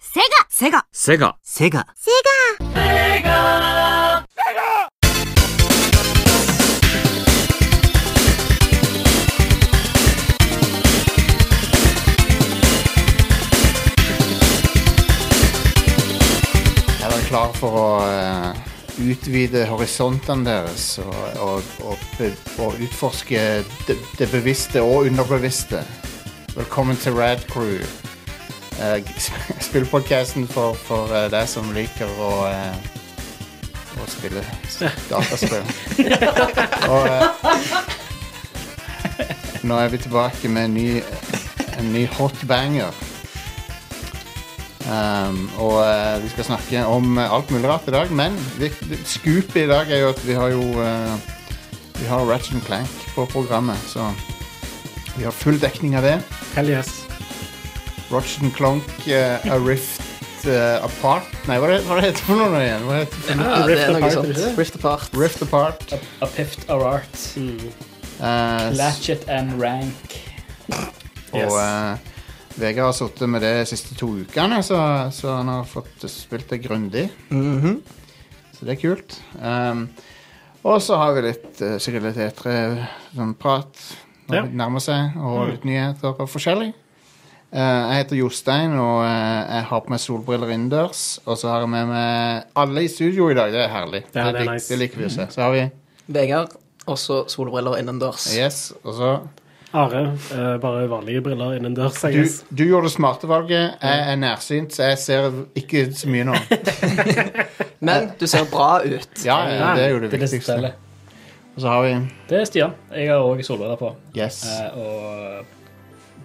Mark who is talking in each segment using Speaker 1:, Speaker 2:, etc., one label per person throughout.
Speaker 1: セガ、
Speaker 2: セガ、
Speaker 3: セガ、
Speaker 4: Er dere klar for å eh, utvide horisontene deres og, og, og, be- og utforske det, det bevisste og underbevisste? Velkommen til Rad Crew. Eh, Spillpodcasten for, for eh, deg som liker å, eh, å spille s- dataspill. og, eh, nå er vi tilbake med en ny, en ny hot banger. Um, og eh, vi skal snakke om eh, alt mulig rart i dag, men vi- vi- scoopet i dag er jo at vi har jo eh, Vi har Ratchet Clank på programmet, så vi har full dekning av det.
Speaker 5: Hell yes.
Speaker 4: Ratchet Clank, eh, A Rift eh, Apart Nei, hva, er det, hva er det heter det for noe nå igjen? Hva heter det?
Speaker 6: Ja, det
Speaker 5: Rift
Speaker 6: er noe
Speaker 5: apart, er det
Speaker 6: sånt.
Speaker 5: ikke det?
Speaker 6: Rift apart.
Speaker 4: Rift Apart.
Speaker 5: A pift of art.
Speaker 4: eh, s-
Speaker 5: Latchet and rank.
Speaker 4: og eh, Vegard har sittet med det de siste to ukene, så, så han har fått spilt det grundig.
Speaker 6: Mhm.
Speaker 4: Så det er kult. Um, og så har vi litt uh, sikkert litt etere sånn prat når
Speaker 5: Ja. Mm.
Speaker 4: det nærmer seg, og litt nyheter og forskjellig. Uh, jeg heter Jostein, og uh, jeg har på meg solbriller innendørs. Og så har jeg med meg alle i studio i dag. Det er herlig.
Speaker 5: Ja, det er
Speaker 4: lik-
Speaker 5: nice.
Speaker 4: det liker vi å se. Så har vi
Speaker 6: Vegard, også solbriller innendørs.
Speaker 5: Mm.
Speaker 4: Yes, og så
Speaker 5: Are, eh, bare vanlige briller innendørs, I
Speaker 4: du,
Speaker 5: guess.
Speaker 4: du gjorde det smarte valget. Jeg er nærsynt, så jeg ser ikke så mye nå.
Speaker 6: Men du ser bra ut.
Speaker 4: Ja, ja, det er jo det
Speaker 5: Det som
Speaker 4: viktigste.
Speaker 5: teller.
Speaker 4: Og så har vi
Speaker 5: Det er Stian. Jeg har òg solbriller på.
Speaker 4: Yes.
Speaker 5: eh, Og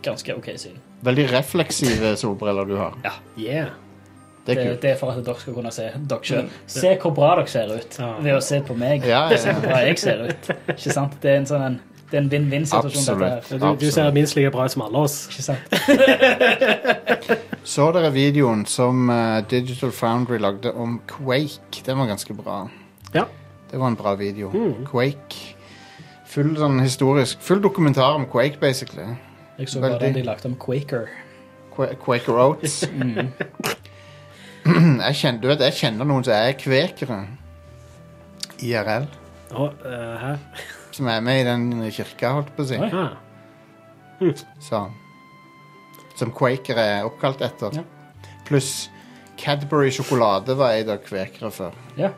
Speaker 5: ganske OK syn.
Speaker 4: Veldig refleksive solbriller du har.
Speaker 5: Ja. Yeah.
Speaker 4: Det er
Speaker 7: Det,
Speaker 4: kult. Mm.
Speaker 7: det er for at dere skal kunne se dere selv. Se hvor bra dere ser ut
Speaker 5: Ja.
Speaker 7: ved å se på meg.
Speaker 4: Ja, ja,
Speaker 7: Se
Speaker 4: ja.
Speaker 7: hvor bra jeg ser ut. Ikke sant? Det er en sånn en, det er en vinn-vinn-situasjon. dette
Speaker 4: Absolutt.
Speaker 7: her.
Speaker 5: Du, du ser
Speaker 4: absolutt.
Speaker 5: minst like bra ut som alle oss.
Speaker 7: Ikke sant?
Speaker 4: Så dere videoen som eh, Digital Foundry lagde om Quake? Den var ganske bra.
Speaker 5: Ja.
Speaker 4: Det var en bra video. Quake. Full sånn historisk Full dokumentar om Quake, basically.
Speaker 7: Jeg så bare
Speaker 4: Veldig.
Speaker 7: den de lagde om Quaker.
Speaker 4: Qua- Quaker Oats.
Speaker 5: Mm.
Speaker 4: jeg, kjenner, du vet, jeg kjenner noen som er kvekere. IRL.
Speaker 5: Å, eh, hæ?
Speaker 4: Som er med i den kirka, holdt på å si.
Speaker 5: Ah.
Speaker 4: Så. Som Quaker er oppkalt etter.
Speaker 7: Ja.
Speaker 4: Pluss Cadbury sjokolade var eid av kvekere før.
Speaker 7: Ja.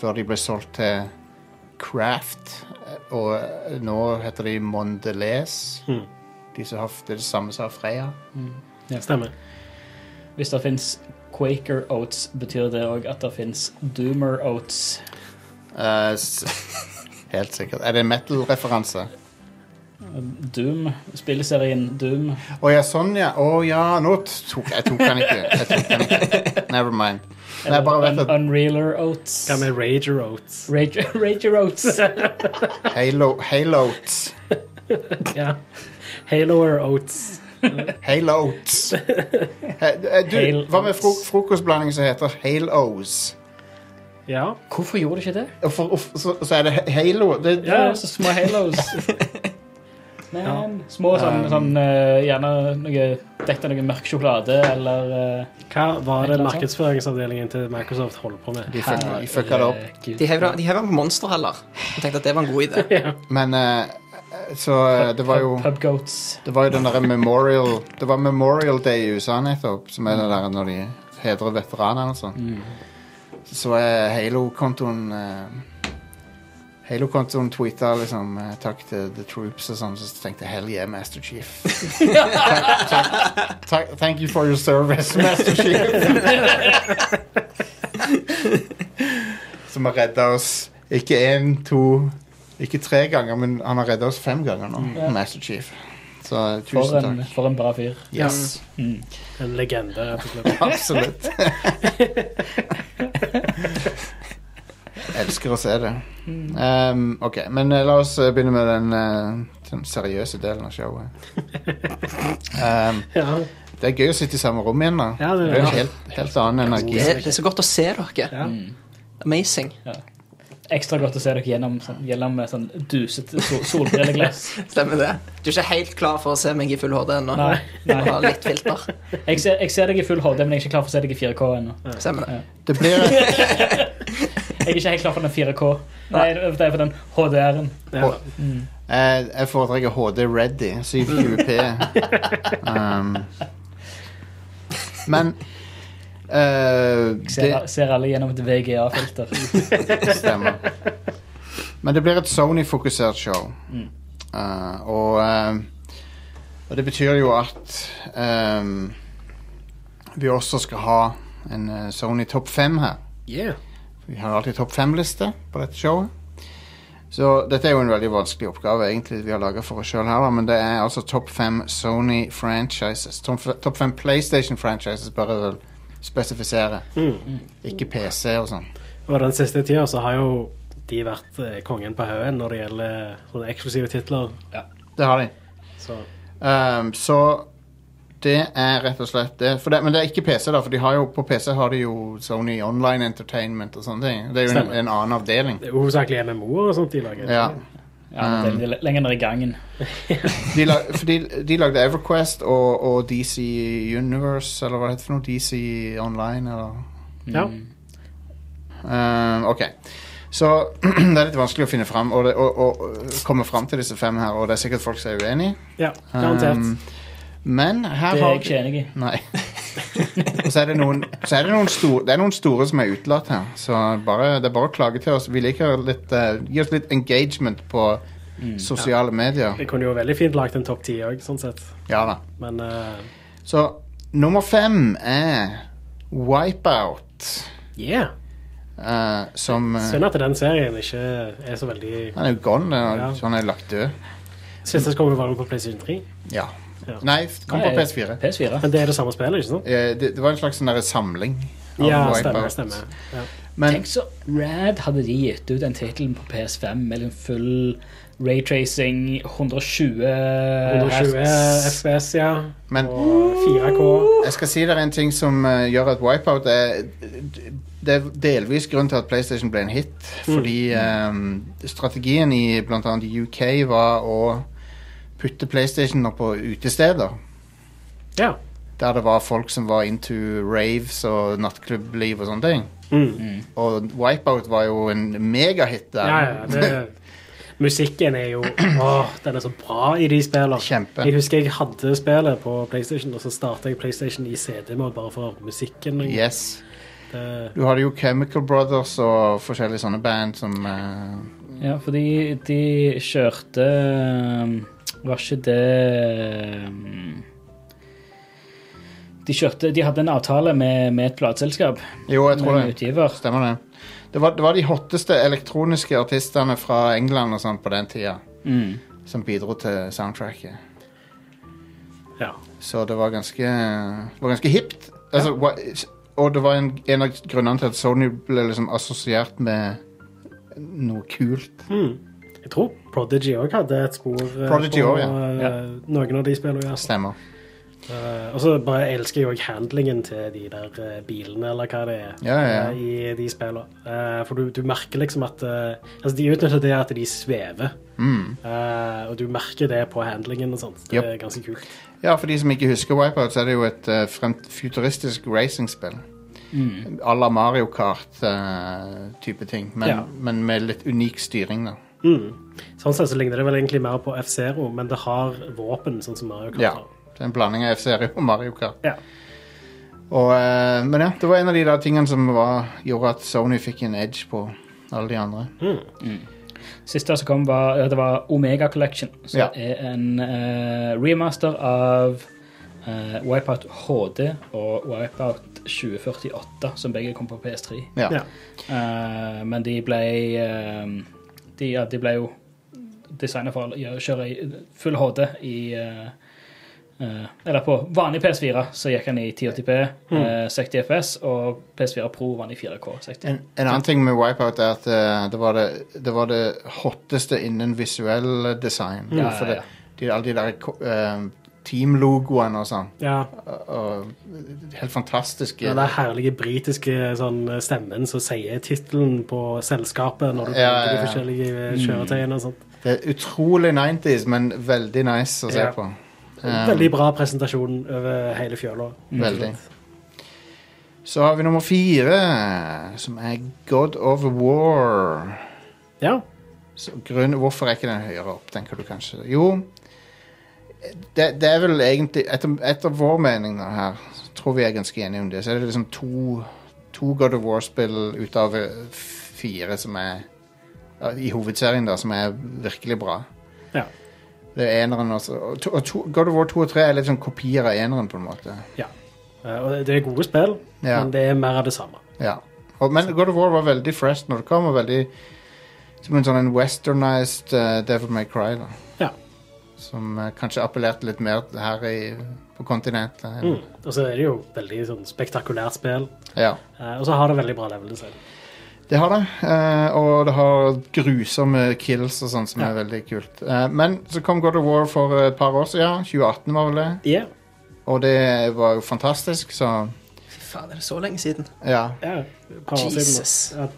Speaker 4: Før de ble solgt til Kraft. Og nå heter de Mondelez.
Speaker 5: Mhm.
Speaker 4: De som har, det er det samme som har Freya.
Speaker 5: Stemmer.
Speaker 7: Hvis det fins Quaker Oats, betyr det òg at det fins Doomer Oats.
Speaker 4: Eh, s- helt sikkert. Er det en metal-referanse?
Speaker 7: Um, Doom, spillserien Doom.
Speaker 4: Å ja, sånn ja. Å ja, nå tok jeg tok den ikke. Jeg tok den ikke. Never mind. Nei, jeg bare vet
Speaker 7: Un
Speaker 4: at
Speaker 7: Unrealer Oats.
Speaker 5: Hva med Rager Oats?
Speaker 7: Rage, Rager Oats.
Speaker 4: Halo, Halotes
Speaker 5: Ja. Haloer Oats.
Speaker 4: Halotes. He- eh, Du, hva med fro frokostblanding som heter Halos?
Speaker 5: Ja.
Speaker 7: Hvorfor gjorde de ikke det?
Speaker 4: Og for, og f- så, så er det he- Halo det,
Speaker 7: Ja, så små halos. Men små sånn,
Speaker 4: Um,
Speaker 7: sånn eh, Gjerne noe dekt av noe mørk sjokolade eller eh,
Speaker 5: Hva
Speaker 7: Et
Speaker 5: var det
Speaker 7: eller annet.
Speaker 5: markedsføringsavdelingen til Microsoft holdt på med?
Speaker 4: De fucka de fucka det opp.
Speaker 7: herregud.
Speaker 6: De hev de hev en monster heller. Jeg tenkte at det var en god idé.
Speaker 4: Men eh, Så eh, det var jo
Speaker 7: Pub- Pub goats.
Speaker 4: Det var jo den derre Memorial Det var Memorial Day i USA nettopp, som er det der når de hedrer veteranene og sånn. Så er Halo-kontoen eh, Halo-kontoen tweeta liksom eh, 'takk til the troops' og sånn, så tenkte jeg 'hell yeah, Master Chief'. takk, takk, takk, thank you for your service, Master Chief. som har redda oss ikke én, to, ikke tre ganger, men han har redda oss fem ganger nå, Master Chief. Så eh,
Speaker 7: For
Speaker 4: tusen
Speaker 7: en,
Speaker 4: takk.
Speaker 7: for en bra fyr.
Speaker 4: Yes.
Speaker 5: En legende, rett og slett.
Speaker 4: Absolutt. Elsker å se det. Um, ok, men eh, la oss eh, begynne med den, eh, den seriøse delen av showet. Um,
Speaker 5: Ja.
Speaker 4: det er gøy å sitte i samme rom igjen, da.
Speaker 5: Ja, det er
Speaker 4: det er
Speaker 5: det.
Speaker 4: en helt, helt annen energi. Mm.
Speaker 6: Det, det er så godt å se dere.
Speaker 5: Ja.
Speaker 6: Amazing.
Speaker 7: ekstra godt å se dere gjennom, sånn, gjennom med sånn dusete sol solbrilleglass.
Speaker 6: Stemmer det. Du er ikke helt klar for å se meg i full HD ennå.
Speaker 7: Nei,
Speaker 6: Du
Speaker 7: nei.
Speaker 6: har litt filter.
Speaker 7: Jeg ser, jeg ser deg i full HD, men jeg er ikke klar for å se deg i 4K ennå.
Speaker 6: Stemmer det.
Speaker 4: Det blir et
Speaker 7: Jeg er ikke helt klar for den 4K. Nei, det er for den HDR-en.
Speaker 5: Ja.
Speaker 4: Jeg, Eh, jeg foretrekker HD Ready, 720p. um, men eh,
Speaker 7: Ser,
Speaker 4: Det
Speaker 7: ser alle gjennom et VGA-filter.
Speaker 4: stemmer. Men det blir et Sony-fokusert show.
Speaker 7: Mm.
Speaker 4: Eh, og, eh, og det betyr jo at eh, vi også skal ha en eh, Sony topp fem her.
Speaker 5: Yeah.
Speaker 4: Vi har alltid topp fem-liste på dette showet. Så dette er jo en veldig vanskelig oppgave egentlig vi har laga for oss sjøl her, da, men det er altså topp fem Sony franchises. Topp f- Topp fem PlayStation franchises, bare vel spesifisere.
Speaker 5: Mm.
Speaker 4: Ikke PC og sånn.
Speaker 5: Og den siste tida så har jo de vært eh, kongen på haugen når det gjelder sånne eksklusive titler.
Speaker 4: Det har de.
Speaker 5: Så
Speaker 4: Ehm, så det er rett og slett det. For det. Men det er ikke PC, da, for de har jo, på PC har de jo Sony Online Entertainment og sånne ting. Det er jo en,
Speaker 5: Stemmer.
Speaker 4: en annen avdeling.
Speaker 5: det er jo hovedsakelig MMO-er og sånt de lager.
Speaker 4: Ja.
Speaker 7: Ja, det er
Speaker 4: Um.
Speaker 7: litt lenger ned i gangen.
Speaker 4: De, la, for de, de lagde Everquest og, og DC Universe, eller hva det heter for noe. DC Online, eller
Speaker 5: Ja.
Speaker 4: Mm. Ehm, Ok. Så det er litt vanskelig å finne fram og, det, og, og, og komme fram til disse fem her, og det er sikkert folk som er uenige.
Speaker 5: ja garantert.
Speaker 4: Ehm, men her
Speaker 7: Det er
Speaker 4: har
Speaker 7: jeg ikke enig i.
Speaker 4: Nei. og så er det noen, så er det noen, store, det er noen store som er utelatt her, så bare, det er bare å klage til oss. Vi liker litt eh, Gi oss litt engagement på
Speaker 5: Mm.
Speaker 4: sosiale medier.
Speaker 5: Jeg kunne jo veldig fint lagd en topp ti òg, sånn sett.
Speaker 4: Ja da.
Speaker 5: Men eh,
Speaker 4: Så nummer fem er Wipeout,
Speaker 5: yeah.
Speaker 4: eh, som eh,
Speaker 5: Synd at den serien ikke er så veldig
Speaker 4: Han er jo gone, den
Speaker 5: Ja.
Speaker 4: er- så han er lagt død.
Speaker 5: Siste kommer bare på PlayStation 3.
Speaker 4: Ja.
Speaker 5: Ja.
Speaker 4: Nei, f- kom på
Speaker 7: Nei,
Speaker 4: PS4.
Speaker 7: PS4.
Speaker 5: Men det er det samme spillet, ikke sant?
Speaker 4: Eh, det, det var en slags sånn der samling. av
Speaker 5: Ja, stemmer.
Speaker 4: Wipeout.
Speaker 5: stemmer. Ja.
Speaker 4: Men
Speaker 7: Tenk så rad hadde de gitt ut en tittel på PS5 med en full raytracing 120
Speaker 4: Eh,
Speaker 5: 120
Speaker 7: hertz.
Speaker 5: FPS, ja.
Speaker 4: Men-
Speaker 5: og 4K.
Speaker 4: jeg skal si dere en ting som eh, gjør at Wipeout er Det er delvis grunn til at PlayStation ble en hit.
Speaker 5: Mm.
Speaker 4: Fordi eh, strategien i bl.a. UK var å putte PlayStationer på utesteder.
Speaker 5: Ja.
Speaker 4: Der det var folk som var into raves og nattklubliv og sånne ting.
Speaker 5: Mm.
Speaker 4: Og Wipeout var jo en megahit der.
Speaker 5: ja, ja det, musikken er jo Åh, den er så bra i de spillene.
Speaker 4: Kjempe.
Speaker 5: Jeg husker jeg hadde spillet på PlayStation, og så starta jeg PlayStation i CD-mode bare for musikken.
Speaker 4: yes.
Speaker 5: Det,
Speaker 4: Du hadde jo Chemical Brothers og forskjellige sånne band som eh,
Speaker 7: Ja, fordi de kjørte um, Var ikke det um, De kjørte De hadde en avtale med, med et plateselskap.
Speaker 4: Jo, jeg tror
Speaker 7: med en
Speaker 4: det.
Speaker 7: utgiver.
Speaker 4: Stemmer det. Det var, det var de hotteste elektroniske artistene fra England og sånn på den tida
Speaker 7: Mm.
Speaker 4: som bidro til soundtracket.
Speaker 5: ja.
Speaker 4: Så det var ganske, det var ganske hipt. Altså, hva- og det var en, en av grunnene til at Sony ble liksom assosiert med noe kult.
Speaker 5: Mm. Jeg tror Prodigy òg hadde et spor eh,
Speaker 4: Prodigy
Speaker 5: på
Speaker 4: også,
Speaker 5: eh,
Speaker 7: Ja.
Speaker 5: noen av de spillene. Ja.
Speaker 4: Stemmer.
Speaker 5: Eh, og så bare elsker jeg òg handlingen til de der eh, bilene, eller hva det er,
Speaker 4: Ja, ja, ja.
Speaker 5: eh, i de spillene. Eh, for du, du merker liksom at eh, Altså, de utnytter det at de svever.
Speaker 4: Mm.
Speaker 5: Eh, og du merker det på handlingen og sånt. Det
Speaker 4: Yep.
Speaker 5: er ganske kult.
Speaker 4: Ja, for de som ikke husker Wipeout, så er det jo et eh, fremt, futuristisk racingspill.
Speaker 7: Mm.
Speaker 4: à la Mario Kart-type ting, men,
Speaker 5: Ja.
Speaker 4: men med litt unik styring, da.
Speaker 5: Mm. Sånn sett så ligner det vel egentlig mer på F-Zero, men det har våpen, sånn som Mario Kart
Speaker 4: Ja.
Speaker 5: har.
Speaker 4: Det er en blanding av F-serie og Mario Kart.
Speaker 5: Ja.
Speaker 4: Og, eh, men ja, det var en av de der tingene som var, gjorde at Sony fikk en edge på alle de andre.
Speaker 7: Siste som kom, var, ja, det var Omega Collection, som
Speaker 4: Ja.
Speaker 7: er en eh, remaster av eh, Wipeout HD og Wipeout 2048, som begge kom på PS3.
Speaker 4: Ja.
Speaker 5: Ja.
Speaker 7: Eh, men de ble eh, de, ja, de ble jo designa for å gjøre- kjøre i full HD i eh, eh, Eller på vanlig PS4 så gikk han i 1080P, eh, 60 FPS, og PS4 Pro var han i 4K. 60.
Speaker 4: En, en annen ting med Wipeout er at eh, det, var det, det var det hotteste innen visuell design.
Speaker 7: Ja,
Speaker 4: For
Speaker 7: ja,
Speaker 4: det, de, alle de der ko- eh, teamlogoen og sånn.
Speaker 5: Ja,
Speaker 4: Og, og helt fantastiske
Speaker 5: Den der herlige britiske sånn, stemmen som sier tittelen på selskapet når du bruker
Speaker 4: Ja, ja, Mm. ja.
Speaker 5: de forskjellige eh, kjøretøyene og sånt.
Speaker 4: Det er utrolig 90s, men veldig nice å se
Speaker 5: Ja.
Speaker 4: på.
Speaker 5: Veldig bra presentasjon over hele fjøla.
Speaker 4: Um, Veldig. Så har vi nummer fire, som er God of War.
Speaker 5: Ja.
Speaker 4: Så grunn, hvorfor er ikke den høyere opp, tenker du kanskje? Jo, det, det er vel egentlig etter, etter vår mening da, her, så tror vi er ganske enige om det, så er det liksom to, to God of War-spill ut av eh, fire som er ja, i hovedserien, da, som er virkelig bra.
Speaker 5: Ja.
Speaker 4: Det er eneren også. Og to, og to, God of War 2 og 3 er litt sånn kopier av eneren, på en måte.
Speaker 5: Eh, Og det er gode spill,
Speaker 4: Ja.
Speaker 5: men det er mer av det samme.
Speaker 4: Ja. Og, men God of War var veldig fresh når det kom, og veldig som en sånn en westernized eh, Devil May Cry. da.
Speaker 5: Ja.
Speaker 4: Som eh, kanskje appellerte litt mer her i, på kontinentet.
Speaker 5: Mm. Og så er det jo veldig sånn, spektakulært spill.
Speaker 4: Ja.
Speaker 5: Eh, Og så har det veldig bra level design.
Speaker 4: Det har det. eh, og det har grusomme kills og sånn, som er veldig kult. Eh, men så kom God of War for et par år siden. 2018 var vel det.
Speaker 5: Ja.
Speaker 4: Og det var jo fantastisk, så
Speaker 6: Fy faen, er det så lenge siden?
Speaker 4: ja.
Speaker 5: ja. et par år siden nå.
Speaker 6: Jesus.
Speaker 5: Ja.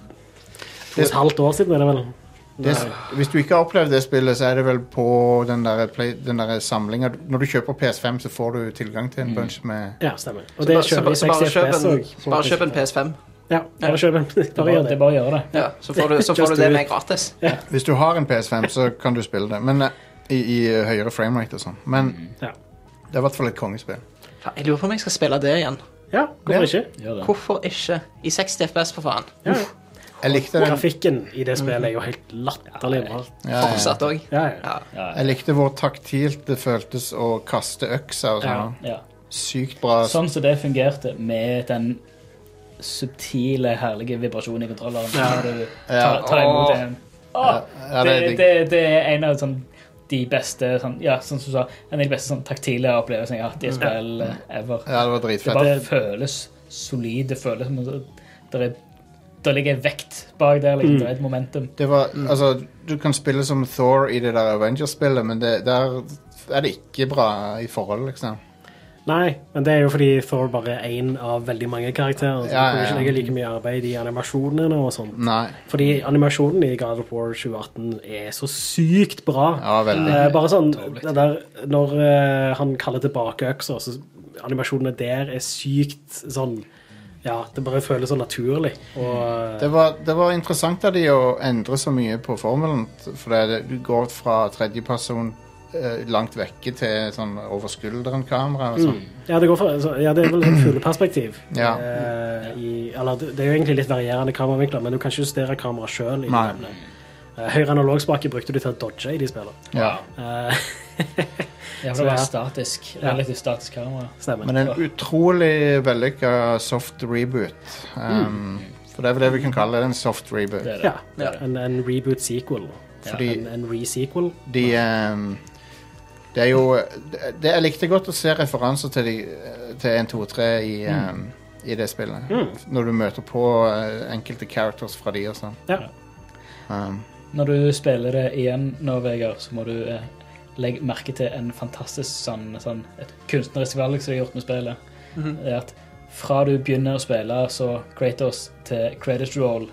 Speaker 5: To og et halvt år siden er det vel.
Speaker 4: Det, hvis du ikke har opplevd det spillet, så er det vel på den der, play- den der samlinga Når du kjøper PS5, så får du tilgang til en bunch med
Speaker 5: Ja, stemmer. Og
Speaker 6: Så
Speaker 5: det
Speaker 6: bare- så
Speaker 5: kjører
Speaker 6: bare-
Speaker 5: vi
Speaker 6: så bare
Speaker 5: 60
Speaker 6: kjøp
Speaker 5: FPS
Speaker 6: en-
Speaker 5: også.
Speaker 6: Bare kjøp en PS5.
Speaker 5: Ja, bare kjøp en.
Speaker 7: Det
Speaker 5: Bare
Speaker 7: er
Speaker 5: gjør
Speaker 7: bare- det
Speaker 5: det.
Speaker 7: er bare å gjøre det.
Speaker 6: Ja, så får du, så får
Speaker 5: Just
Speaker 6: du det
Speaker 5: do
Speaker 6: med
Speaker 5: it.
Speaker 6: gratis.
Speaker 4: Hvis du har en PS5, så kan du spille det. Men eh, I, i eh, høyere framerate og sånn. Men
Speaker 5: Ja.
Speaker 4: det er i hvert fall et kongespill.
Speaker 6: Faen, Jeg lurer på om jeg skal spille det igjen.
Speaker 5: Ja, hvorfor ikke?
Speaker 7: Gjør det.
Speaker 6: Hvorfor ikke? I 60 FPS, for faen.
Speaker 5: Ja.
Speaker 4: Jeg likte, den,
Speaker 5: Grafikken i det spillet er jo helt latterlig bra.
Speaker 4: ja, ja.
Speaker 6: Fortsatt òg.
Speaker 5: Ja, ja.
Speaker 6: Ja.
Speaker 4: jeg likte hvor taktilt det føltes å kaste øksa og sånn.
Speaker 7: Ja.
Speaker 4: Sykt bra.
Speaker 7: Sånn som det fungerte med den subtile, herlige vibrasjonen i kontrolleren.
Speaker 5: Ja.
Speaker 7: Når du
Speaker 4: Ja.
Speaker 7: tar, tar imot
Speaker 6: Åh.
Speaker 7: en
Speaker 4: Ja,
Speaker 7: Åh,
Speaker 4: ja, det,
Speaker 7: det,
Speaker 4: det,
Speaker 7: det, det er en av sånn, de beste sånn, ja, sånn som du sa, en av de beste sånn, taktile opplevelsene jeg har
Speaker 5: Mm.
Speaker 7: hatt i et spill eh, ever.
Speaker 4: ja, det var
Speaker 7: Det
Speaker 4: dritfett.
Speaker 7: bare føles solid. Det føles som det er, der ligger en vekt bak der. Liksom,
Speaker 5: Mm.
Speaker 7: Det er et momentum.
Speaker 4: Det var,
Speaker 7: Mm.
Speaker 4: altså, du kan spille som Thor i det der Avengers-spillet, men det, der er det ikke bra i forhold, liksom.
Speaker 5: Nei, men det er jo fordi Thor bare er én av veldig mange karakterer. Så
Speaker 4: Ja,
Speaker 5: du
Speaker 4: ja,
Speaker 5: kunne
Speaker 4: ja.
Speaker 5: ikke legge like mye arbeid i animasjonene og sånn.
Speaker 4: Nei.
Speaker 5: Fordi animasjonen i God of War 2018 er så sykt bra.
Speaker 4: Ja, veldig.
Speaker 5: Eh, bare sånn det der, Når eh, han kaller tilbake øksa, så animasjonene der er sykt sånn Ja, det bare føles så naturlig. Og eh,
Speaker 4: Det var, det var interessant av de å endre så mye på formelen. For det, er det- du går fra tredjeperson eh, langt vekke til sånn over skulderen-kamera og sånn.
Speaker 5: Ja, det, går for, så- ja, det er vel sånn fugleperspektiv.
Speaker 4: Ja.
Speaker 5: Eh, i, eller, det det er jo egentlig litt varierende kameravinkler, men du kan ikke justere kameraet sjøl.
Speaker 4: Nei.
Speaker 5: Eh, Høyre analogspake brukte du til å dodge i de spillene.
Speaker 4: Ja.
Speaker 5: Eh,
Speaker 7: Ja, for
Speaker 5: Så
Speaker 7: det var
Speaker 5: ja.
Speaker 7: statisk.
Speaker 5: Ja.
Speaker 7: Relativt statisk kamera.
Speaker 5: stemmer.
Speaker 4: Men en utrolig vellykka soft reboot. Um, For det er vel det vi kan kalle det, en soft reboot.
Speaker 7: Det er det.
Speaker 5: Mm. ja,
Speaker 7: Det er det.
Speaker 5: en, en reboot sequel.
Speaker 4: Fordi-
Speaker 5: en, en re-sequel.
Speaker 4: De ehm, Det er jo det, det- Jeg likte godt å se referanser til, de, til 1, 2, 3 i,
Speaker 5: Mm.
Speaker 4: ehm, i det spillet. Når du møter på eh, enkelte characters fra de og sånn.
Speaker 5: Ja.
Speaker 4: Um,
Speaker 7: Når du spiller det igjen nå, Vegard, så må du eh, legge merke til en fantastisk sånn, sånn et kunstnerisk valg som de har gjort med spillet. Det er at fra du begynner å spille så Kratos til credit roll,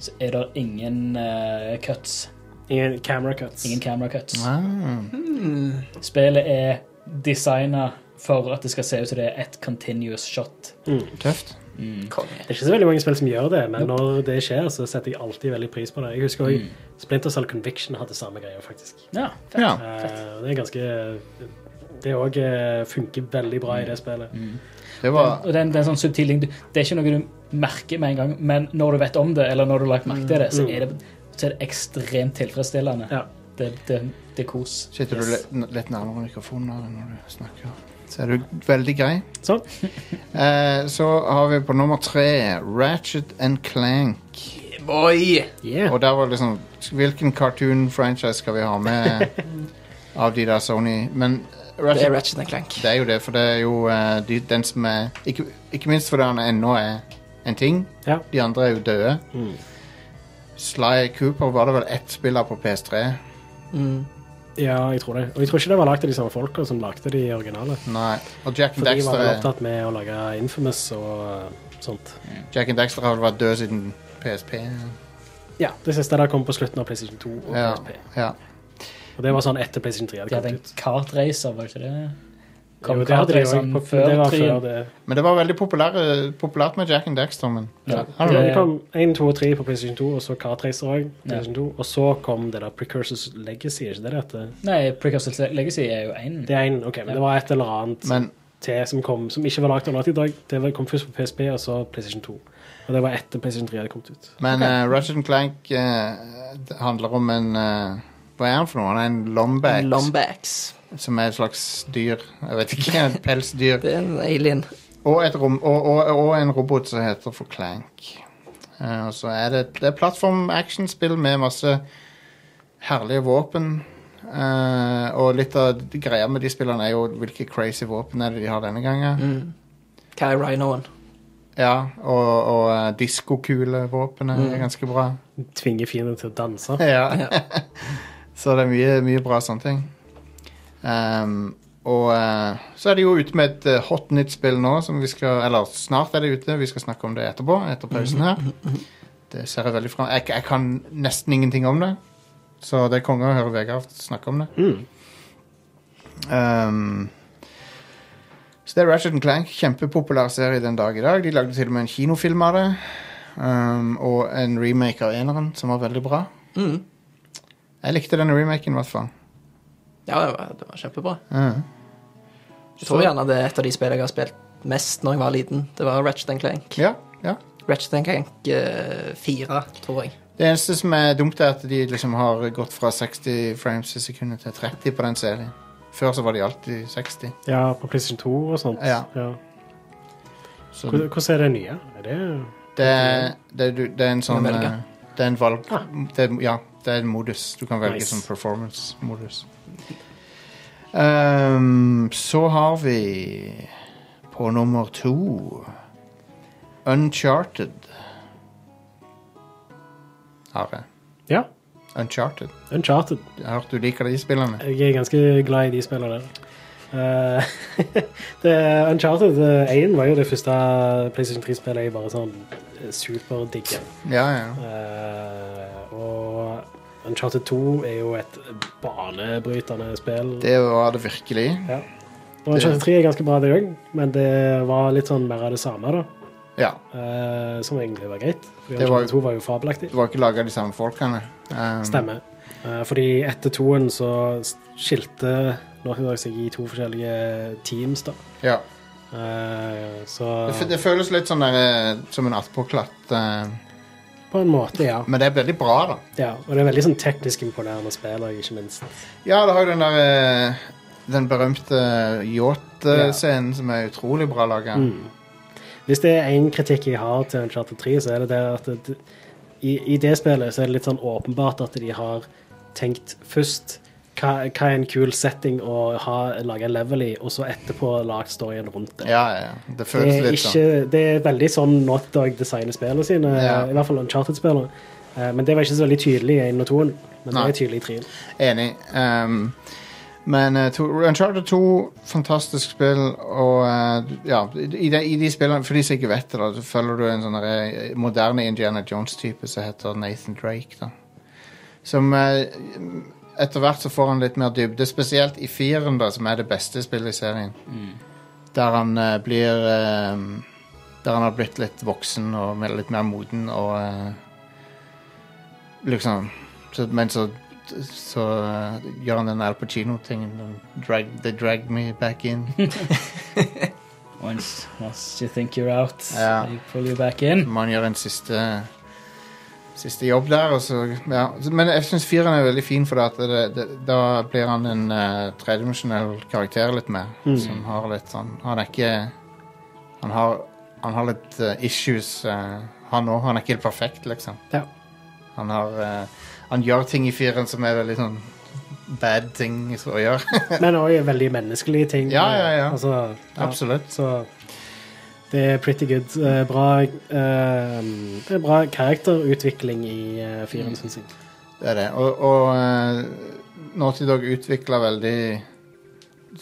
Speaker 7: så er det ingen eh, cuts.
Speaker 5: Ingen camera cuts.
Speaker 7: Ingen camera cuts.
Speaker 4: ah.
Speaker 6: Hmm.
Speaker 7: Spillet er designa for at det skal se ut som det er ett continuous shot.
Speaker 4: Tøft.
Speaker 6: Konge.
Speaker 5: Mm. Det er ikke så veldig mange spill som gjør det, men når det skjer, så setter jeg alltid veldig pris på det. Jeg husker
Speaker 4: Mm.
Speaker 5: også Splinter Cell Conviction hadde samme greia, faktisk.
Speaker 7: Ja.
Speaker 4: Ja.
Speaker 5: Eh, det er ganske Det òg funker veldig bra
Speaker 4: Mm.
Speaker 5: i det spillet.
Speaker 4: Det var
Speaker 7: Og det er en- det er en sånn subtil ting. Du- Det er ikke noe du merker med en gang, men når du vet om det, eller når du har lagt merke til det, så er det, så er det ekstremt tilfredsstillende.
Speaker 5: Ja.
Speaker 7: Det, det, det er kos.
Speaker 4: Sitter
Speaker 7: Yes.
Speaker 4: du litt, litt nærmere mikrofonen her når du snakker? Så er du veldig grei.
Speaker 5: Sånn.
Speaker 4: Eh, så har vi på nummer tre Ratchet and Clank.
Speaker 6: Boy!
Speaker 5: Yeah.
Speaker 4: Og der var liksom Hvilken cartoon franchise skal vi ha med av de der Sony? Men
Speaker 6: Det er
Speaker 4: Ratchet,
Speaker 6: Ratchet Clank.
Speaker 4: det er jo det, for det er jo eh, de, den som er ikke, ikke minst fordi han ennå er en ting.
Speaker 5: Ja.
Speaker 4: De andre er jo døde.
Speaker 5: Mm.
Speaker 4: Sly Cooper var det vel ett spill av på PS3.
Speaker 6: Mm.
Speaker 5: Ja, jeg tror det. Og jeg tror ikke det var lagd av de samme folka som lagde de originale.
Speaker 4: Nei. Og Jack and
Speaker 5: For de
Speaker 4: Daxter,
Speaker 5: var vel
Speaker 4: er,
Speaker 5: opptatt med å lage Infamous og eh, sånt.
Speaker 4: Jack and Daxter har vel vært død siden PSP.
Speaker 5: Ja, det siste der kom på slutten av PlayStation 2 og
Speaker 4: Ja,
Speaker 5: PSP.
Speaker 4: ja.
Speaker 5: Og det var sånn etter PlayStation 3
Speaker 7: De
Speaker 5: hadde
Speaker 7: hadde en
Speaker 5: kommet ut.
Speaker 7: kartracer, var det ikke det? Kom
Speaker 5: Jo, det hadde de jo
Speaker 7: kartraceren
Speaker 5: på,
Speaker 7: før
Speaker 5: det var før
Speaker 7: treen?
Speaker 5: det.
Speaker 4: Men det var veldig populære- populært med Jack and Daxter, men
Speaker 7: Ah, Ja.
Speaker 4: I don't
Speaker 5: Ja,
Speaker 4: know.
Speaker 5: det kom 1, 2 og 3 på PlayStation 2, og så Kartracer òg.
Speaker 7: Ja.
Speaker 5: Og så kom det der Precursors Legacy, er ikke det det heter?
Speaker 7: Nei, Precursors Legacy er jo én.
Speaker 5: Det er en, ok, men det var et eller annet
Speaker 4: Men
Speaker 5: til som kom, som ikke var lagd av Naughty Dog. Det var- kom først på PSP, og så PlayStation 2. Og det var etter PlayStation 3 hadde kommet ut.
Speaker 4: Men okay. Clank eh, det handler om en eh, Hva er han for noe? Han er en lombax,
Speaker 6: Lombax.
Speaker 4: som er et slags dyr. Jeg vet ikke. Et pelsdyr.
Speaker 6: Det er en alien.
Speaker 4: Og, et rom, og, og, og en robot som heter for Clank. Eh, og så er det, det er plattform-actionspill med masse herlige våpen. Eh, og litt av de greia med de spillene er jo hvilke crazy våpen er det de har denne gangen.
Speaker 6: Mm. Hva er rhinoen?
Speaker 4: Ja, Og, og eh, diskokulevåpenet
Speaker 6: Mm.
Speaker 4: er ganske bra.
Speaker 5: Tvinge fienden til å danse.
Speaker 4: Ja.
Speaker 6: Ja.
Speaker 4: så det er mye, mye bra sånne ting. Ehm, og eh, så er det jo ute med et eh, hot nytt spill nå, som vi skal Eller snart er det ute, vi skal snakke om det etterpå, etter pausen her. Det ser jeg veldig fram jeg, jeg kan nesten ingenting om det, så det er konge å høre Vegard snakke om det.
Speaker 5: Mm.
Speaker 4: Ehm, så det er Ratchet Clank. Kjempepopulær serie den dag i dag. De lagde til og med en kinofilm av det. ehm, og en remake av eneren, som var veldig bra.
Speaker 6: Mm.
Speaker 4: Jeg likte den remaken, i hvert fall.
Speaker 6: Ja, det var, det var kjempebra.
Speaker 4: Ja.
Speaker 6: Jeg tror
Speaker 4: Så-
Speaker 6: gjerne det er et av de spillene jeg har spilt mest når jeg var liten. Det var Ratchet Clank.
Speaker 4: Ja, ja.
Speaker 6: Ratchet Clank eh, 4, tror jeg.
Speaker 4: Det eneste som er dumt, er at de liksom har gått fra 60 frames i sekundet til 30 på den serien. Før så var de alltid 60.
Speaker 5: Ja, på PlayStation 2 og sånt.
Speaker 4: Ja.
Speaker 5: Hvor-
Speaker 4: Så det,
Speaker 5: Hvordan er det nye? Er det
Speaker 4: er- det, er du- det er en sånn
Speaker 6: Kan velge.
Speaker 4: eh, Det er en valg
Speaker 5: Ah.
Speaker 4: det er, Ja, det er en modus. Du kan velge
Speaker 5: Nice.
Speaker 4: som performance-modus. Ehm, så har vi på nummer to Uncharted. Har jeg.
Speaker 5: Ja.
Speaker 4: Uncharted.
Speaker 5: Uncharted.
Speaker 4: Jeg har hørt du liker de spillene.
Speaker 5: Jeg er ganske glad i de spillene der. Eh, det, Uncharted eh, 1 var jo det første PlayStation 3-spillet jeg bare sånn eh, superdigger.
Speaker 4: Ja, ja.
Speaker 5: Eh, og Uncharted 2 er jo et banebrytende spill.
Speaker 4: Det var det virkelig.
Speaker 5: Ja. Og Uncharted 3 er ganske bra, det òg, men det var litt sånn mer av det samme, da.
Speaker 4: Ja.
Speaker 5: Eh, som egentlig var greit. Fordi
Speaker 4: Det var-
Speaker 5: Uncharted 2 var jo fabelaktig.
Speaker 4: Det var ikke laga de samme folkene. Um,
Speaker 5: Stemmer. Eh, fordi etter toen så skilte Naughty Dog seg i to forskjellige teams, da.
Speaker 4: Ja.
Speaker 5: Eh, så
Speaker 4: Det, f- det føles litt sånn der, eh, som en attpåklatt eh,
Speaker 5: på en måte, ja.
Speaker 4: Men det er veldig bra, da.
Speaker 5: ja. Og det er veldig sånn teknisk imponerende spill, og ikke minst.
Speaker 4: Ja, det har jo den der eh, Den berømte yacht-scenen som er utrolig bra laga.
Speaker 5: Mm. Hvis det er én kritikk jeg har til Uncharted 3, så er det det at det, i, i det spillet så er det litt sånn åpenbart at de har tenkt først hva, hva er en kul setting å ha, lage en level i, og så etterpå lagd storyen rundt det.
Speaker 4: Ja, ja, ja. Det
Speaker 5: Det
Speaker 4: føles
Speaker 5: er,
Speaker 4: litt
Speaker 5: ikke,
Speaker 4: sånn.
Speaker 5: det er veldig sånn Not Dog designer spillene sine,
Speaker 4: Ja.
Speaker 5: i hvert fall Uncharted-spillene. Eh, Men det var ikke så veldig tydelig i 1 og 2, men det
Speaker 4: Nei.
Speaker 5: er tydelig i 3.
Speaker 4: Enig. Um, men eh, to, Uncharted 2, fantastisk spill, og eh, ja i de, I de spillene, for de som ikke vet det, da, så følger du en sånn derre moderne Indiana Jones-type som heter Nathan Drake, da. Som eh, Etter hvert så får han litt mer dybde, spesielt i firen, da, som er det beste spillet i serien. Der han eh, blir eh, Der han har blitt litt voksen og med- litt mer moden og eh, Liksom så, Men så så eh, gjør han den Al Pacino-tingen. den Drag, they drag me back in.
Speaker 7: Once, once you think you're out,
Speaker 4: Ja.
Speaker 7: you pull you back in.
Speaker 4: Man gjør en siste Siste jobb der, og så ja. Men jeg syns fireren er veldig fin, for at det, det, da blir han en eh, tredimensjonell karakter litt mer.
Speaker 5: Mm.
Speaker 4: Som har litt sånn Han er ikke Han har, han har litt eh, issues, eh, han òg. Han er ikke helt perfekt, liksom.
Speaker 5: Ja.
Speaker 4: Han har eh, Han gjør ting i fireren som er veldig sånn bad ting å gjøre.
Speaker 5: Men òg veldig menneskelige ting.
Speaker 4: Ja, ja, ja.
Speaker 5: Altså, ja.
Speaker 4: Absolutt.
Speaker 5: Så det er pretty good. Eh, Bra, eh, det er
Speaker 4: Mm.
Speaker 5: bra karakterutvikling i eh, firen, syns jeg.
Speaker 4: Det er det. Og, og eh, Naughty Dog utvikler veldig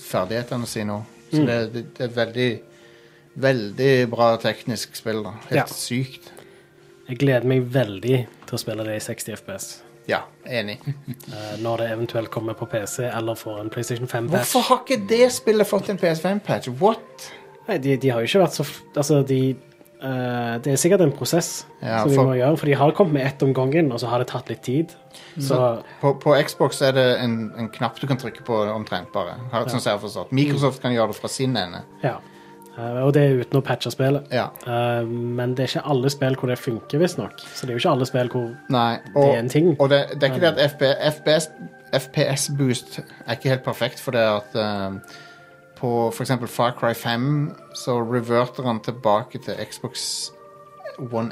Speaker 4: ferdighetene sine òg. Så
Speaker 5: Mm.
Speaker 4: det, det, det er veldig, veldig bra teknisk spill. da. Helt
Speaker 5: Ja.
Speaker 4: sykt.
Speaker 5: Jeg gleder meg veldig til å spille det i 60 FPS.
Speaker 4: Ja, enig.
Speaker 5: eh, når det eventuelt kommer på PC eller får en PlayStation 5-patch.
Speaker 4: Hvorfor har ikke det spillet fått en PS5-patch? What?
Speaker 5: Nei, de, de har jo ikke vært så f Altså, de eh, Det er sikkert en prosess
Speaker 4: Ja,
Speaker 5: som vi
Speaker 4: for-
Speaker 5: må gjøre, for de har kommet med ett om gangen, og så har det tatt litt tid.
Speaker 4: Mm.
Speaker 5: Så
Speaker 4: På, på Xbox er det en, en knapp du kan trykke på omtrent bare. Har, sånn som jeg har forstått. Microsoft kan gjøre det fra sin ende.
Speaker 5: ja. Eh, og det er uten å patche spillet.
Speaker 4: Ja.
Speaker 5: Eh, men det er ikke alle spill hvor det funker, visstnok. Så det er jo ikke alle spill hvor
Speaker 4: Nei,
Speaker 5: det er en ting.
Speaker 4: Og det, det er ikke det at FB, FPS, FPS Boost er ikke helt perfekt, for det er at eh, på f.eks. Far Cry 5 så reverter han tilbake til Xbox One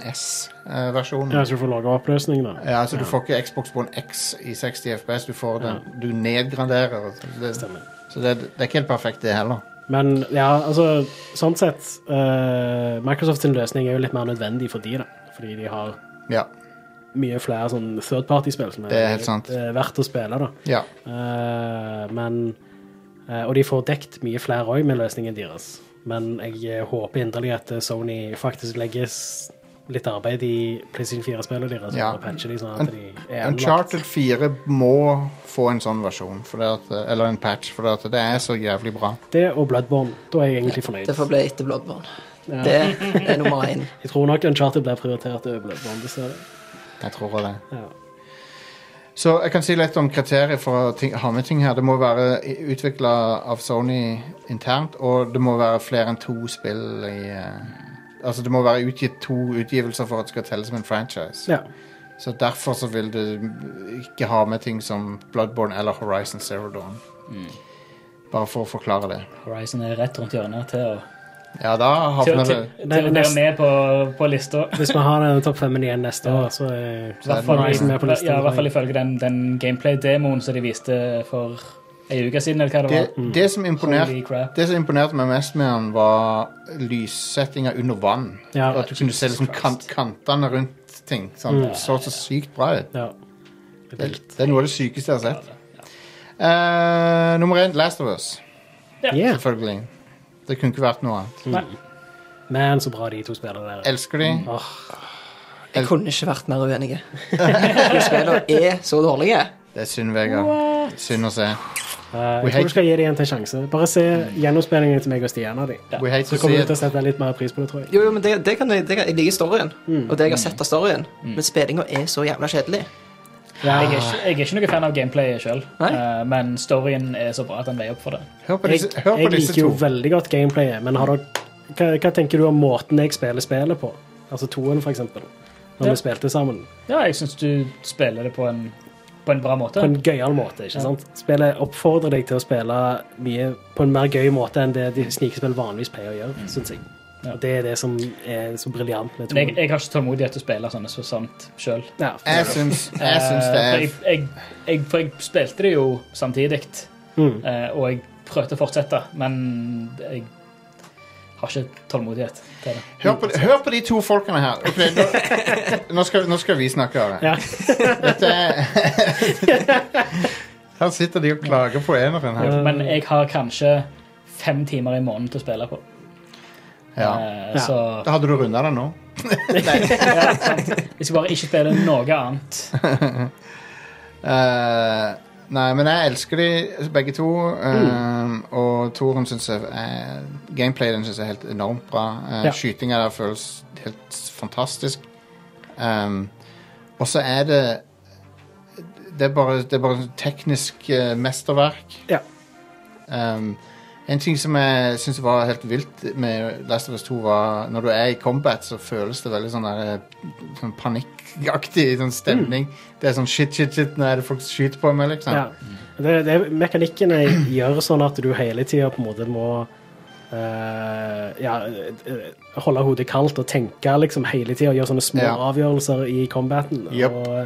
Speaker 4: S-versjonen.
Speaker 5: Ja, så du får lavere oppløsning, da.
Speaker 4: Ja, altså Du får ikke Xbox One X i 60 FPS, du får den, du nedgraderer. Så det,
Speaker 5: Stemmer.
Speaker 4: så det, det er ikke helt perfekt, det heller.
Speaker 5: Men ja, altså sånn sett eh, Microsoft sin løsning er jo litt mer nødvendig for de, da. Fordi de har
Speaker 4: Ja.
Speaker 5: mye flere sånn third party-spill som er,
Speaker 4: Det er helt sant.
Speaker 5: eh, verdt å spille, da.
Speaker 4: ja.
Speaker 5: Eh, men eh, Og de får dekt mye flere òg med løsningen deres. Men jeg eh, håper inderlig at Sony faktisk legger s- litt arbeid i PlayStation 4-spillet deres.
Speaker 4: Ja.
Speaker 5: Og patcher de sånn at de er anlagt.
Speaker 4: Uncharted 4 må få en sånn versjon, for det at, eller en patch, for det, at det er så jævlig bra.
Speaker 5: Det og Bloodborne. Da er jeg egentlig fornøyd.
Speaker 6: Det får bli etter Bloodborne.
Speaker 5: Ja.
Speaker 6: Det er nummer én.
Speaker 5: Jeg tror nok Uncharted blir prioritert over Bloodborne. Dessverre.
Speaker 4: Jeg tror det.
Speaker 5: Ja.
Speaker 4: Så jeg kan si litt om kriterier for å ting, ha med ting her. Det må være utvikla av Sony internt, og det må være flere enn to spill i eh, Altså det må være utgitt to utgivelser for at det skal telle som en franchise.
Speaker 5: ja.
Speaker 4: Så derfor så vil du ikke ha med ting som Bloodborne eller Horizon Zero Dawn. Bare for å forklare det.
Speaker 7: Horizon er rett rundt hjørnet til å,
Speaker 4: Ja, da
Speaker 7: til,
Speaker 4: havner
Speaker 7: til,
Speaker 4: det
Speaker 7: til å være
Speaker 5: Nest-
Speaker 7: med på, på lista.
Speaker 5: Hvis vi har den topp femmen igjen neste år, så eh, er
Speaker 4: Så er det
Speaker 5: Horizon med på listen.
Speaker 7: Ja, i hvert fall ifølge den, den gameplay-demoen som de viste for ei uke siden, eller hva det
Speaker 4: det,
Speaker 7: var.
Speaker 5: mm,
Speaker 4: det som imponerte
Speaker 7: Holy crap.
Speaker 4: Det som imponerte meg mest med han, var lyssettinga under vann.
Speaker 5: Ja. Mm.
Speaker 4: og at du kunne se liksom kan
Speaker 7: Christ.
Speaker 4: kantene rundt ting. Sånn. Det så så sykt bra ut.
Speaker 5: Ja.
Speaker 4: Det, det er noe av det sykeste jeg har sett. Eh, nummer én, Last of Us.
Speaker 5: Yeah.
Speaker 4: Selvfølgelig. Det kunne ikke vært noe annet.
Speaker 7: Nei.
Speaker 5: Men så bra de to spillene der. er.
Speaker 4: Elsker de.
Speaker 5: Åh,
Speaker 6: Jeg kunne ikke vært mer uenig. De spillene er så dårlige.
Speaker 4: Det er synd, Vegard. Synd å se.
Speaker 5: eh,
Speaker 4: We
Speaker 5: jeg tror
Speaker 4: hate-
Speaker 5: du skal gi dem en til sjanse. Bare se gjennomspillingen til meg og Stian av dem.
Speaker 4: We hate
Speaker 5: Så
Speaker 4: to see
Speaker 5: kommer du til
Speaker 4: it.
Speaker 5: å sette litt mer pris på det, tror jeg.
Speaker 6: Jo, jo, men det, det kan jeg, det kan, jeg liker storyen, og det jeg har sett av storyen. Men spillinga er så jævla kjedelig.
Speaker 7: Jeg er, ikke, jeg er ikke noe fan av gameplayet sjøl,
Speaker 6: Nei.
Speaker 7: men storyen er så bra at den veier opp for det.
Speaker 4: Hør på
Speaker 5: Jeg,
Speaker 4: disse, hør på
Speaker 5: jeg
Speaker 4: disse
Speaker 5: liker jo
Speaker 4: to.
Speaker 5: veldig godt gameplayet, men har dere, hva, hva tenker du om måten jeg spiller spillet på? Altså toen, for eksempel. Når
Speaker 7: Ja.
Speaker 5: vi spilte sammen.
Speaker 7: Ja, jeg syns du spiller det på en, på en bra måte.
Speaker 5: På en gøyal måte, ikke sant? Spillet oppfordrer deg til å spille mye på en mer gøy måte enn det de snikespill vanligvis pleier å gjøre, synes jeg.
Speaker 7: Mm. Ja.
Speaker 5: Og det er det som er så briljant med
Speaker 7: Men jeg,
Speaker 5: toen.
Speaker 7: jeg har ikke tålmodighet til å spille sånne så sant sjøl.
Speaker 5: Ja, for-
Speaker 4: Jeg syns, jeg syns det
Speaker 5: Eh,
Speaker 4: er
Speaker 7: For jeg, jeg, jeg, for jeg spilte det jo samtidig,
Speaker 5: Mm.
Speaker 7: eh, og jeg prøvde å fortsette, men jeg har ikke tålmodighet til det.
Speaker 4: Hør på, hør på de to folkene her. Ok, nå, nå, skal, nå skal vi snakke av det.
Speaker 5: Ja.
Speaker 4: Dette er Her sitter de og klager på eneren her.
Speaker 7: Men jeg har kanskje fem timer i måneden til å spille på.
Speaker 4: Ja.
Speaker 7: Eh,
Speaker 5: Ja.
Speaker 7: Så
Speaker 4: Da hadde du runda det nå.
Speaker 7: jeg skal bare ikke spille noe annet.
Speaker 4: Eh, nei, men jeg elsker de begge to.
Speaker 5: Mm.
Speaker 4: eh, Og Toren syns jeg eh, Gameplay den synes jeg er helt enormt bra. Uh,
Speaker 5: Ja.
Speaker 4: Skytinga der føles helt fantastisk. Um, og så er det Det er bare, det er bare sånn teknisk eh, mesterverk.
Speaker 5: Ja.
Speaker 4: Um, en ting som jeg syns var helt vilt med Last of Us 2, var når du er i combat, så føles det veldig sånn, der, eh, sånn panikkaktig sånn stemning. Det er sånn shit, shit, shit, nå er det folk som skyter på meg, liksom.
Speaker 5: Ja. Det, det, mekanikkene gjør sånn at du hele tida på en måte må eh, ja, eh, holde hodet kaldt og tenke liksom hele tida. Gjøre sånne små
Speaker 4: Ja.
Speaker 5: avgjørelser i combaten.
Speaker 4: Yep.
Speaker 5: Og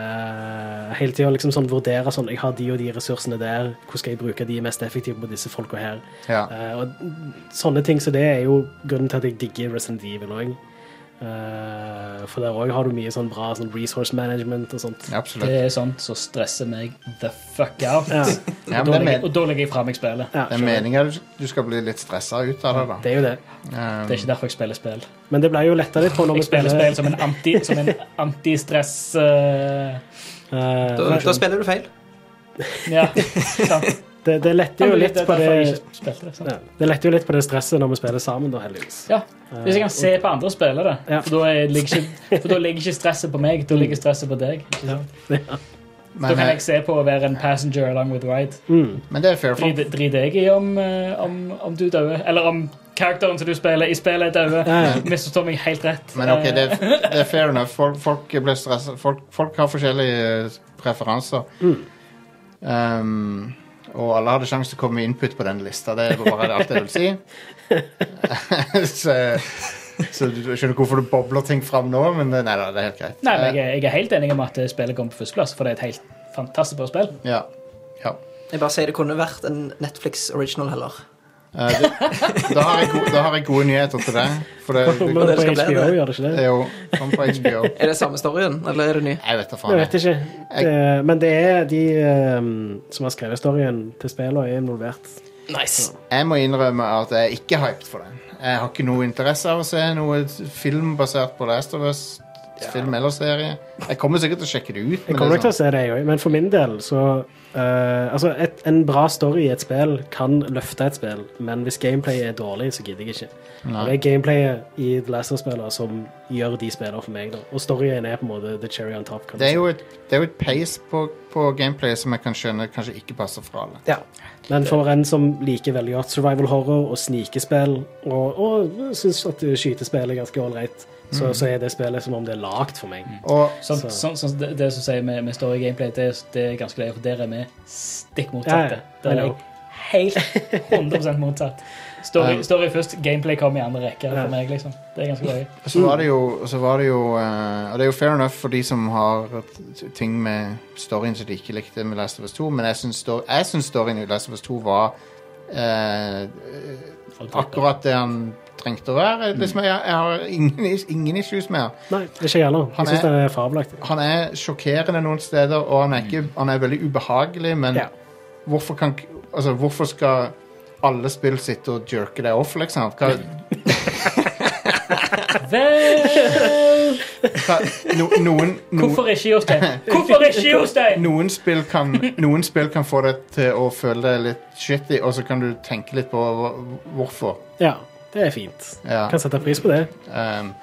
Speaker 5: eh, hele tida liksom sånn vurdere sånn Jeg har de og de ressursene der. Hvordan skal jeg bruke de mest effektivt på disse folka her?
Speaker 4: Ja.
Speaker 5: Eh, og sånne ting som det er jo grunnen til at jeg digger Resident Evil òg. Eh, for der òg har du mye sånn bra sånn resource management og sånt.
Speaker 4: Absolutt.
Speaker 7: Det er sånt som stresser meg the fuck out.
Speaker 5: Ja,
Speaker 4: Ja, men
Speaker 7: Og da
Speaker 4: det, er
Speaker 7: legger-
Speaker 4: men,
Speaker 7: og da legger jeg fra meg spillet.
Speaker 5: ja,
Speaker 4: det er meninga du, du skal bli litt stressa ut av det, da.
Speaker 5: det er jo det.
Speaker 4: Um,
Speaker 7: Det er ikke derfor jeg spiller spill.
Speaker 5: Men det ble jo letta litt på når vi
Speaker 7: Jeg spiller
Speaker 5: spiller.
Speaker 7: spill som en anti- som en antistress... eh,
Speaker 5: eh,
Speaker 6: Da, da spiller du feil.
Speaker 7: ja, sant.
Speaker 5: det, det letter jo litt
Speaker 7: Det er
Speaker 5: på
Speaker 7: derfor
Speaker 5: det
Speaker 7: jeg ikke spilte det, sant?
Speaker 5: ja, Det letter jo litt på det stresset når vi spiller sammen, da, heldigvis. Eh,
Speaker 7: Ja, Hvis jeg kan se på andre spille det,
Speaker 5: Ja.
Speaker 7: for, da er, ligger ikke, for da ligger ikke stresset på meg, da ligger stresset på deg. ikke sant? Da
Speaker 4: men,
Speaker 7: kan
Speaker 4: eh,
Speaker 7: jeg se på å være en passenger along with ride.
Speaker 5: Mm.
Speaker 4: men det er fair for
Speaker 7: Drit drit jeg i om, eh, om, om du dør, eller om karakteren som du spiller i spillet, er død.
Speaker 5: Ja, ja.
Speaker 7: Misforstår meg helt rett.
Speaker 4: Men ok,
Speaker 7: Eh,
Speaker 4: det, er- det er fair enough. Folk, folk, blir stresset. folk, folk har forskjellige eh, preferanser. Um, og alle hadde sjanse til å komme med input på den lista. Det er bare alt jeg vil si. så, så du skjønner hvorfor du bobler ting fram nå, men nei da, det er helt greit. Eh,
Speaker 7: Nei, men jeg, er- jeg er helt enig om at spillet kommer på førsteplass, for det er et helt fantastisk bra spill.
Speaker 4: Eh, ja. ja.
Speaker 6: Jeg bare sier det kunne vært en Netflix original heller.
Speaker 4: Eh, det, da, har jeg gode, da har jeg gode nyheter til deg. For det,
Speaker 5: Kommer
Speaker 6: det
Speaker 5: det på
Speaker 6: skal bli
Speaker 5: HBO,
Speaker 6: det.
Speaker 5: gjør det ikke
Speaker 4: det
Speaker 5: det?
Speaker 4: er jo Kom på HBO.
Speaker 6: Er det samme storyen, eller er det ny?
Speaker 4: Jeg vet da faen.
Speaker 5: Jeg vet
Speaker 4: jeg.
Speaker 5: ikke. Eh, men det er de eh, som har skrevet storyen til spillene, er involvert.
Speaker 6: Nice.
Speaker 4: Jeg må innrømme at jeg er ikke hyped for den. Jeg har ikke noe interesse av å se noe film basert på Last of Us. Film eller serie. Jeg kommer sikkert til å sjekke det ut.
Speaker 5: Jeg
Speaker 4: men
Speaker 5: kommer
Speaker 4: det
Speaker 5: nok til
Speaker 4: er sånn,
Speaker 5: å se det, jeg òg. Men for min del så eh, Altså, et, en bra story i et spill kan løfte et spill, men hvis gameplayet er dårlig, så gidder jeg ikke. Og Det
Speaker 4: Nei.
Speaker 5: er gameplayet i The Last of Us-spillene som gjør de spillene for meg, da. Og storyen er på en måte the cherry on top. Kan
Speaker 4: Det er
Speaker 5: du si.
Speaker 4: jo et, det er jo et pace på, på gameplay som jeg kan skjønne kanskje ikke passer for alle.
Speaker 5: Ja. Men for en som liker veldig godt survival horror og snikespill, og, og syns at skytespill er ganske ålreit, så,
Speaker 4: Mm.
Speaker 5: så er det spillet som om det er lagd for meg.
Speaker 4: Og
Speaker 7: Sånn,
Speaker 5: Så-
Speaker 7: sånn, sånn, det, det som sier med, med story gameplay, det, er- det er ganske løye, for der er vi stikk
Speaker 5: Ja,
Speaker 7: motsatte.
Speaker 5: ja.
Speaker 7: Der er
Speaker 5: Hello.
Speaker 7: jeg helt 100 motsatt. Story,
Speaker 4: Um.
Speaker 7: story først, gameplay kommer i andre rekke
Speaker 5: Ja.
Speaker 7: for meg, liksom. Det er ganske løye.
Speaker 4: så var det jo, så var det jo eh, Og det er jo fair enough for de som har t- ting med storyen som de ikke likte med Last of Us 2, men jeg syns stor- jeg syns storyen i Last of Us 2 var eh, akkurat det han trengte å være. Liksom, jeg, jeg har ingen, ingen issues med han.
Speaker 5: Nei, ikke jeg heller.
Speaker 4: Han
Speaker 5: Jeg syns
Speaker 4: er-
Speaker 5: den er fabelaktig.
Speaker 4: Han er sjokkerende noen steder, og han er, ikke, han er veldig ubehagelig, men
Speaker 5: Ja.
Speaker 4: hvorfor, kan, k- altså, hvorfor skal alle spill sitte og jerke deg off, liksom? Hva,
Speaker 7: Vel,
Speaker 4: hva, no, noen, noen,
Speaker 7: hvorfor ikke Jostein? Hvorfor ikke Jostein?
Speaker 4: noen, spill kan, noen spill kan få deg til å føle deg litt shitty, og så kan du tenke litt på hva- hvorfor.
Speaker 5: Ja, det er fint.
Speaker 4: Ja,
Speaker 5: Kan sette pris på det.
Speaker 4: um,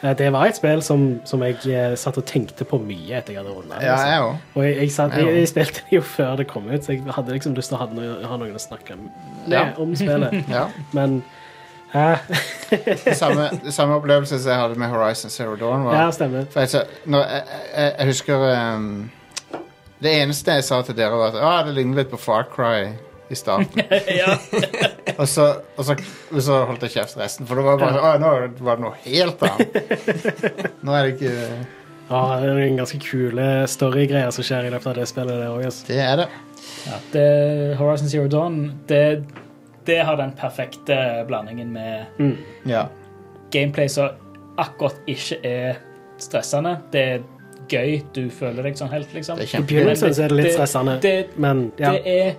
Speaker 5: Eh, Det var et spill som, som jeg eh, satt og tenkte på mye etter jeg hadde runda.
Speaker 4: ja jeg òg.
Speaker 5: Og jeg, jeg, satt,
Speaker 4: Jeg
Speaker 5: jeg,
Speaker 4: også.
Speaker 5: jeg spilte det jo før det kom ut, så jeg hadde liksom lyst til å ha noe, ha noen å snakke med
Speaker 4: Ja.
Speaker 5: om spillet.
Speaker 4: Ja.
Speaker 5: Men eh,
Speaker 4: Det Samme, det samme opplevelse som jeg hadde med Horizon Zero Dawn. Var,
Speaker 5: Ja, stemmer.
Speaker 4: For jeg, sa- når, jeg, jeg, jeg husker um, Det eneste jeg sa til dere, var at ah, det ligner litt på Far Cry i starten.
Speaker 7: Ja.
Speaker 4: og, så, og, så, og så holdt jeg kjeft resten, for det var bare ah, nå var det noe helt annet. nå er det ikke
Speaker 5: Ja, det er en ganske kule storygreier som skjer i løpet av det spillet. der også, altså.
Speaker 4: Det er det.
Speaker 7: Ja, det, Horizon Zero Dawn, det, det har den perfekte blandingen med
Speaker 5: Mm.
Speaker 4: Ja.
Speaker 7: gameplay som akkurat ikke er stressende. Det er gøy, du føler deg sånn helt, liksom.
Speaker 4: Det er
Speaker 5: I
Speaker 4: kjempegøy.
Speaker 5: begynnelsen så er det litt
Speaker 7: Det-
Speaker 5: stressende,
Speaker 7: Det,
Speaker 5: men ja. Mm.
Speaker 7: det er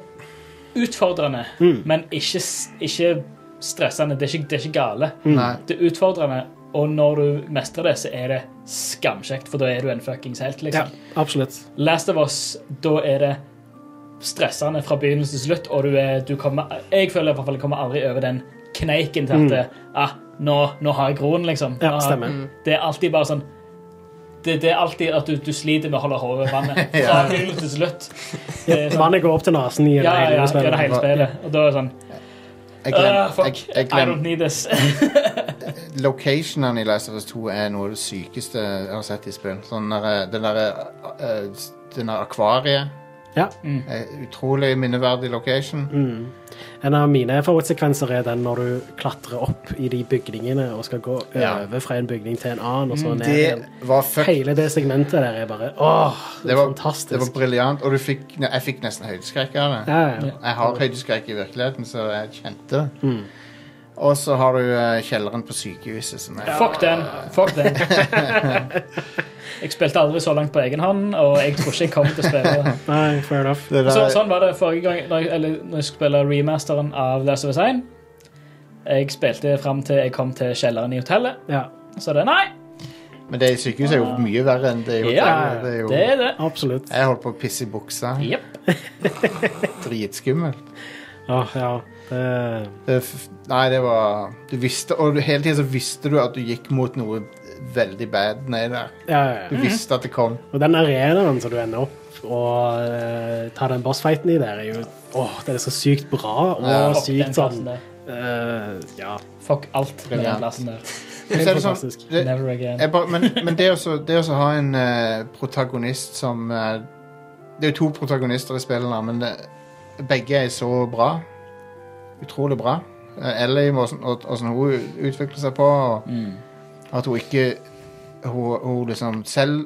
Speaker 7: utfordrende, men ikke, s- ikke stressende. Det er ikke, det er ikke gale.
Speaker 5: Mm.
Speaker 4: Nei.
Speaker 7: Det er utfordrende, og når du mestrer det, så er det skamkjekt, for da er du en fuckings helt,
Speaker 5: ja,
Speaker 7: liksom.
Speaker 5: absolutt.
Speaker 7: Last of Us, da er det stressende fra begynnelse til slutt, og du er, du kommer, jeg føler i hvert fall jeg kommer aldri over den kneiken til at ah, nå, nå har jeg groen, liksom.
Speaker 5: Mm. Ja,
Speaker 7: Nå-
Speaker 5: stemmer.
Speaker 7: Det er alltid bare sånn det, det er alltid at du, du sliter med å holde hodet over vannet. Fra
Speaker 4: Ja.
Speaker 7: begynnelse til slutt. Det er sånn,
Speaker 5: Vannet går opp til nesen i
Speaker 7: ja, ja, ja,
Speaker 5: hele
Speaker 7: det er det
Speaker 5: spillet.
Speaker 7: hele spillet. Og da er det sånn
Speaker 4: Jeg
Speaker 7: ah,
Speaker 4: glemmer, jeg,
Speaker 7: Fuck,
Speaker 4: jeg
Speaker 7: I don't
Speaker 4: glem,
Speaker 7: need this.
Speaker 4: Locationene i Last of Us 2 er noe av det sykeste jeg har sett i spill. Sånn der, den derre eh, den der akvariet.
Speaker 5: Ja.
Speaker 4: Eh, Utrolig minneverdig location.
Speaker 7: Mm,
Speaker 5: En av mine favorittsekvenser er den når du klatrer opp i de bygningene og skal gå
Speaker 4: Ja. Mm,
Speaker 5: over fra en bygning til en annen, og så ned igjen.
Speaker 4: Det var fuck
Speaker 5: Hele det segmentet der er bare
Speaker 4: Det
Speaker 5: åh, det er
Speaker 4: var, det var
Speaker 5: fantastisk.
Speaker 4: briljant, og du fikk, ne, jeg fikk nesten høydeskrekk av det.
Speaker 5: ja, ja.
Speaker 7: Mm.
Speaker 4: Jeg har høydeskrekk i virkeligheten, så jeg kjente det. Og så har du eh, kjelleren på sykehuset. Som er.
Speaker 7: Fuck den. Fuck den. Jeg spilte aldri så langt på egen hånd, og jeg tror ikke jeg kommer til å spille.
Speaker 5: Nei, fair enough.
Speaker 4: Det der-
Speaker 7: Så, sånn var det forrige gang når jeg, eller, når jeg skulle spille remasteren av Last of Us 1. Jeg spilte fram til jeg kom til kjelleren i hotellet.
Speaker 5: Ja,
Speaker 7: Så det nei,
Speaker 4: Men det i sykehuset er jo mye verre enn det i
Speaker 7: Ja,
Speaker 4: hotellet. Det er jo,
Speaker 7: det er det.
Speaker 5: absolutt.
Speaker 4: jeg holdt på å pisse i buksa.
Speaker 7: Jepp.
Speaker 4: Dritskummelt.
Speaker 5: Åh, ja. Det,
Speaker 4: Det, er Eh, f- nei, det var Du visste Og du- hele tiden så visste du at du gikk mot noe veldig bad nedi der.
Speaker 5: ja, ja,
Speaker 4: Du
Speaker 5: ja.
Speaker 4: visste at det kom.
Speaker 5: Og den arenaen som du ender opp og eh, tar den bossfighten i der, er jo Åh, den er så sykt bra og
Speaker 4: Ja.
Speaker 7: Fuck den
Speaker 5: sykt sånn
Speaker 7: plassen der.
Speaker 5: eh, Ja.
Speaker 7: Fuck alt med
Speaker 4: Brilliant.
Speaker 7: den plassen der.
Speaker 4: Men så er det
Speaker 5: fantastisk.
Speaker 4: sånn, det,
Speaker 7: Never again.
Speaker 4: jeg bare, men, men det også- det også å ha en eh, protagonist som eh, Det er jo to protagonister i spillene, men det, begge er så bra. Utrolig bra. Eh, Ellie, åssen hun utvikler seg på, og
Speaker 7: Mm.
Speaker 4: at hun ikke hun, hun liksom Selv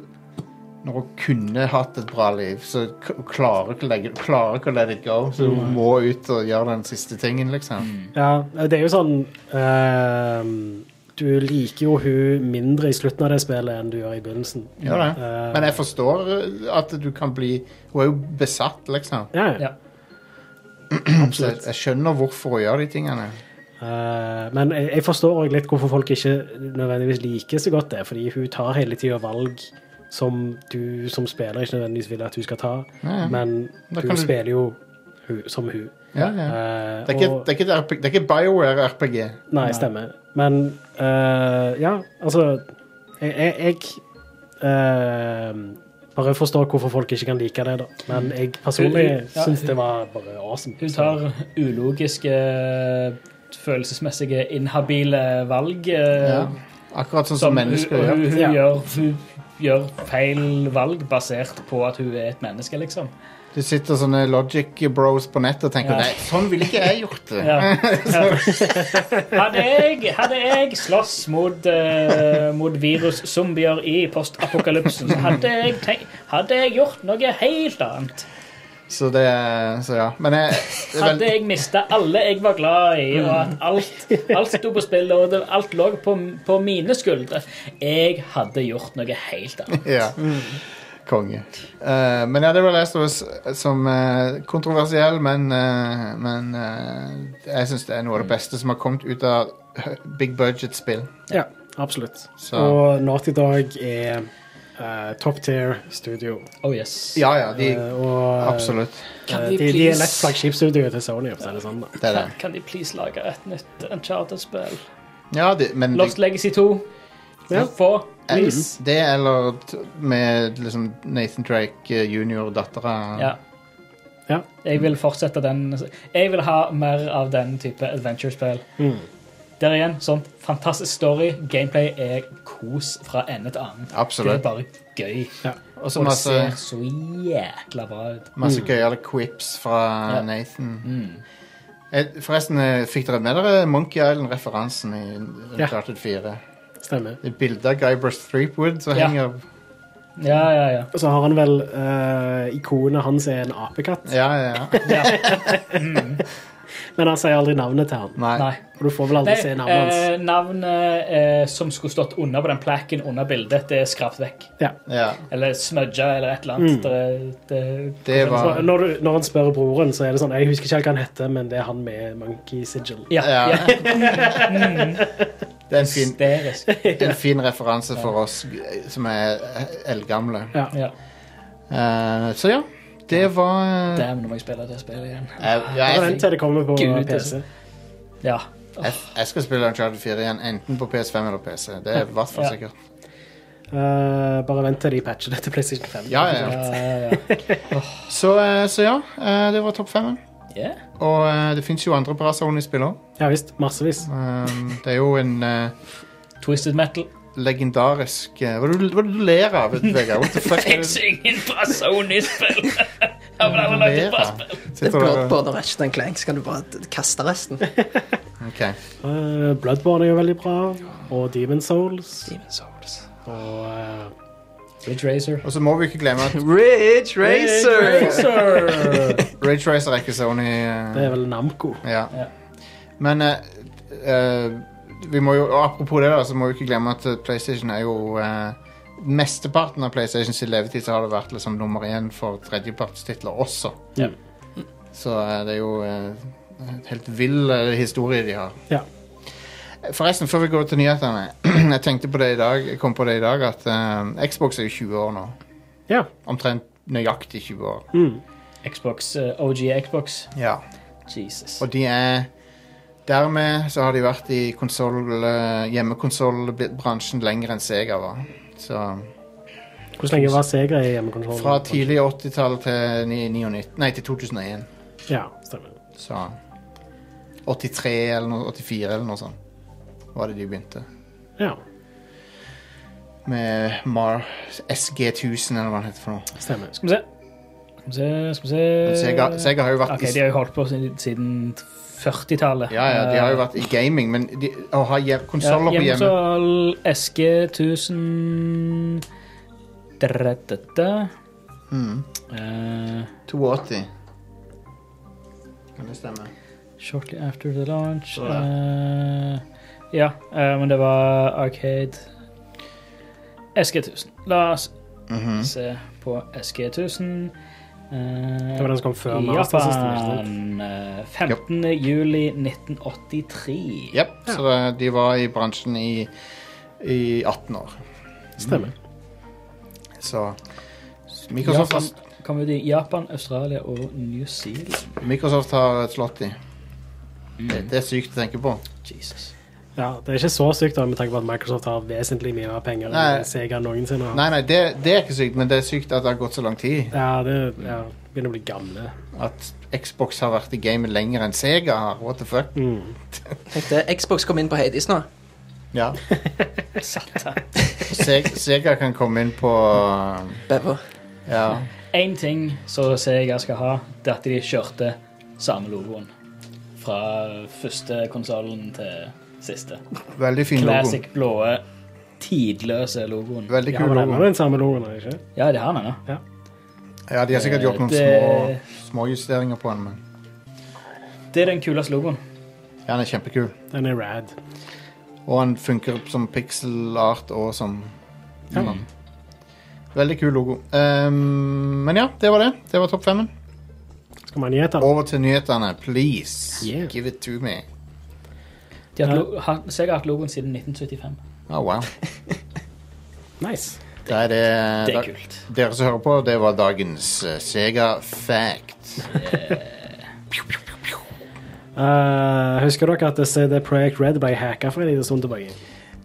Speaker 4: når hun kunne hatt et bra liv, så k hun klarer ikke å legge- klarer ikke å let it go. Så hun må ut og gjøre den siste tingen, liksom.
Speaker 5: Ja, det er jo sånn ehm, Du liker jo hun mindre i slutten av det spillet enn du gjør i begynnelsen.
Speaker 4: Gjør det.
Speaker 5: Eh,
Speaker 4: Men jeg forstår eh, at du kan bli Hun er jo besatt, liksom.
Speaker 5: ja, ja.
Speaker 7: Ja.
Speaker 4: Så jeg, jeg skjønner hvorfor hun gjør de tingene.
Speaker 5: Eh, men jeg, jeg forstår òg litt hvorfor folk ikke nødvendigvis liker så godt det, fordi hun tar hele tida valg som du som spiller ikke nødvendigvis vil at hun skal ta,
Speaker 4: Ja, ja.
Speaker 5: men
Speaker 4: Da
Speaker 5: du
Speaker 4: kan du-
Speaker 5: spiller jo hun, som hun.
Speaker 4: Ja, ja.
Speaker 5: Eh,
Speaker 4: Det er ikke,
Speaker 5: og-
Speaker 4: det er ikke, et RP- det er ikke BioWare-RPG.
Speaker 5: Nei, stemmer. Men eh, ja, altså Jeg, jeg, jeg eh, bare forstår hvorfor folk ikke kan like det, da. Men jeg personlig
Speaker 7: Hun- hun- ja,
Speaker 5: syns det var bare awesome.
Speaker 7: Hun tar ulogiske, følelsesmessige, inhabile valg. eh,
Speaker 4: Ja. Akkurat sånn som,
Speaker 7: Som
Speaker 4: mennesker
Speaker 7: hun,
Speaker 4: gjør.
Speaker 7: hun, hun,
Speaker 5: Ja.
Speaker 7: gjør, hun gjør feil valg basert på at hun er et menneske, liksom.
Speaker 4: Det sitter sånne logic bros på nettet og tenker
Speaker 7: Ja.
Speaker 4: Nei, sånn ville ikke jeg gjort det.
Speaker 7: Ja. Hadde jeg, hadde jeg slåss mot, eh, mot viruszombier i postapokalypsen, så hadde jeg, tenk, hadde jeg gjort noe helt annet.
Speaker 4: Så det Så ja. Men jeg det er
Speaker 7: Hadde
Speaker 4: vel,
Speaker 7: jeg mista alle jeg var glad i, og at alt, alt sto på spill, og det, alt lå på, på mine skuldre Jeg hadde gjort noe helt annet.
Speaker 4: ja. Konge. Eh, men ja, det var Last of Us som eh, kontroversiell, men, eh, men eh, jeg syns det er noe av det beste som har kommet ut av big budget-spill.
Speaker 5: Ja, absolutt.
Speaker 4: Så
Speaker 5: Og Naughty Dog er eh, top tier studio.
Speaker 7: Oh yes.
Speaker 4: ja, ja, de,
Speaker 5: Eh, og
Speaker 4: absolutt.
Speaker 5: eh,
Speaker 6: Kan vi
Speaker 5: de, de er
Speaker 6: please-
Speaker 5: lett flaggskipstudioet til Sony. for å si det sånn, da.
Speaker 4: Det er det.
Speaker 7: Kan, kan de please lage et nytt Uncharted-spill?
Speaker 4: Ja, de, men Mm, de,
Speaker 7: Lost Legacy 2.
Speaker 5: Ja.
Speaker 7: Få.
Speaker 5: Please.
Speaker 4: Det eller t- med liksom Nathan Drake eh, junior, dattera.
Speaker 7: Ja.
Speaker 5: Ja.
Speaker 7: Jeg vil fortsette den Jeg vil ha mer av den type adventure-spill.
Speaker 5: Mm.
Speaker 7: Der igjen, sånn fantastisk story. Gameplay er kos fra ende til annen. Det er
Speaker 4: Absolutt.
Speaker 7: bare gøy.
Speaker 4: Og så
Speaker 7: Og det
Speaker 4: masse,
Speaker 7: ser så jækla bra ut.
Speaker 4: masse gøyale quips fra
Speaker 7: Ja.
Speaker 4: Nathan. Eh, Forresten, eh, fikk dere med dere Monkey Island-referansen i
Speaker 5: Ja.
Speaker 4: Uncharted 4?
Speaker 5: Stemmer.
Speaker 4: Det er bilde av Guy Burst Threepwood som
Speaker 7: Ja.
Speaker 4: henger
Speaker 7: Ja, ja, ja.
Speaker 5: Og så har han vel eh, ikonet hans er en apekatt,
Speaker 4: Ja, ja, ja.
Speaker 7: ja.
Speaker 5: men han sier aldri navnet til han.
Speaker 4: Nei.
Speaker 7: Nei.
Speaker 5: Og du får vel aldri
Speaker 7: Nei,
Speaker 5: se navnet hans.
Speaker 7: eh, navnet eh, som skulle stått under på den plakken under bildet, det er skrapt vekk.
Speaker 5: Ja.
Speaker 4: Ja.
Speaker 7: Eller smudget, eller et eller annet. Det, Mm. det,
Speaker 4: Det var
Speaker 5: Så Altså, når, du, når han spør broren, så er det sånn Jeg husker ikke helt hva han heter, men det er han med Monkey Sigil.
Speaker 7: Ja.
Speaker 4: Ja.
Speaker 7: ja.
Speaker 4: Det er en fin,
Speaker 7: Hysterisk.
Speaker 4: en fin referanse for oss eh, som er eh, eldgamle.
Speaker 5: Ja.
Speaker 7: Ja.
Speaker 4: Eh, så ja. Det var eh,
Speaker 7: Damn, nå må jeg spille det spillet igjen.
Speaker 4: jeg, ja,
Speaker 5: Det var
Speaker 4: jeg,
Speaker 5: den til det kommer på
Speaker 7: Gud,
Speaker 5: PC.
Speaker 7: altså. Ja.
Speaker 4: Jeg, jeg skal spille Uncharted 4 igjen, enten på PS5 eller PC. Det er i hvert fall
Speaker 7: Ja.
Speaker 4: sikkert.
Speaker 5: Eh, bare vent til de patcher det til PlayStation 5.
Speaker 4: Ja, ja,
Speaker 7: Ja,
Speaker 4: ja.
Speaker 7: ja,
Speaker 4: Så, eh, så ja, eh, det var topp fem.
Speaker 7: ja. ja.
Speaker 4: Og eh, det fins jo andre bra Sony-spill òg.
Speaker 5: Ja visst. Massevis.
Speaker 4: Det er jo en eh,
Speaker 7: Twisted metal.
Speaker 4: legendarisk eh, Hva er det du- hva er det du ler av, Vegard? What the fuck? er det
Speaker 7: ingen fra Sony-spill! Har vel
Speaker 4: du
Speaker 7: aldri lagd et
Speaker 4: ler
Speaker 7: bra
Speaker 4: av?
Speaker 7: spill?
Speaker 6: Det er
Speaker 4: Sitter du og
Speaker 6: Bloodborne og Ratchet Clank, så kan du bare d- kaste resten.
Speaker 4: OK.
Speaker 5: Eh, Bloodborne er jo veldig bra. Og Demon Souls.
Speaker 6: Demon Souls.
Speaker 5: Og eh,
Speaker 7: Ridge Racer.
Speaker 4: Og så må vi ikke glemme at
Speaker 6: Ridge Racer!
Speaker 7: Racer!
Speaker 4: Rage Racer er ikke Sony eh,
Speaker 5: det er vel Namco.
Speaker 4: Ja.
Speaker 7: Ja.
Speaker 4: Men eh, eh, vi må jo, og Apropos det, da, så må vi ikke glemme at eh, PlayStation er jo eh, Mesteparten av PlayStations levetid så har det vært liksom nummer én for tredjepartstitler også.
Speaker 5: Ja.
Speaker 4: Så eh, det er jo eh, en helt vill eh, historie de har.
Speaker 5: Ja.
Speaker 4: Forresten, før vi går til nyhetene. jeg tenkte på det i dag, jeg kom på det i dag at eh, Xbox er jo 20 år nå.
Speaker 5: ja.
Speaker 4: Omtrent nøyaktig 20 år.
Speaker 5: Mm.
Speaker 7: Xbox, eh, OG Xbox.
Speaker 4: Ja.
Speaker 7: Jesus.
Speaker 4: Og de er Dermed så har de vært i konsol, eh, hjemmekonsollbransjen lenger enn Sega var. Så
Speaker 5: Hvor lenge var Sega i hjemmekontrollen?
Speaker 4: fra tidlig 80-tall til, ni- 99 nei, til 2001.
Speaker 5: Ja, stemmer.
Speaker 4: Så 83 eller noe, 84 eller noe sånt var det de begynte.
Speaker 5: Ja,
Speaker 4: Med Mar SG1000 eller hva det heter for noe.
Speaker 5: stemmer.
Speaker 7: Skal vi se. Skal vi se, skal vi se.
Speaker 4: Men Sega, Sega har jo vært
Speaker 7: Eh, Ok,
Speaker 4: i
Speaker 7: de har jo holdt på siden- siden 40-tallet.
Speaker 4: ja, ja, de har jo vært i gaming, men de, å ha hjem-
Speaker 7: Eh,
Speaker 4: konsoller på hjemme
Speaker 7: Hjemmesal, SG 1000 Dredete.
Speaker 4: mm,
Speaker 7: Eh,
Speaker 4: 82. Kan det stemme?
Speaker 7: shortly after the launch.
Speaker 4: Så der.
Speaker 7: Eh, ja, eh, men det var Arcade SG 1000. La oss
Speaker 4: Mhm.
Speaker 7: se på SG 1000. Eh,
Speaker 5: Det var den som kom før
Speaker 7: i
Speaker 5: Master System. ikke sant?
Speaker 7: Japan. eh, 15. juli 1983.
Speaker 4: Yep, Så det- de var i bransjen i, i 18 år.
Speaker 5: Stemmer.
Speaker 4: Mm. Så Microsoft,
Speaker 7: Japan kom ut i Japan, Australia og New Zealand.
Speaker 4: Microsoft har slått de.
Speaker 7: Mm.
Speaker 4: Det, det er sykt å tenke på.
Speaker 7: Jesus.
Speaker 5: Ja, det er ikke så sykt da, med tanke på at Microsoft har vesentlig mye mer penger
Speaker 4: Nei.
Speaker 5: enn Sega noensinne har.
Speaker 4: Nei, nei, det, det er ikke sykt, men det er sykt at det har gått så lang tid.
Speaker 5: Ja, det ja, begynner å bli gamle.
Speaker 4: At Xbox har vært i gamet lenger enn Sega har. What the fuck?
Speaker 5: Mm.
Speaker 6: Tenk det, Xbox kom inn på Hades nå.
Speaker 4: Ja.
Speaker 7: Satan.
Speaker 4: Se- Sega kan komme inn på
Speaker 6: Bever.
Speaker 4: Ja.
Speaker 7: Én ting som Sega skal ha, det er at de kjørte samme logoen. Fra første konsollen til siste.
Speaker 4: Veldig fin logo.
Speaker 7: Classic blå, tidløse logoen.
Speaker 4: Veldig
Speaker 5: De
Speaker 4: kul
Speaker 5: har vel ennå
Speaker 4: logo.
Speaker 5: den samme logoen, er det ikke?
Speaker 7: Ja, det har han ennå.
Speaker 4: Ja, de har sikkert gjort noen små
Speaker 7: Det-
Speaker 4: småjusteringer på den, men
Speaker 7: Det er den kuleste logoen.
Speaker 4: ja, den er kjempekul.
Speaker 5: Den er rad.
Speaker 4: Og han funker som pixel art og som
Speaker 5: Ja.
Speaker 4: sånn. Veldig kul logo. Ehm, men ja, det var det. Det var topp femmen.
Speaker 5: Skal man nyheter?
Speaker 4: Over til nyhetene, please.
Speaker 5: Yeah.
Speaker 4: Give it to me.
Speaker 7: De har hatt lo- ha- Sega har hatt logoen siden 1975.
Speaker 4: Oh, wow.
Speaker 5: Nice.
Speaker 4: Da er det,
Speaker 7: Det
Speaker 4: da-
Speaker 7: er kult.
Speaker 4: Dere som hører på, det var dagens eh, Sega Fact.
Speaker 5: Eh, husker dere at CD Projekt Red ble hacka for en liten stund tilbake?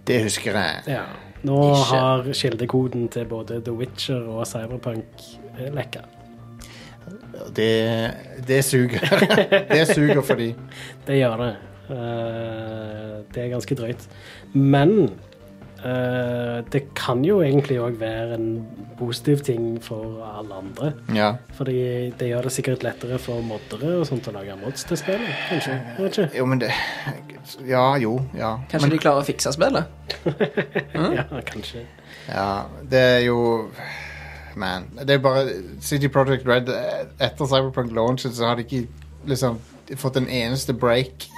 Speaker 4: Det husker jeg.
Speaker 5: Ja. Nå
Speaker 6: Ikke.
Speaker 5: har kildekoden til både The Witcher og Cyberpunk eh, lekka.
Speaker 4: Det, det suger. det suger for de.
Speaker 5: Det gjør det. Eh, det er ganske drøyt. Men eh, det kan jo egentlig òg være en positiv ting for alle andre.
Speaker 4: Ja.
Speaker 5: Fordi det gjør det sikkert lettere for moddere og sånt å lage mods til spillet. Kanskje. Jeg vet ikke.
Speaker 4: Jo, men det Ja, jo. Ja.
Speaker 6: Kanskje de klarer å fikse spillet?
Speaker 5: Ja, kanskje.
Speaker 4: Ja, det er jo Man, det er bare City Project Red eh, Etter Cyberpunk launchen så har de ikke liksom fått en eneste break.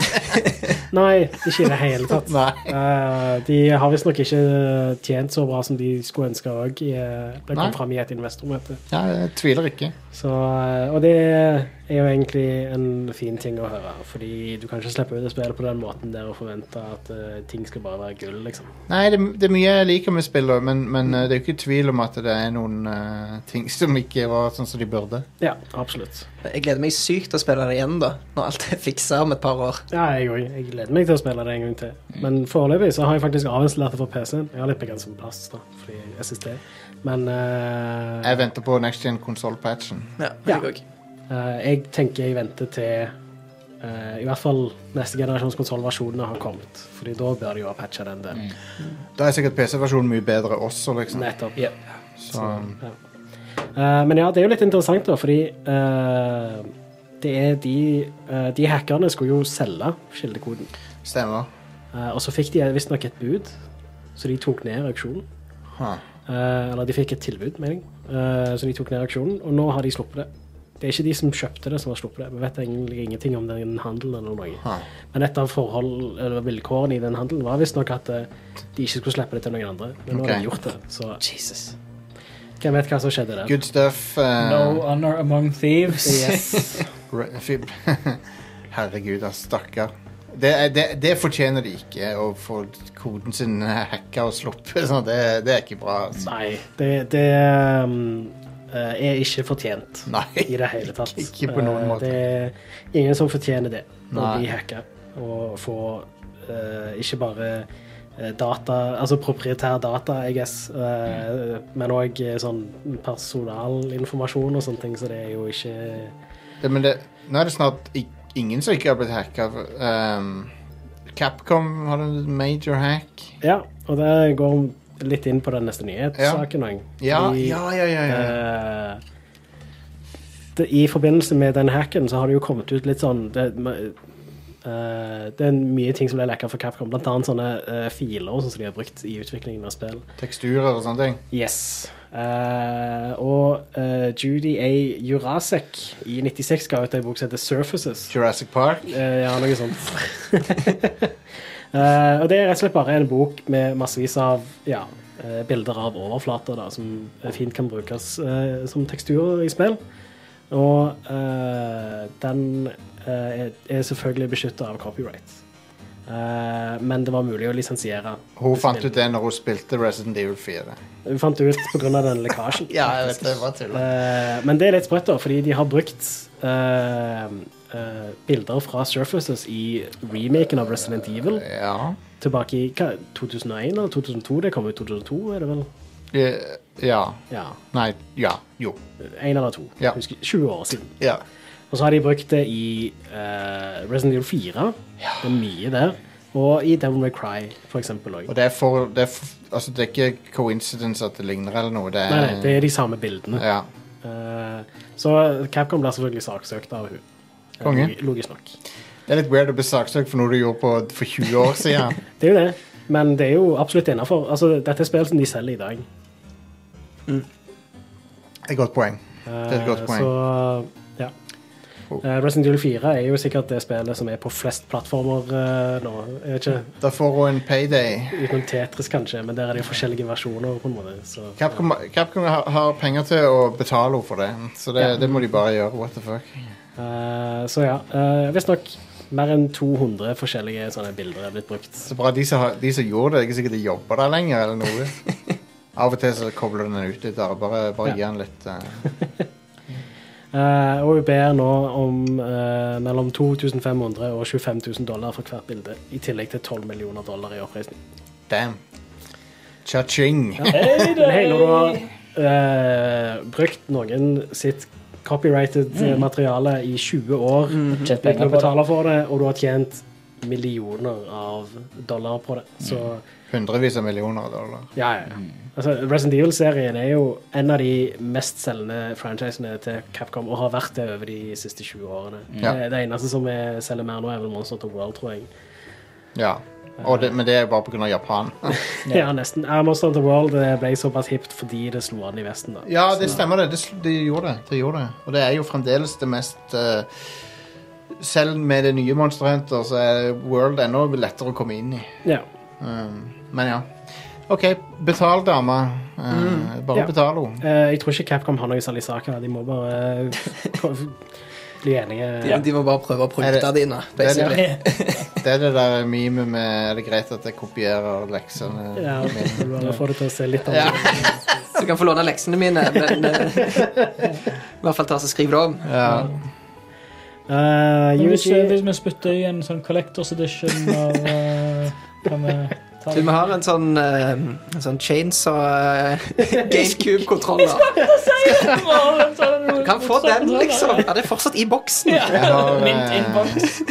Speaker 5: Nei, ikke i det hele tatt.
Speaker 4: Nei.
Speaker 5: Eh, de har visstnok ikke eh, tjent så bra som de skulle ønske òg. Det
Speaker 4: Nei.
Speaker 5: kom fram i et investormøte.
Speaker 4: Ja, jeg tviler ikke.
Speaker 5: Så, eh, og det er jo egentlig en fin ting å høre, fordi du kan ikke slippe ut et spill på den måten der og forvente at eh, ting skal bare være gull, liksom.
Speaker 4: Nei, det, det er mye jeg liker med spillet, men, men eh, det er jo ikke tvil om at det er noen eh, ting som ikke var sånn som de burde.
Speaker 5: Ja, absolutt.
Speaker 6: Jeg gleder meg sykt til å spille det igjen, da. Når alt er fiksa om et par år.
Speaker 5: Ja, jeg òg. Jeg gleder meg til å spille det en gang til. Men foreløpig så har jeg faktisk avinstallert det for PC-en. Jeg har litt begrenset med plass, da, fordi SSD. Men eh,
Speaker 4: Jeg venter på next gen konsoll-patchen.
Speaker 6: Ja,
Speaker 5: Ja.
Speaker 6: jeg òg.
Speaker 5: Eh, jeg tenker jeg venter til eh, i hvert fall neste generasjons konsollversjoner har kommet. Fordi da bør de jo ha patcha den der.
Speaker 4: Da er sikkert PC-versjonen mye bedre også, liksom.
Speaker 5: Nettopp.
Speaker 7: Ja.
Speaker 4: Så,
Speaker 5: Ja. Eh, men ja, det er jo litt interessant, da, fordi eh, det er de eh, De hackerne skulle jo selge kildekoden.
Speaker 4: stemmer.
Speaker 5: Eh, og så fikk de visstnok et bud, så de tok ned auksjonen.
Speaker 4: Huh.
Speaker 5: Eh, eller de fikk et tilbud, mener jeg. Eh, så de tok ned auksjonen, og nå har de sluppet det. Det er ikke de som kjøpte det, som har sluppet det. Vi vet egentlig ingenting om den handelen eller noe.
Speaker 4: Huh.
Speaker 5: Men et av forhold, eller vilkårene i den handelen var visstnok at eh, de ikke skulle slippe det til noen andre. Men nå har
Speaker 4: Ok.
Speaker 5: de gjort det, så
Speaker 6: Jesus.
Speaker 5: hvem vet hva som skjedde der.
Speaker 4: Good stuff. eh,
Speaker 7: No honor among thieves.
Speaker 5: Yes.
Speaker 4: re- fib- Herregud, ass, stakkar. Det, er- det, det fortjener de ikke, å få koden sin eh, hacka og sluppet. Så det, det er ikke bra. ass.
Speaker 5: Nei, det, det um, eh, er ikke fortjent. i
Speaker 4: Nei.
Speaker 5: det hele tatt.
Speaker 4: Ikke på noen
Speaker 5: Eh,
Speaker 4: måte.
Speaker 5: Det er ingen som fortjener det, å
Speaker 4: Nei.
Speaker 5: bli hacka og få eh, ikke bare eh, data, altså proprietær data, I guess, eh,
Speaker 4: Mm.
Speaker 5: men òg sånn personalinformasjon og sånne ting, så det er jo ikke
Speaker 4: Det, men det, nå er det snart i- ingen som ikke har blitt hacka. Um, Capcom har en major hack.
Speaker 5: Ja, og det går litt inn på den neste nyhetssaken òg.
Speaker 4: Ja, ja, ja. ja, ja.
Speaker 5: Eh, det, I forbindelse med den hacken så har det jo kommet ut litt sånn Det, eh, det er mye ting som ble lekka for Capcom, blant annet sånne eh, filer og sånn som de har brukt i utviklingen av spill.
Speaker 4: Teksturer og sånne ting.
Speaker 5: Yes. Eh, og eh, Judy A. Jurasek i 96 ga ut ei bok som heter Surfaces.
Speaker 4: Jurassic Park.
Speaker 5: Eh, ja, noe sånt. Eh, og det er rett og slett bare en bok med massevis av ja, eh, bilder av overflater da, som fint kan brukes eh, som teksturer i spill. Og eh, den eh, er- er selvfølgelig beskytta av copyright. Eh, men det var mulig å lisensiere.
Speaker 4: Hun fant ut det når hun spilte Resident Evil 4.
Speaker 5: Vi fant det ut pga. den lekkasjen. faktisk.
Speaker 4: var tull.
Speaker 5: Eh, men det er litt sprøtt, da, fordi de har brukt eh, eh, bilder fra Surfaces i remaken av Resident Evil
Speaker 4: Ja.
Speaker 5: tilbake i hva, 2001 eller 2002. Det kom ut 2002, er det vel?
Speaker 4: Eh, ja.
Speaker 5: Ja.
Speaker 4: Nei, ja. Jo.
Speaker 5: Én eller to.
Speaker 4: Ja.
Speaker 5: Husker, 20 år siden.
Speaker 4: Ja.
Speaker 5: Og så har de brukt det i eh, Resident Evil 4. Det er mye der. Og i Devil May Cry, for eksempel òg.
Speaker 4: Og det er for, det er for Altså, det er ikke coincidence at det ligner eller noe. Det er,
Speaker 5: Nei, nei, det er de samme bildene.
Speaker 4: Ja.
Speaker 5: Eh, så Capcom blir selvfølgelig saksøkt av hun. Eh,
Speaker 4: Konge.
Speaker 5: log- Logisk nok.
Speaker 4: Det er litt weird å bli saksøkt for noe du gjorde på, for 20 år siden.
Speaker 5: Det er jo det, men det er jo absolutt innafor. Altså, dette er spill som de selger i dag.
Speaker 4: Det er et godt poeng. er et godt
Speaker 5: Eh,
Speaker 4: poeng.
Speaker 5: Så, ja.
Speaker 4: Oh.
Speaker 5: Eh, Resident Evil 4 er jo sikkert det spillet som er på flest plattformer eh, nå. Jeg vet ikke,
Speaker 4: Da får hun en payday.
Speaker 5: Utenom Tetris, kanskje, men der er det jo forskjellige versjoner. på en måte. Så,
Speaker 4: Capcom, Capcom har, har penger til å betale henne for det, så det,
Speaker 5: Ja.
Speaker 4: det må de bare gjøre. What the fuck.
Speaker 5: Eh, så ja. Uh, Visstnok mer enn 200 forskjellige sånne bilder er blitt brukt.
Speaker 4: Så bra de som, har, de som gjorde det, ikke sikkert de jobber der lenger eller noe. Av og til så kobler den ut litt. Der. Bare, bare
Speaker 5: Ja.
Speaker 4: gi den litt eh,
Speaker 5: Eh, og vi ber nå om eh, mellom 2500 og 25 000 dollar for hvert bilde, i tillegg til 12 millioner dollar i oppreisning.
Speaker 4: Damn. Cha-ching.
Speaker 7: Hey,
Speaker 5: Men hei, når du har eh, brukt noen sitt copyrighted eh, materiale i 20 år
Speaker 7: Tjent
Speaker 5: uten
Speaker 7: penger på
Speaker 5: å
Speaker 7: Mm. det.
Speaker 5: betale for det, og du har tjent millioner av dollar på det, så
Speaker 4: Hundrevis av millioner av dollar.
Speaker 5: ja, ja. Altså, Resident Evil-serien er jo en av de mest selgende franchisene til Capcom, og har vært det over de siste 20 årene.
Speaker 4: Ja.
Speaker 5: Det, det eneste som er- selger mer nå, er vel Monster of World, tror jeg.
Speaker 4: Ja. Og det, men det er bare pga. Japan.
Speaker 5: Ja, nesten. Ja, Monster of the World eh, ble såpass hipt fordi det slo an i Vesten, da.
Speaker 4: ja, det stemmer, det. Det, sl- det gjorde det. det gjorde det. Og det er jo fremdeles det mest eh, Selv med det nye Monster Hunter, så er World enda lettere å komme inn i.
Speaker 5: Ja.
Speaker 4: Um, men ja. OK, betal dama. Eh, Bare
Speaker 5: Mm. Ja.
Speaker 4: betal henne.
Speaker 5: Eh, jeg tror ikke Capcom har noe særlig sak her. De må bare eh, bli enige.
Speaker 6: De, de må bare prøve å
Speaker 4: Er
Speaker 6: prute
Speaker 4: det-
Speaker 6: dine,
Speaker 4: det er det.
Speaker 6: basically.
Speaker 4: Det er det der memet med Er det greit at jeg kopierer leksene?
Speaker 5: Ja,
Speaker 4: mine?
Speaker 5: bare få det til å se litt
Speaker 4: Ja.
Speaker 5: annerledes
Speaker 6: Så du kan få låne leksene mine, men eh, i hvert fall ta så skriv det om.
Speaker 4: Ja.
Speaker 5: Eh,
Speaker 7: Men Hvis, eh,
Speaker 5: Yuji
Speaker 7: hvis vi spytter i en sånn collectors edition av eh, Kan vi ta
Speaker 6: Du, vi har en sånn, eh, en sånn chains og GameCube-kontroller. Du kan få den, liksom. Ja, det er fortsatt i boksen.
Speaker 7: Ja.
Speaker 4: Jeg har, eh,
Speaker 7: Mint inbox.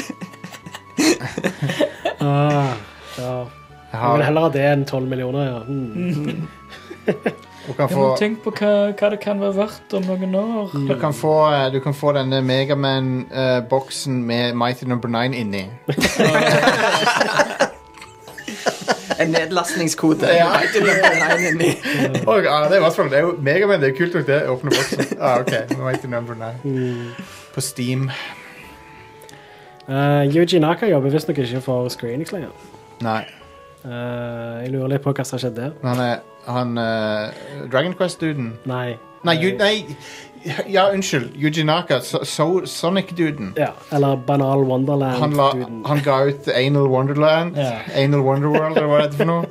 Speaker 5: ah, ja.
Speaker 4: Jeg
Speaker 5: Jeg vil
Speaker 4: har,
Speaker 5: heller ha det enn 12 millioner, ja. Mm.
Speaker 4: du kan
Speaker 7: Ja, men
Speaker 4: få
Speaker 7: Tenk på hva, hva det kan være verdt om noen år.
Speaker 4: Du kan få, eh, du kan få denne eh, Megaman-boksen med Mighty Number 9 inni.
Speaker 6: en nedlastningskode.
Speaker 4: Ja.
Speaker 6: Nei, du løper veien inn i.
Speaker 4: Å, ja, det er i hvert fall det er jo Megaman, det er kult nok, det. Åpne boksen. Ah, ok, nå vet du number nine.
Speaker 6: Mm.
Speaker 4: På Steam.
Speaker 5: Eh, Yuji Naka jobber visstnok ikke for Screenix lenger.
Speaker 4: Nei.
Speaker 5: Eh, jeg lurer litt på hva som har skjedd der.
Speaker 4: Han er han eh, Dragon Quest-duden.
Speaker 5: Nei.
Speaker 4: Nei,
Speaker 5: Eh,
Speaker 4: Yu- nei Ja, unnskyld. Yuji Naka. So, so, Sonic-duden.
Speaker 5: Ja, eller Banal
Speaker 4: Han, la-
Speaker 5: Wonderland-duden.
Speaker 4: han ga ut Anal Wonderland.
Speaker 7: Ja.
Speaker 4: Anal Wonderworld, eller hva er det for noe?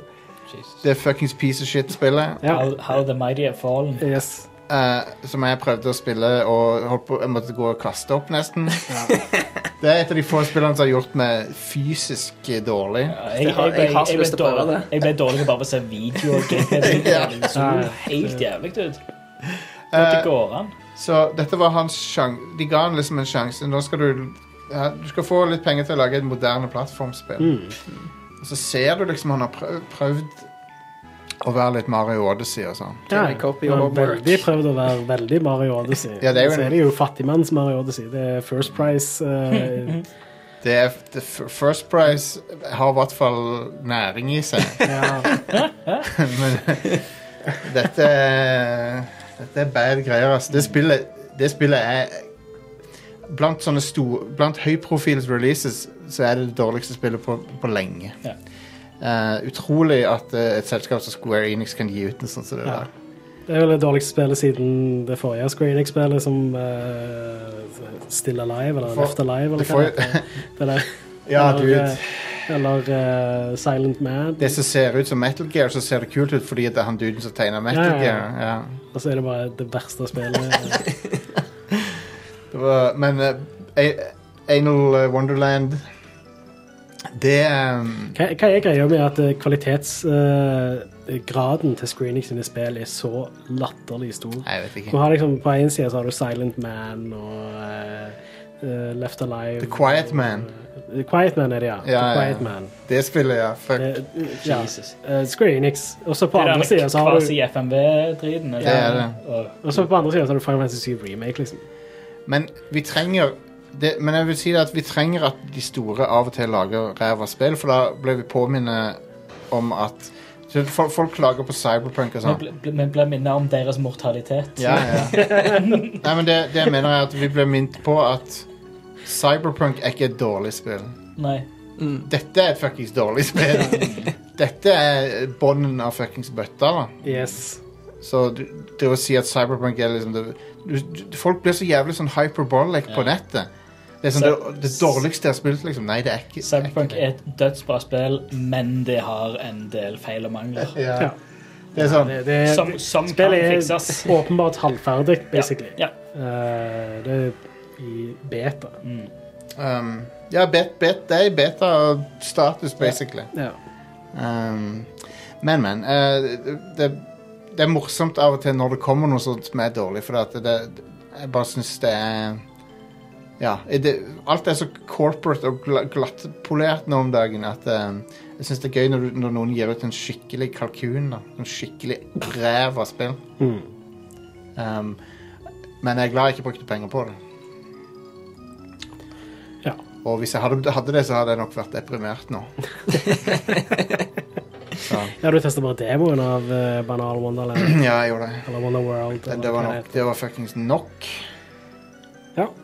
Speaker 7: Jesus.
Speaker 4: Det fuckings piece of shit-spillet.
Speaker 5: Ja.
Speaker 7: How, how the mighty have fallen.
Speaker 5: Yes.
Speaker 4: eh, som jeg prøvde å spille og holdt på, jeg måtte gå og kaste opp, nesten. Det er et av de få spillene som har gjort meg fysisk dårlig.
Speaker 7: Jeg,
Speaker 6: Jeg har-
Speaker 7: jeg, ble-
Speaker 6: jeg har så
Speaker 7: jeg ble
Speaker 6: lyst til å prøve
Speaker 7: dårlig-
Speaker 6: det.
Speaker 7: Jeg ble dårlig til bare å se videoer.
Speaker 4: Ja.
Speaker 7: Helt jævlig ut. Det
Speaker 4: Eh,
Speaker 7: går an.
Speaker 4: Så dette var hans sjanse. De ga han liksom en sjanse. Nå skal du ja, Du skal få litt penger til å lage et moderne plattformspill. Og så ser du liksom han har prøvd, prøvd å være litt Mario Odyssey og sånn.
Speaker 6: Can I copy
Speaker 5: Ja,
Speaker 6: your
Speaker 5: han
Speaker 6: work?
Speaker 5: veldig prøvd å være veldig Mario Odyssey.
Speaker 4: Ja, det er jo en-
Speaker 5: Så er det jo fattigmanns Mario Odyssey. Det er First Price. eh,
Speaker 4: Det er, det, f- First Price har i hvert fall næring i seg.
Speaker 5: ja.
Speaker 4: Men eh, dette er- Dette er bad greier, altså. Det spillet, det spillet er Blant sånne store Blant høyprofils releases så er det det dårligste spillet på, på lenge.
Speaker 7: Ja.
Speaker 4: Eh, utrolig at eh, et selskap som Square Enix kan gi ut en sånn som det
Speaker 5: Ja.
Speaker 4: der.
Speaker 5: Det er vel det dårligste spillet siden det forrige Square Enix-spillet, som eh, Still Alive, eller
Speaker 4: For-
Speaker 5: Left Alive, eller
Speaker 4: det
Speaker 5: hva
Speaker 4: får-
Speaker 5: det heter. Det der.
Speaker 4: Ja,
Speaker 5: eller,
Speaker 4: dude.
Speaker 5: eh, Eller eh, Silent Man.
Speaker 4: Det som ser ut som Metal Gear, så ser det kult ut fordi at det er han duden som tegner Metal
Speaker 5: Ja, ja, ja.
Speaker 4: Gear. Ja.
Speaker 5: Og så er det bare det verste spillet.
Speaker 4: Det var, men eh, A- Anal Wonderland Det ehm,
Speaker 5: Hva, hva er greia med at eh, kvalitetsgraden til Square Enix sine spill er så latterlig stor?
Speaker 4: Nei, Jeg vet
Speaker 5: Du
Speaker 4: ikke.
Speaker 5: har liksom, på en side så har du Silent Man og eh, eh, Left Alive.
Speaker 4: The Quiet Man.
Speaker 5: Og, eh, The Quiet Man er det, ja.
Speaker 4: Ja, ja,
Speaker 5: The
Speaker 4: ja.
Speaker 5: Quiet Man.
Speaker 4: Det spillet, ja. Fuck.
Speaker 5: Eh, ja.
Speaker 7: Jesus.
Speaker 5: Eh, Square Enix. Og så på
Speaker 7: Det er
Speaker 5: andre sida
Speaker 7: den
Speaker 5: så har du
Speaker 7: kvasi-FMV-driden.
Speaker 4: Det er det.
Speaker 5: og så på andre siden så har du Final Fantasy 7 Remake, liksom.
Speaker 4: Men vi trenger det, Men jeg vil si det at vi trenger at de store av og til lager ræva spill, for da ble vi påminnet om at så fol- Folk klager på Cyberpunk og sånn.
Speaker 7: Vi blir minnet om deres mortalitet.
Speaker 4: Ja, ja. Nei, men det, det mener jeg at vi ble minnet på at Cyberpunk er ikke et dårlig spill.
Speaker 7: Nei.
Speaker 6: Mm.
Speaker 4: Dette er et fuckings dårlig spill. Dette er bånden av fuckings bøtta. da.
Speaker 5: Yes.
Speaker 4: Så du, det å si at Cyberpunk er liksom det, du, du, Folk blir så jævlig sånn hyperbolic på
Speaker 7: Ja.
Speaker 4: nettet. Det er sånn det,
Speaker 7: Cy-
Speaker 4: det dårligste jeg har spilt, liksom. Nei, det er ikke
Speaker 7: Cyberpunk
Speaker 4: er
Speaker 7: er et dødsbra spill, men det har en del feil og mangler.
Speaker 4: ikke det.
Speaker 5: Ja.
Speaker 4: ja. Det er sånn
Speaker 5: Det, det, er-
Speaker 7: Som, som kan
Speaker 5: Eh, spillet er
Speaker 7: fikses.
Speaker 5: åpenbart halvferdig, basically.
Speaker 7: Ja.
Speaker 5: Eh, det er i beta.
Speaker 7: Mm.
Speaker 4: um, Ja, bet, bet, det er i beta-status, basically.
Speaker 5: Ja.
Speaker 4: Um, men, men. eh, det, det- det er morsomt av og til når det kommer noe sånt som er dårlig, for at det, det, jeg bare syns det er Ja. Det, alt er så corporate og gla- glattpolert nå om dagen at eh, jeg syns det er gøy når, du, når noen gir ut en skikkelig kalkun. Da. En skikkelig ræva spill.
Speaker 5: Mm.
Speaker 4: Um, men jeg er glad jeg ikke brukte penger på det.
Speaker 5: Ja.
Speaker 4: Og hvis jeg hadde, hadde det, så hadde jeg nok vært deprimert nå. så.
Speaker 5: ja, du testa bare demoen av eh, Banal Wonderland.
Speaker 4: Ja, jeg gjorde det.
Speaker 5: Eller Wonderworld.
Speaker 4: Det,
Speaker 5: eller
Speaker 4: det var
Speaker 5: hva det
Speaker 4: nok. Det var fuckings nok.
Speaker 5: Ja.
Speaker 4: Um,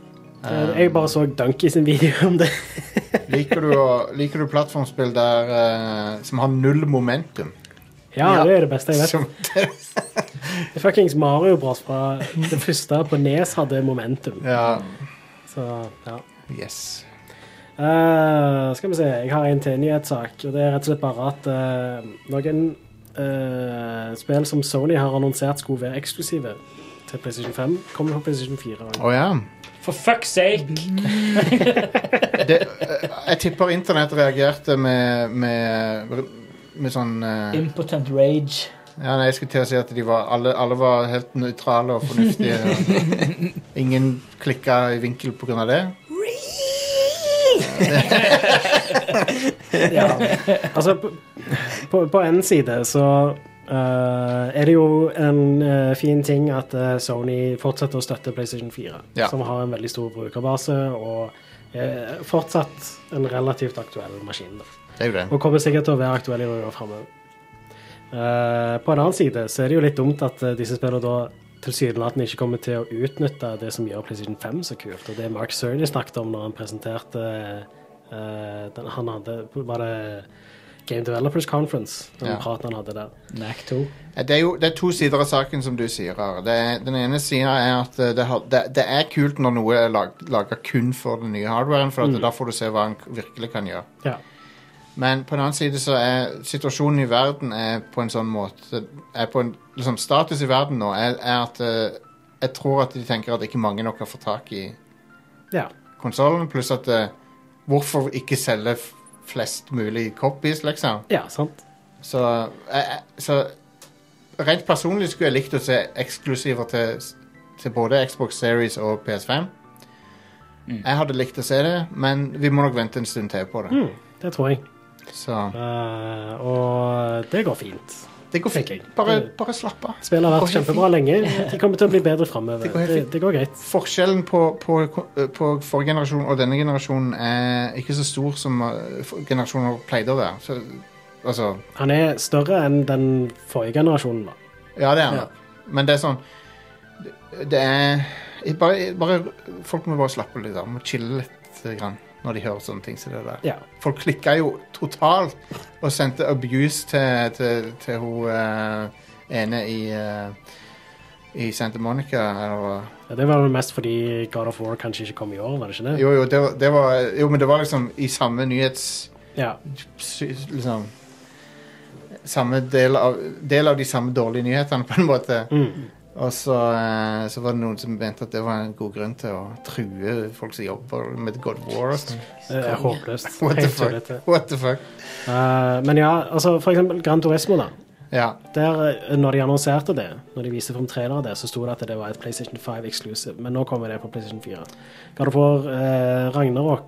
Speaker 5: Eh, Jeg bare så Donkey sin video om det.
Speaker 4: liker, du å, liker du plattformspill der eh, som har null momentum?
Speaker 5: Ja,
Speaker 6: Ja.
Speaker 5: det er det beste jeg vet.
Speaker 4: Som,
Speaker 5: Fuckings Mario Bros. fra det første på Nes hadde momentum.
Speaker 4: ja.
Speaker 5: Så, ja.
Speaker 4: Yes.
Speaker 5: Eh, skal vi se, jeg har en til nyhetssak. Og det er rett og slett bare at eh, noen eh, spill som Sony har annonsert skulle være eksklusive til PlayStation 5, kommer på PlayStation 4.
Speaker 4: Å ja.
Speaker 7: For fuck's sake!
Speaker 4: Det, eh, jeg tipper internett reagerte med, med, med sånn eh,
Speaker 7: Impotent rage.
Speaker 4: Ja, nei, jeg skulle til å si at de var, alle, alle var helt nøytrale og fornuftige. og ingen klikka i vinkel pga. det.
Speaker 5: Ja. Altså, på- på, på en side så eh, er det jo en eh, fin ting at eh, Sony fortsetter å støtte PlayStation 4,
Speaker 4: Ja.
Speaker 5: som har en eh, veldig stor brukerbase og er fortsatt en relativt aktuell maskin. Da.
Speaker 4: Det er jo det.
Speaker 5: Og kommer sikkert til å være aktuelle i noen år framover. Eh, på en annen side så er det jo litt dumt at eh, disse spillene da tilsynelatende ikke kommer til å utnytte det som gjør PlayStation 5 så kult, og det Mark Cerny snakket om når han presenterte eh, den, Han hadde Var det Game Developers Conference, den
Speaker 4: Ja.
Speaker 5: praten han hadde der.
Speaker 7: Mac 2.
Speaker 4: Det er jo det er to sider av saken, som du sier. Are. Det er, den ene sida er at eh, det, har, det, det er kult når noe er lag, laga kun for den nye hardwaren, for at da får du se hva den virkelig kan gjøre.
Speaker 5: Mm. Ja.
Speaker 4: Men på den annen side så er situasjonen i verden er på en sånn måte er på en, liksom Status i verden nå er, er at eh, jeg tror at de tenker at ikke mange nok har fått tak i
Speaker 5: ja.
Speaker 4: konsollen, pluss at eh, hvorfor ikke selge f- flest mulig copies, liksom?
Speaker 5: Ja, sant.
Speaker 4: Så, jeg, jeg- så rent personlig skulle jeg likt å se eksklusiver til, til både Xbox Series og PS5.
Speaker 7: Mm.
Speaker 4: Jeg hadde likt å se det, men vi må nok vente en stund til på det.
Speaker 5: Mm, det tror jeg.
Speaker 4: Så
Speaker 5: Eh, og det går fint.
Speaker 4: det går
Speaker 5: Tenker jeg.
Speaker 4: fint. Bare, bare slapp av.
Speaker 5: Spillet har vært
Speaker 4: Det går helt
Speaker 5: kjempebra lenge. De kommer til å bli bedre framover.
Speaker 4: Det går helt
Speaker 5: Det,
Speaker 4: fint.
Speaker 5: det går greit.
Speaker 4: Forskjellen på, på, eh, på forrige generasjon og denne generasjonen er ikke så stor som eh, for- generasjoner pleide å være. Så, altså
Speaker 5: Han er større enn den forrige generasjonen. da.
Speaker 4: Ja, det er han.
Speaker 5: Ja.
Speaker 4: Men det er sånn Det, det er jeg bare, jeg bare, Folk må bare slappe litt av. Må chille litt eh, grann, når de hører sånne ting som det der.
Speaker 5: Ja.
Speaker 4: Folk klikka jo totalt og sendte abuse til, til, til hun eh, ene i eh, i Santa Monica. Eller,
Speaker 5: Ja, Det var vel mest fordi God of War kanskje ikke kom i år, var det ikke det?
Speaker 4: jo, jo, det, var- det var, jo, men det var liksom i samme nyhets...
Speaker 5: Ja.
Speaker 4: sy- liksom samme del av, del av de samme dårlige nyhetene, på en måte.
Speaker 5: Mm.
Speaker 4: Og så, eh, så var det noen som mente at det var en god grunn til å true folk som jobber med God of War. og sånn.
Speaker 5: Det er håpløst.
Speaker 4: What the
Speaker 5: Helt
Speaker 4: fuck?
Speaker 5: tullete.
Speaker 4: What the fuck?
Speaker 5: Eh, men ja, altså for eksempel Gran Turismo, da.
Speaker 4: Ja.
Speaker 5: Der, eh, når de annonserte det, når de viste frem trailer av det, så sto det at det var et PlayStation 5 exclusive, men nå kommer det på PlayStation 4. God of War, eh, Ragnarok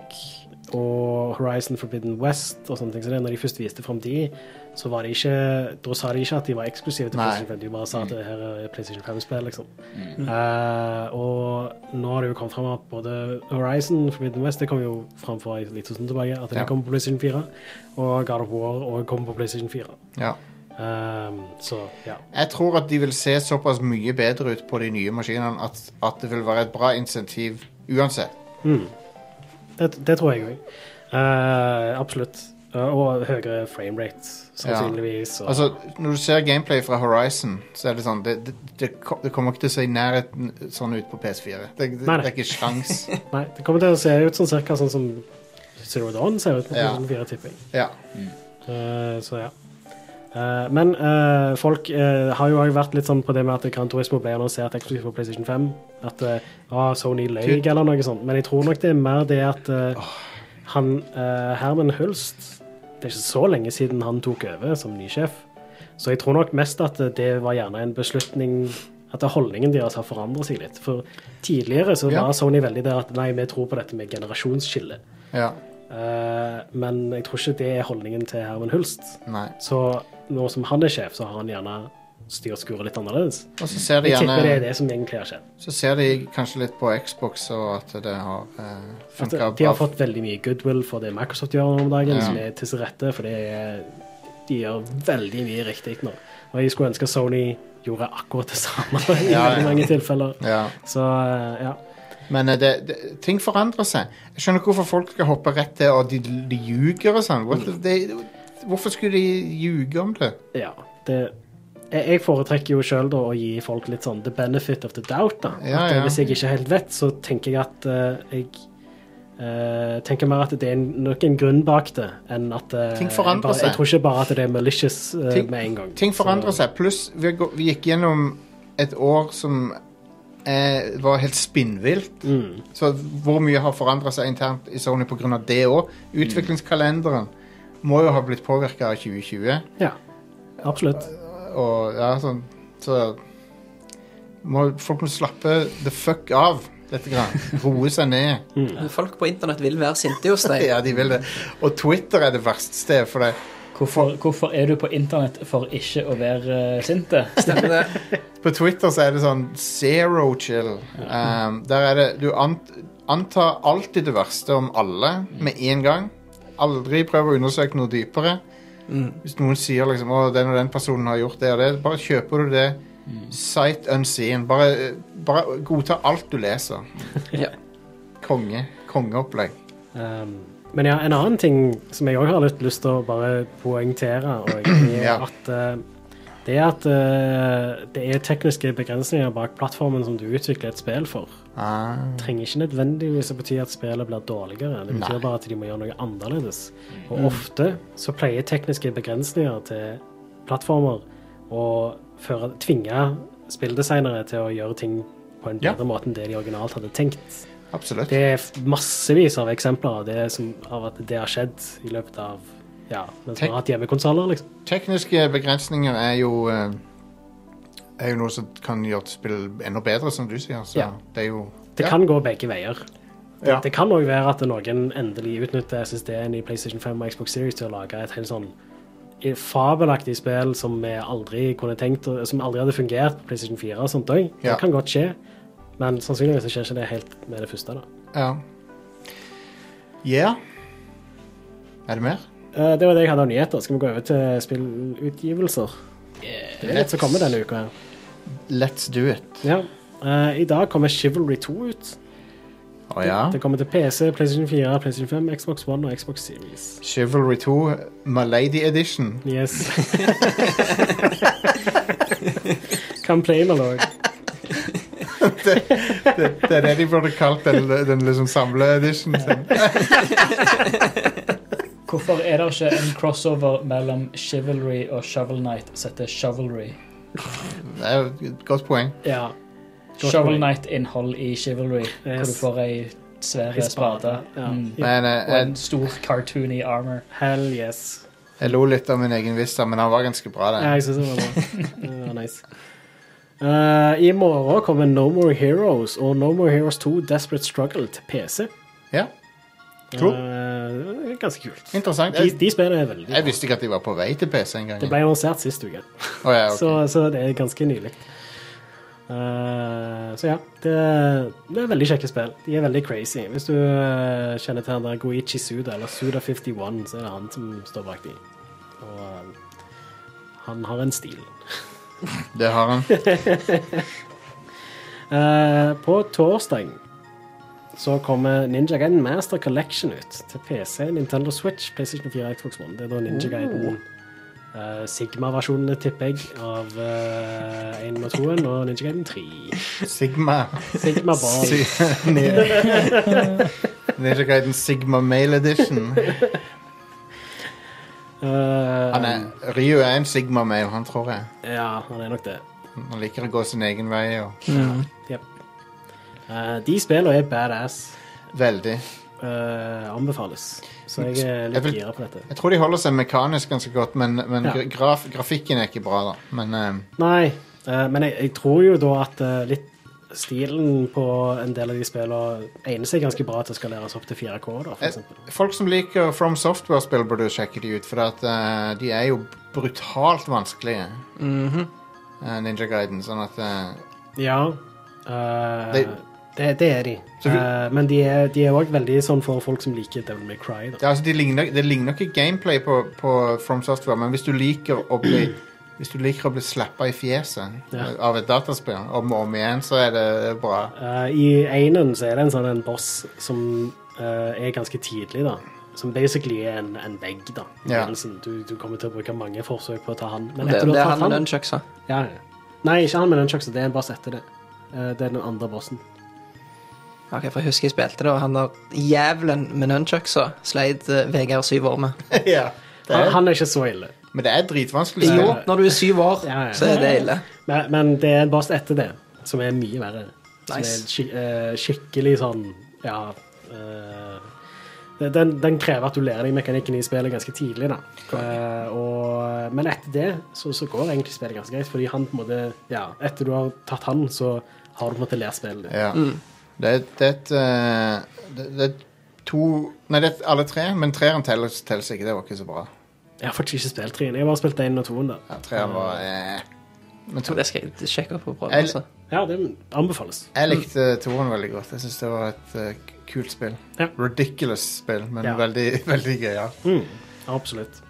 Speaker 5: og Horizon Forbidden West og sånne ting som det, når de først viste frem de, så var det ikke, da sa de ikke at de var eksklusive til
Speaker 4: Nei.
Speaker 5: PlayStation 5, de bare sa at det her er PlayStation 5-spill, liksom.
Speaker 4: Mm.
Speaker 5: Eh, og nå har det jo kommet frem at både Horizon Forbidden West, det kom jo frem for litt sånn tilbake, at det
Speaker 4: Ja.
Speaker 5: kommer på PlayStation 4, og God of War også kommer på PlayStation 4.
Speaker 4: ja.
Speaker 5: Ehm, så ja.
Speaker 4: Jeg tror at de vil se såpass mye bedre ut på de nye maskinene at, at det vil være et bra insentiv uansett.
Speaker 5: Mm. Det, det tror jeg òg. absolutt. Eh, og høyere framerate, sannsynligvis. Og,
Speaker 4: Altså, Når du ser gameplay fra Horizon, så er det sånn Det, det, det, ko- det kommer ikke til å se i nærheten sånn ut på PS4. Det, det,
Speaker 5: Nei, nei.
Speaker 4: det er ikke sjans.
Speaker 5: Nei, det kommer til å se ut sånn cirka sånn som Zero Dawn ser ut på
Speaker 4: Ja.
Speaker 5: PlayStation 4, tipper jeg.
Speaker 4: Ja.
Speaker 5: Eh, så ja. Eh, men eh, folk eh, har jo også vært litt sånn på det med at Gran Turismo ble annonsert eksklusivt på PlayStation 5. At eh, ah, Sony løy
Speaker 4: Du-
Speaker 5: eller noe sånt. Men jeg tror nok det er mer det at eh, han eh, Herman Hulst Det er ikke så lenge siden han tok over som ny sjef. Så jeg tror nok mest at eh, det var gjerne en beslutning at holdningen deres har forandret seg litt. For tidligere så
Speaker 4: Ja.
Speaker 5: var Sony veldig der at nei, vi tror på dette med generasjonsskille.
Speaker 4: ja.
Speaker 5: Eh, men jeg tror ikke det er holdningen til Herman Hulst.
Speaker 4: Nei.
Speaker 5: Så nå som han er sjef, så har han gjerne styrt skuret litt annerledes.
Speaker 4: Og så ser de
Speaker 5: Jeg tipper det er
Speaker 4: gjerne
Speaker 5: det som egentlig har skjedd.
Speaker 4: Så ser de kanskje litt på Xbox og at det har uh,
Speaker 5: At
Speaker 4: funka
Speaker 5: de
Speaker 4: bra.
Speaker 5: har fått veldig mye goodwill for det Microsoft gjør nå om dagen,
Speaker 4: Ja.
Speaker 5: som er til sin rette, for det er, de gjør veldig mye riktig nå. Og jeg skulle ønske Sony gjorde akkurat det samme
Speaker 4: Ja,
Speaker 5: i
Speaker 4: ja.
Speaker 5: veldig mange tilfeller.
Speaker 4: Ja.
Speaker 5: Så eh, ja.
Speaker 4: Men eh, det, det, ting forandrer seg. Jeg skjønner ikke hvorfor folk skal hoppe rett til og de, de ljuger og sånn. What the- de- Hvorfor skulle de ljuge om det?
Speaker 5: ja det, jeg jeg foretrekker jo sjøl å gi folk litt sånn the benefit of the doubt. da.
Speaker 4: Ja,
Speaker 5: at, eh,
Speaker 4: ja.
Speaker 5: Hvis jeg ikke helt vet, så tenker jeg at eh, jeg eh, tenker mer at det er en- nok en grunn bak det, enn at eh,
Speaker 4: Ting forandrer
Speaker 5: jeg bare,
Speaker 4: seg.
Speaker 5: Jeg tror ikke bare at det er malicious eh,
Speaker 4: Ting-
Speaker 5: med en gang.
Speaker 4: Ting forandrer seg. Pluss vi, har gå- vi gikk gjennom et år som eh, var helt spinnvilt.
Speaker 5: Mm.
Speaker 4: Så hvor mye har forandra seg internt i Sony pga. det òg?
Speaker 5: Mm.
Speaker 4: Utviklingskalenderen må jo ha blitt påvirka av 2020.
Speaker 5: Ja, absolutt.
Speaker 4: Og ja, sånn Så må, Folk må slappe the fuck av litt. Grann. Roe seg ned.
Speaker 5: Mm.
Speaker 6: Folk på internett vil være sinte hos deg.
Speaker 4: Ja, de vil det. Og Twitter er det verste stedet for det.
Speaker 7: Hvorfor, hvorfor er du på internett for ikke å være eh, sinte?
Speaker 6: Stemmer det?
Speaker 4: På Twitter så er det sånn zero chill. Um, der er det Du ant, antar alltid det verste om alle med en gang. aldri prøv å undersøke noe dypere.
Speaker 6: Mm.
Speaker 4: Hvis noen sier liksom, å, den og den personen har gjort det og det, bare kjøper du det sight unseen. Bare, bare godta alt du leser.
Speaker 6: Ja.
Speaker 4: Konge. Kongeopplegg.
Speaker 5: Um, men ja, en annen ting som jeg òg har litt lyst til å bare poengtere, og er
Speaker 4: Ja.
Speaker 5: at eh, det er at eh, det er tekniske begrensninger bak plattformen som du utvikler et spill for.
Speaker 4: Ah.
Speaker 5: trenger ikke nødvendigvis å bety at spillet blir dårligere. Det betyr bare at de må gjøre noe annerledes.
Speaker 4: Mm.
Speaker 5: Og ofte så pleier tekniske begrensninger til plattformer å føre, tvinge spilldesignere til å gjøre ting på en
Speaker 4: Ja.
Speaker 5: bedre måte enn det de originalt hadde tenkt.
Speaker 4: Absolutt.
Speaker 5: Det er f- massevis av eksempler av, det som, av at det har skjedd i løpet av ja, mens vi
Speaker 4: Tenk-
Speaker 5: har hatt hjemmekonsoller, liksom.
Speaker 4: Tekniske begrensninger er jo eh, er jo noe som kan gjøre et spill enda bedre, som du sier. Så
Speaker 5: Ja.
Speaker 4: det er jo
Speaker 5: Det
Speaker 4: ja.
Speaker 5: kan gå begge veier.
Speaker 4: Ja.
Speaker 5: Det kan òg være at noen endelig utnytter SSD-en i PlayStation 5 og Xbox Series til å lage et helt sånn fabelaktig spill som vi aldri kunne tenkt å- Som aldri hadde fungert på PlayStation 4 og sånt òg.
Speaker 4: Ja.
Speaker 5: Det kan godt skje, men sannsynligvis så skjer ikke det helt med det første. da
Speaker 4: Ja. Yeah. Er det mer?
Speaker 5: Eh, Det var det jeg hadde av nyheter. Skal vi gå over til spillutgivelser? Det er litt som kommer denne uka her.
Speaker 4: Let's do it.
Speaker 5: Ja. Eh, I dag kommer Chivalry 2 ut.
Speaker 4: Å ja.
Speaker 5: Det kommer til PC, PlayStation 4, PlayStation 5, Xbox One og Xbox Series.
Speaker 4: Chivalry 2, Malady Edition.
Speaker 5: Yes. Campaigner òg.
Speaker 4: Det, det er det de burde kalt den, den liksom samle-edition.
Speaker 7: Hvorfor er det ikke en crossover mellom Chivalry og Shovel Knight som heter Shovelry?
Speaker 4: Det er jo et godt poeng.
Speaker 5: Ja. Godt
Speaker 7: Shovel
Speaker 5: poeng.
Speaker 7: Knight-innhold i Chivalry, hvor du
Speaker 5: Yes.
Speaker 7: får ei svær
Speaker 5: I
Speaker 7: spade.
Speaker 5: spade, ja.
Speaker 7: Mm.
Speaker 4: Men eh,
Speaker 7: Og
Speaker 4: jeg,
Speaker 7: en stor cartoony armor.
Speaker 5: Hell yes.
Speaker 4: jeg lo litt av min egen vista, men han var ganske bra,
Speaker 5: Ja,
Speaker 4: den.
Speaker 5: jeg syns det var bra. Det var nice. Eh, I morgen kommer No More Heroes og No More Heroes 2 Desperate Struggle til PC.
Speaker 4: Ja. Cool.
Speaker 5: Eh, det er ganske kult.
Speaker 4: Interessant.
Speaker 5: De,
Speaker 4: Jeg,
Speaker 5: de spillene er veldig
Speaker 4: jeg
Speaker 5: bra.
Speaker 4: visste ikke at de var på vei til PC en gang.
Speaker 5: Det ble annonsert sist uke,
Speaker 4: Å ja, ok.
Speaker 5: så, så det er ganske nylig. Eh, så ja, det, det er veldig kjekke spill. De er veldig crazy. Hvis du eh, kjenner til han der Goichi Suda, eller Suda51, så er det han som står bak de. Og eh, han har en stil.
Speaker 4: Det har han.
Speaker 5: Eh, på torsdag så kommer Ninja Gaiden Master Collection ut til PC, Nintendo Switch, PlayStation 4 og Xbox One. Det er da Ninja
Speaker 4: Oh.
Speaker 5: Gaiden eh, Sigma-versjonene, tipper jeg, av uh, 1 og 2 og Ninja Gaiden 3.
Speaker 4: Sigma.
Speaker 5: Sigma Ball.
Speaker 4: Si- Ninja Gaiden Sigma Male Edition.
Speaker 5: Eh,
Speaker 4: Han er, Ryu er en Sigma Male, han tror jeg.
Speaker 5: Ja, han er nok det.
Speaker 4: Han liker å gå sin egen vei. Og...
Speaker 5: Jep. Eh, de spillene er badass.
Speaker 4: Veldig.
Speaker 5: eh, anbefales. Så jeg er
Speaker 4: Jeg
Speaker 5: litt
Speaker 4: vil-
Speaker 5: gira på dette.
Speaker 4: Jeg tror de holder seg mekanisk ganske godt, men, men
Speaker 5: Ja.
Speaker 4: gra- graf, grafikken er ikke bra, da. Men eh,
Speaker 5: Nei, eh, men jeg, jeg tror jo da at eh, litt stilen på en del av de spillene egner seg ganske bra til å skaleres opp til 4K, da, for
Speaker 4: Eh,
Speaker 5: eksempel.
Speaker 4: Folk som liker From Software-spill, burde jo sjekke de ut, for at, eh, de er jo brutalt vanskelige,
Speaker 5: Mhm.
Speaker 4: eh, Ninja Gaiden. Sånn at eh,
Speaker 5: Ja. eh,
Speaker 4: Det-
Speaker 5: det, det er de.
Speaker 4: Så vi-
Speaker 5: Eh, men de er de er òg veldig sånn for folk som liker Devil May Cry. Da.
Speaker 4: det, altså, de ligner, det ligner ikke gameplay på, på From Software, men hvis du liker å bli hvis du liker å bli slappa i fjeset
Speaker 5: Ja.
Speaker 4: eh, av et dataspill om og om igjen, så er det bra.
Speaker 5: Eh, I Einen så er det en sånn en boss som eh, er ganske tidlig, da. Som basically er en, en vegg, da. i
Speaker 4: Ja.
Speaker 5: begynnelsen. Du, du kommer til å bruke mange forsøk på å ta han. Men
Speaker 6: Det,
Speaker 5: etter du
Speaker 6: det
Speaker 5: har
Speaker 6: er
Speaker 5: tatt
Speaker 6: han med
Speaker 5: han
Speaker 6: nunchucks, sa.
Speaker 5: Ja, ja. Nei, ikke han med nunchucksa. Det er en boss etter det. Eh, Det er den andre bossen.
Speaker 6: Ok, for jeg husker jeg spilte det, og han der jævlen med nunchucksa sleit eh, Vegard syv år med.
Speaker 4: ja, det
Speaker 5: Han,
Speaker 4: er,
Speaker 5: han er ikke så ille.
Speaker 4: men det er dritvanskelig.
Speaker 6: Jo,
Speaker 4: spill.
Speaker 6: når du er syv år,
Speaker 5: Ja, ja.
Speaker 6: så er det ille.
Speaker 5: Men, men det er en boss etter det, som er mye verre. Som
Speaker 6: Nice.
Speaker 5: er skik eh, skikkelig sånn Ja. eh, det- den, den krever at du lærer deg mekanikken i spillet ganske tidlig. da. Eh, og, men etter det så, så går egentlig spillet ganske greit, fordi han på en måte, ja, etter du har tatt han, så har du på en måte lært spillet. ditt.
Speaker 4: Ja. Det, er- det er et eh, det, det er to Nei, det er alle tre, men treeren telles, telles ikke. Det var ikke så bra.
Speaker 5: Jeg har faktisk ikke spilt treen. Jeg har bare spilt én og toen. da.
Speaker 4: Ja, treeren var eh. Men to,
Speaker 6: Det skal jeg sjekke opp og prøve.
Speaker 4: Jeg-
Speaker 6: Altså.
Speaker 5: Ja, det anbefales.
Speaker 4: jeg likte toeren veldig godt. Jeg syns det var et eh, kult spill.
Speaker 5: Mm. Ja.
Speaker 4: Ridiculous spill, men
Speaker 5: Ja.
Speaker 4: veldig, veldig gøy. Ja.
Speaker 5: Mm, absolutt.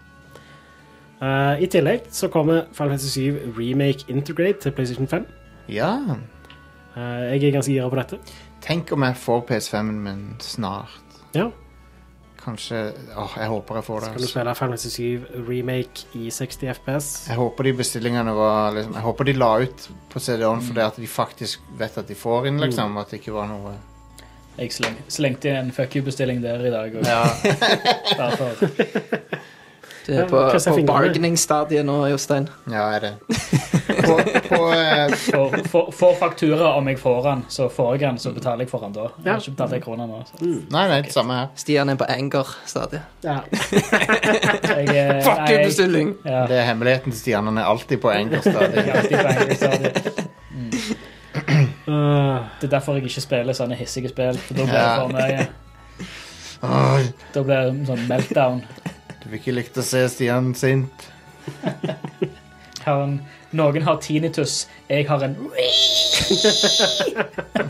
Speaker 5: Eh, I tillegg så kommer Final Fantasy 7 Remake Integrate til PlayStation 5.
Speaker 4: ja.
Speaker 5: Eh, jeg er ganske gira på dette.
Speaker 4: Tenk om jeg får PS5-en min snart.
Speaker 5: Ja.
Speaker 4: Kanskje Åh, jeg håper jeg får det.
Speaker 5: Skal du
Speaker 4: Altså.
Speaker 5: spille Final Fantasy 7 Remake i 60 FPS?
Speaker 4: Jeg håper de bestillingene var liksom, Jeg håper de la ut på CD-on
Speaker 5: Mm.
Speaker 4: fordi at de faktisk vet at de får inn, liksom. At det ikke var noe
Speaker 7: Jeg sleng, slengte inn en fuck you-bestilling der i dag. Og, bare for,
Speaker 6: Du er
Speaker 5: Ja,
Speaker 6: på,
Speaker 5: kryss jeg
Speaker 6: på
Speaker 5: fingrene.
Speaker 6: bargaining-stadiet nå, Jostein.
Speaker 4: Ja, er det. På, på, eh,
Speaker 7: for, for, for faktura, om jeg får den, så får jeg den, så betaler jeg for den da. Jeg
Speaker 5: Ja.
Speaker 7: har ikke betalt en krone nå. Så.
Speaker 4: nei, nei, det samme her.
Speaker 6: Stian er på anger-stadiet.
Speaker 5: Ja.
Speaker 7: Jeg, eh,
Speaker 6: Fuck
Speaker 7: nei,
Speaker 6: you,
Speaker 7: jeg-
Speaker 6: bestilling!
Speaker 7: Ja,
Speaker 4: Det er hemmeligheten til Stian. Han er alltid på
Speaker 7: jeg
Speaker 4: engelskstadiet.
Speaker 7: er alltid på engelsk, så det-
Speaker 5: Eh,
Speaker 7: det er derfor jeg ikke spiller sånne hissige spill. For da blir det
Speaker 4: Ja.
Speaker 7: for meg
Speaker 4: Åh,
Speaker 7: Da blir det sånn meltdown.
Speaker 4: du vil ikke likt å se Stian sint.
Speaker 7: Har en, noen har tinnitus, jeg har en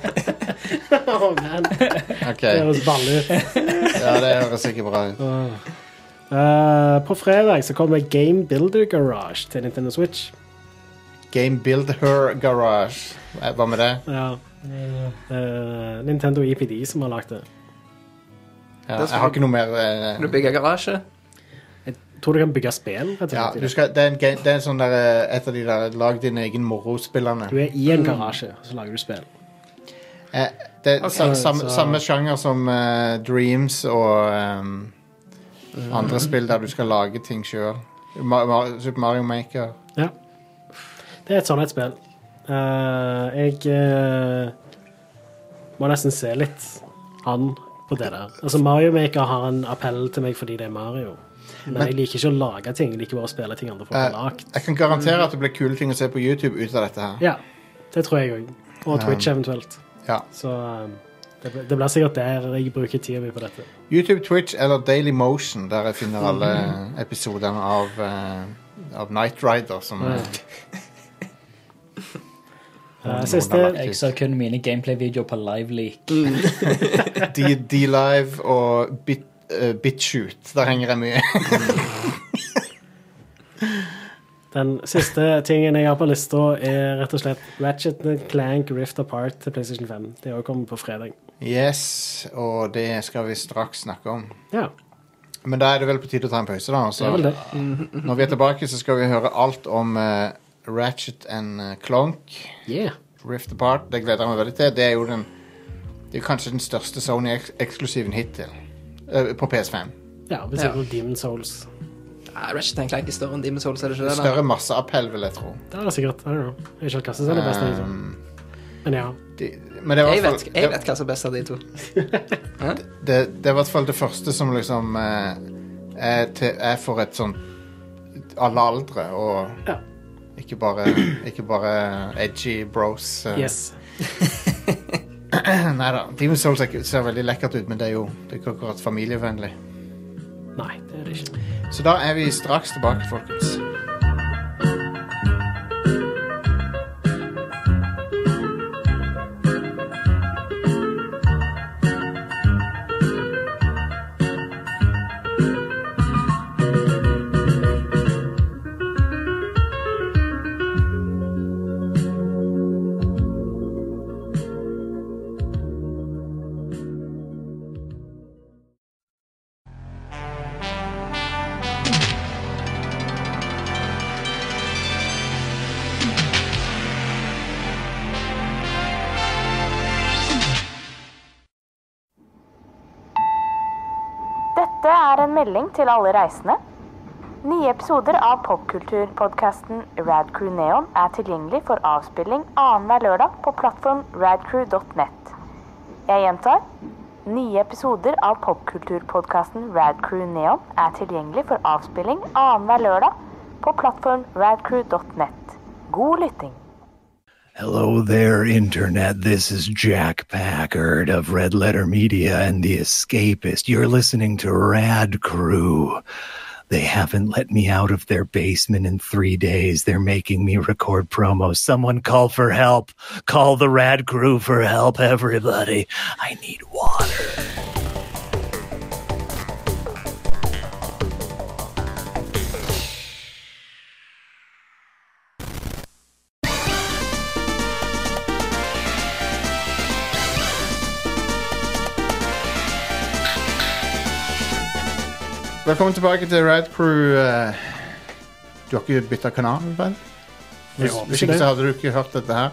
Speaker 5: Åh, man.
Speaker 4: OK.
Speaker 5: Det høres balle ut.
Speaker 4: Ja, det høres ikke bra ut.
Speaker 5: Åh. Eh, på fredag så kommer Game Builder Garage til Nintendo Switch.
Speaker 4: Game Build Her Garage. Eh, Hva med det?
Speaker 5: Ja. Eh, Nintendo EPD som har lagd det.
Speaker 4: Ja, jeg har ikke noe mer eh,
Speaker 6: Kan du bygge garasje?
Speaker 5: Jeg tror du kan bygge spill. Rett og
Speaker 4: Ja,
Speaker 5: slett, i
Speaker 4: du
Speaker 5: det.
Speaker 4: skal, det, er en, ga- det er en sånn der, eh, et av de der lag din egen moro-spillene.
Speaker 5: du er i en garasje, så lager du spill.
Speaker 4: Eh, det er sa,
Speaker 5: Ok,
Speaker 4: samme,
Speaker 5: så-
Speaker 4: samme sjanger som eh, Dreams og ehm,
Speaker 5: Mm.
Speaker 4: andre spill der du skal lage ting sjøl. Ma, ma, Super Mario Maker.
Speaker 5: Det er et sånt et spill. Eh, jeg eh, må nesten se litt an på det der. Altså Mario Maker har en appell til meg fordi det er Mario. Men,
Speaker 4: Men-
Speaker 5: jeg liker ikke å lage ting. Jeg liker bare å spille ting andre folk har
Speaker 4: Eh,
Speaker 5: lagd.
Speaker 4: Jeg kan garantere at det blir kule ting å se på YouTube ut av dette her.
Speaker 5: Ja, det tror jeg òg.
Speaker 4: Eh.
Speaker 5: Og Twitch eventuelt.
Speaker 4: Ja.
Speaker 5: Så um, det, blir- det blir sikkert der jeg bruker tida mi på dette.
Speaker 4: YouTube, Twitch eller Daily Motion, der jeg finner alle episodene av, eh, av Night Rider. Som er,
Speaker 5: Uh,
Speaker 4: noen har
Speaker 5: siste
Speaker 4: lagt
Speaker 7: Jeg ser kun mine gameplay-videoer på Liveleak.
Speaker 4: D- D-Live og Bit, eh, Bitshoot. Der henger jeg mye.
Speaker 5: Den siste tingen jeg har på lista, er rett og slett Ratchet and Clank Rift Apart til PlayStation 5. Det òg kommer på fredag.
Speaker 4: Yes, og det skal vi straks snakke om.
Speaker 5: Ja,
Speaker 4: Men da er det vel på tide å ta en pause, da. og
Speaker 5: det er vel
Speaker 4: Så
Speaker 5: det.
Speaker 4: når vi er tilbake, så skal vi høre alt om eh, Ratchet and eh, Clonk.
Speaker 5: Yeah.
Speaker 4: Rift Apart. Det gleder jeg meg veldig til. Det er jo den Det er jo kanskje den største Sony-eksklusiven hittil. Eh, på PS5.
Speaker 5: Ja, hvis
Speaker 6: Ja.
Speaker 5: ikke Demon Souls.
Speaker 6: Ah, Ratchet Clank er større enn Demon's Souls, er det ikke det? da?
Speaker 4: Større masseappell, vil jeg tro.
Speaker 5: Det er det sikkert. I don't know. Jeg har ikke helt kastet seg det beste. Liksom.
Speaker 4: Um,
Speaker 5: Men ja.
Speaker 4: de, men det er i
Speaker 6: Jeg
Speaker 4: hvert
Speaker 6: vet,
Speaker 4: fall-
Speaker 6: jeg
Speaker 4: det-
Speaker 6: vet hva som er best av de to.
Speaker 4: det, det er i hvert fall det første som liksom eh, er, til, er for et sånn alle aldre, og
Speaker 5: Ja.
Speaker 4: ikke, bare, ikke bare edgy bros. eh.
Speaker 5: Yes.
Speaker 4: Nei da. Demon's Souls er ikke- ser veldig lekkert ut, men det er jo det er ikke akkurat familievennlig.
Speaker 5: Nei, det er det ikke.
Speaker 4: Så da er vi straks tilbake, folkens.
Speaker 1: Dette er en melding til alle reisende. Nye episoder av popkulturpodkasten Radcrew Neon er tilgjengelig for avspilling annenhver lørdag på plattform radcrew.net. Jeg gjentar. Nye episoder av popkulturpodkasten Radcrew Neon er tilgjengelig for avspilling annenhver lørdag på plattform radcrew.net. God lytting!
Speaker 2: Hello there, Internet. This is Jack Packard of Red Letter Media and The Escapist. You're listening to Rad Crew, They haven't let me out of their basement in three days. They're making me record promos. Someone call for help. Call the rad crew for help, everybody. I need water.
Speaker 4: Velkommen tilbake til Rad Crew. eh. Du har ikke bytta kanal, vel? Hvis,
Speaker 5: håper
Speaker 4: hvis
Speaker 5: ikke
Speaker 4: ikke,
Speaker 5: det.
Speaker 4: så hadde du ikke hørt dette her.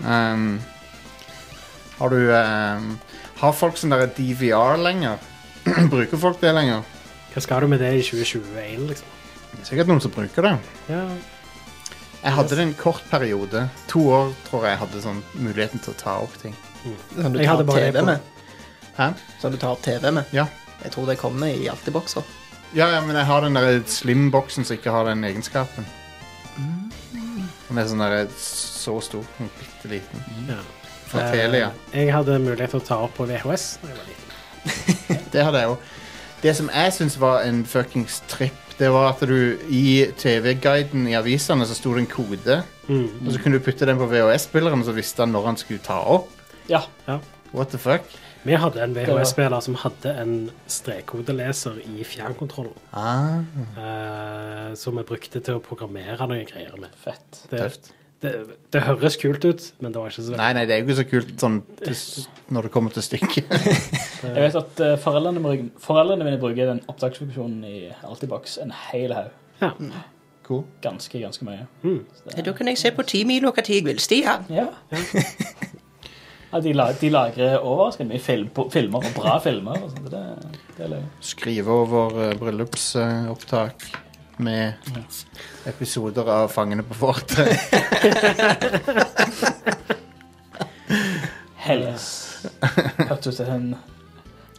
Speaker 4: Ehm, har du ehm, Har folk sånn der DVR lenger? bruker folk det lenger?
Speaker 5: Hva skal du med det i 2021, liksom?
Speaker 4: Det er sikkert noen som bruker det.
Speaker 5: Ja,
Speaker 4: Jeg hadde det en kort periode. To år tror jeg jeg hadde sånn muligheten til å ta opp ting.
Speaker 6: Sånn du
Speaker 5: Jeg
Speaker 6: tar
Speaker 5: hadde bare det
Speaker 6: TV
Speaker 5: på-
Speaker 6: med.
Speaker 4: Hæ?
Speaker 6: Sånn du tar TV med.
Speaker 4: Ja.
Speaker 6: Jeg tror det kommer i Altibokser.
Speaker 4: Ja, ja, men jeg har den der slim-boksen som ikke har den egenskapen. Den er sånn der så stor. sånn Bitte liten.
Speaker 5: ja.
Speaker 4: Fra
Speaker 5: Eh,
Speaker 4: Telia.
Speaker 5: Jeg hadde mulighet til å ta opp på VHS da jeg var liten.
Speaker 4: Eh, Det hadde jeg òg. Det som jeg syns var en fuckings tripp, det var at du i TV-guiden i avisene så sto det en kode,
Speaker 5: Mm.
Speaker 4: og så kunne du putte den på VHS-spilleren, så visste han når han skulle ta opp.
Speaker 7: Ja.
Speaker 4: What the fuck?
Speaker 5: Vi hadde en VHS-spiller som hadde en strekkodeleser i fjernkontrollen.
Speaker 4: Ah,
Speaker 5: eh, som vi brukte til å programmere noen greier med.
Speaker 7: Fett.
Speaker 5: Det,
Speaker 4: tøft.
Speaker 5: det, det høres kult ut, men det var ikke så
Speaker 4: Nei, nei, det er jo ikke så kult sånn til s- når det kommer til stykket.
Speaker 7: Jeg vet at eh, foreldrene, mine- foreldrene mine bruker den opptaksfunksjonen i Altibox en hel haug.
Speaker 5: Ja.
Speaker 4: Cool.
Speaker 7: Ganske, ganske mye.
Speaker 6: Ja, Da kan jeg se på ti mil hva tid jeg vil, Stian.
Speaker 7: Ja. ja de, la, de lagrer overraskende mye film, på- filmer, og bra filmer. Og sånt, det, det er løye.
Speaker 4: Skrive over eh, bryllupsopptak med episoder av Fangene på fortet.
Speaker 7: Hells. Hørtes ut som en-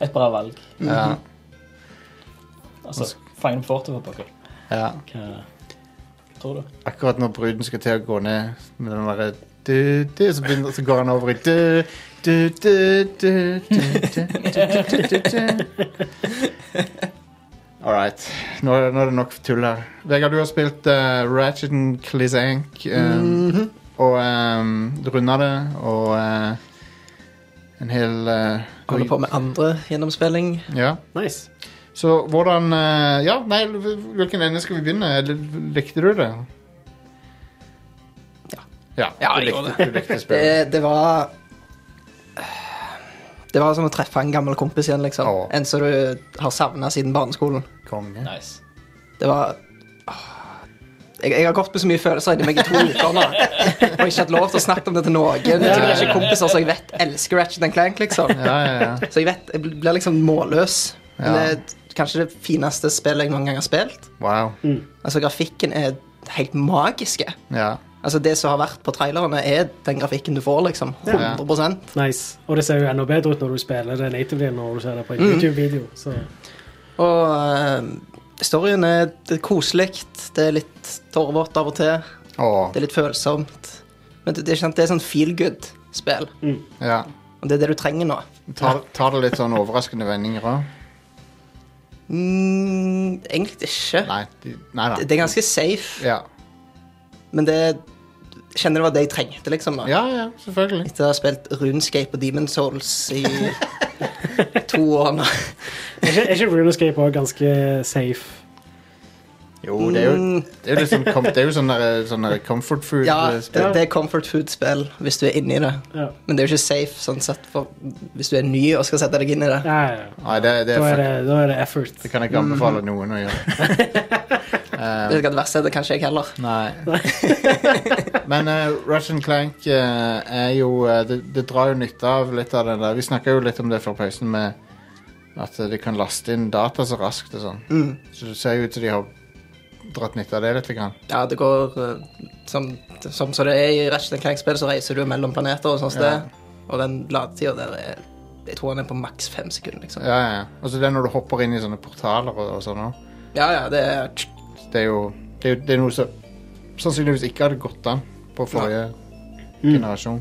Speaker 7: et bra valg.
Speaker 4: Ja,
Speaker 7: Altså, Fine Forte for pokker.
Speaker 4: ja.
Speaker 7: Hva tror du?
Speaker 4: Akkurat når bruden skal til å gå ned med den derre du, du, så, begynner, så går han over i du, du, du, du, du, du, du, du, du, du. All right. Nå, er- nå er det nok tull her. Vegard, du har spilt eh, Ratchet and Clisank. Um,
Speaker 6: Mhm.
Speaker 4: Og um, du runda det, og eh, en hel eh,
Speaker 6: Holder på med andre gjennomspilling.
Speaker 4: Ja.
Speaker 5: Nice.
Speaker 4: Så hvordan eh, Ja, nei, hvilken ende skal vi begynne? Eller Likte du det?
Speaker 6: Ja.
Speaker 4: Ja,
Speaker 6: Ja,
Speaker 4: du
Speaker 6: jeg gjorde
Speaker 4: likte, du likte spillet.
Speaker 6: Det, det var Det var som å treffe en gammel kompis igjen, liksom.
Speaker 4: Ja.
Speaker 6: En som du har savna siden barneskolen.
Speaker 4: Konge.
Speaker 7: Nice.
Speaker 6: Det var Åh. jeg, jeg har gått med så mye følelser inni meg i to uker nå. Og ikke hatt lov til å snakke om det til noen. Jeg har ikke kompiser som jeg vet elsker Ratchet Clank, liksom.
Speaker 4: Ja, ja, ja.
Speaker 6: Så jeg vet, jeg blir liksom målløs. Men
Speaker 4: Ja.
Speaker 6: det er kanskje det fineste spillet jeg noen gang har spilt.
Speaker 4: Wow.
Speaker 6: Altså, grafikken er helt magiske.
Speaker 4: Ja.
Speaker 6: Altså, det som har vært på trailerne, er den grafikken du får, liksom. 100
Speaker 5: nice. Og det ser jo enda bedre ut når du spiller det natively enn når du ser det på en YouTube-video. Så
Speaker 6: Og eh, storyen er det er koselig. Det er litt tårevått av og til.
Speaker 4: Åh,
Speaker 6: Det er litt følsomt. Men det, det, er, sant, det er sånn feel good-spill.
Speaker 4: ja.
Speaker 6: Og det er det du trenger nå.
Speaker 4: Ta, ta det litt sånn overraskende vendinger òg?
Speaker 6: Mm, egentlig ikke.
Speaker 4: Nei, de, nei da.
Speaker 6: Det, det er ganske safe,
Speaker 4: Ja.
Speaker 6: men det jeg kjenner det var det jeg trengte, liksom. da.
Speaker 4: ja, ja, selvfølgelig.
Speaker 6: Etter å ha spilt Runescape og Demon Souls i to år nå.
Speaker 5: Er ikke, er ikke RuneScape også ganske safe?
Speaker 4: Jo, det er jo,
Speaker 6: Mm.
Speaker 4: det er jo, litt sånn kom- det er jo sånn der- sånn der comfort food.
Speaker 6: Ja,
Speaker 4: eh,
Speaker 6: det,
Speaker 4: spill.
Speaker 6: det er comfort food-spill hvis du er inni det.
Speaker 5: Ja.
Speaker 6: Men det er jo ikke safe sånn sett for, hvis du er ny og skal sette deg inn i det.
Speaker 5: Ja, ja, ja.
Speaker 4: Nei, det, det,
Speaker 5: Da
Speaker 4: er
Speaker 5: er det,
Speaker 4: fuck,
Speaker 5: da er det effort.
Speaker 4: det kan jeg ikke
Speaker 6: Mm.
Speaker 4: anbefale noen å gjøre.
Speaker 6: Det er ikke det verste, det kanskje jeg heller.
Speaker 4: Nei. Men eh, Russian Clank eh, er jo eh, det, det drar jo nytte av litt av den der Vi snakka jo litt om det før pausen med at eh, de kan laste inn data så raskt og sånn. Så det ser jo ut som de har dratt nytte av det litt. Grann.
Speaker 6: Ja, det går eh, som, som så det er i Ratchet Clank-spill, så reiser du mellom planeter og sånt
Speaker 4: Ja.
Speaker 6: sted. Og den ladetida der er Jeg tror den er på maks fem sekunder, liksom.
Speaker 4: Ja, ja. Og så det er når du hopper inn i sånne portaler og, og sånn òg.
Speaker 6: Ja, ja, det er
Speaker 4: Det er jo det er, jo- det er noe som sannsynligvis ikke hadde gått an på forrige generasjon.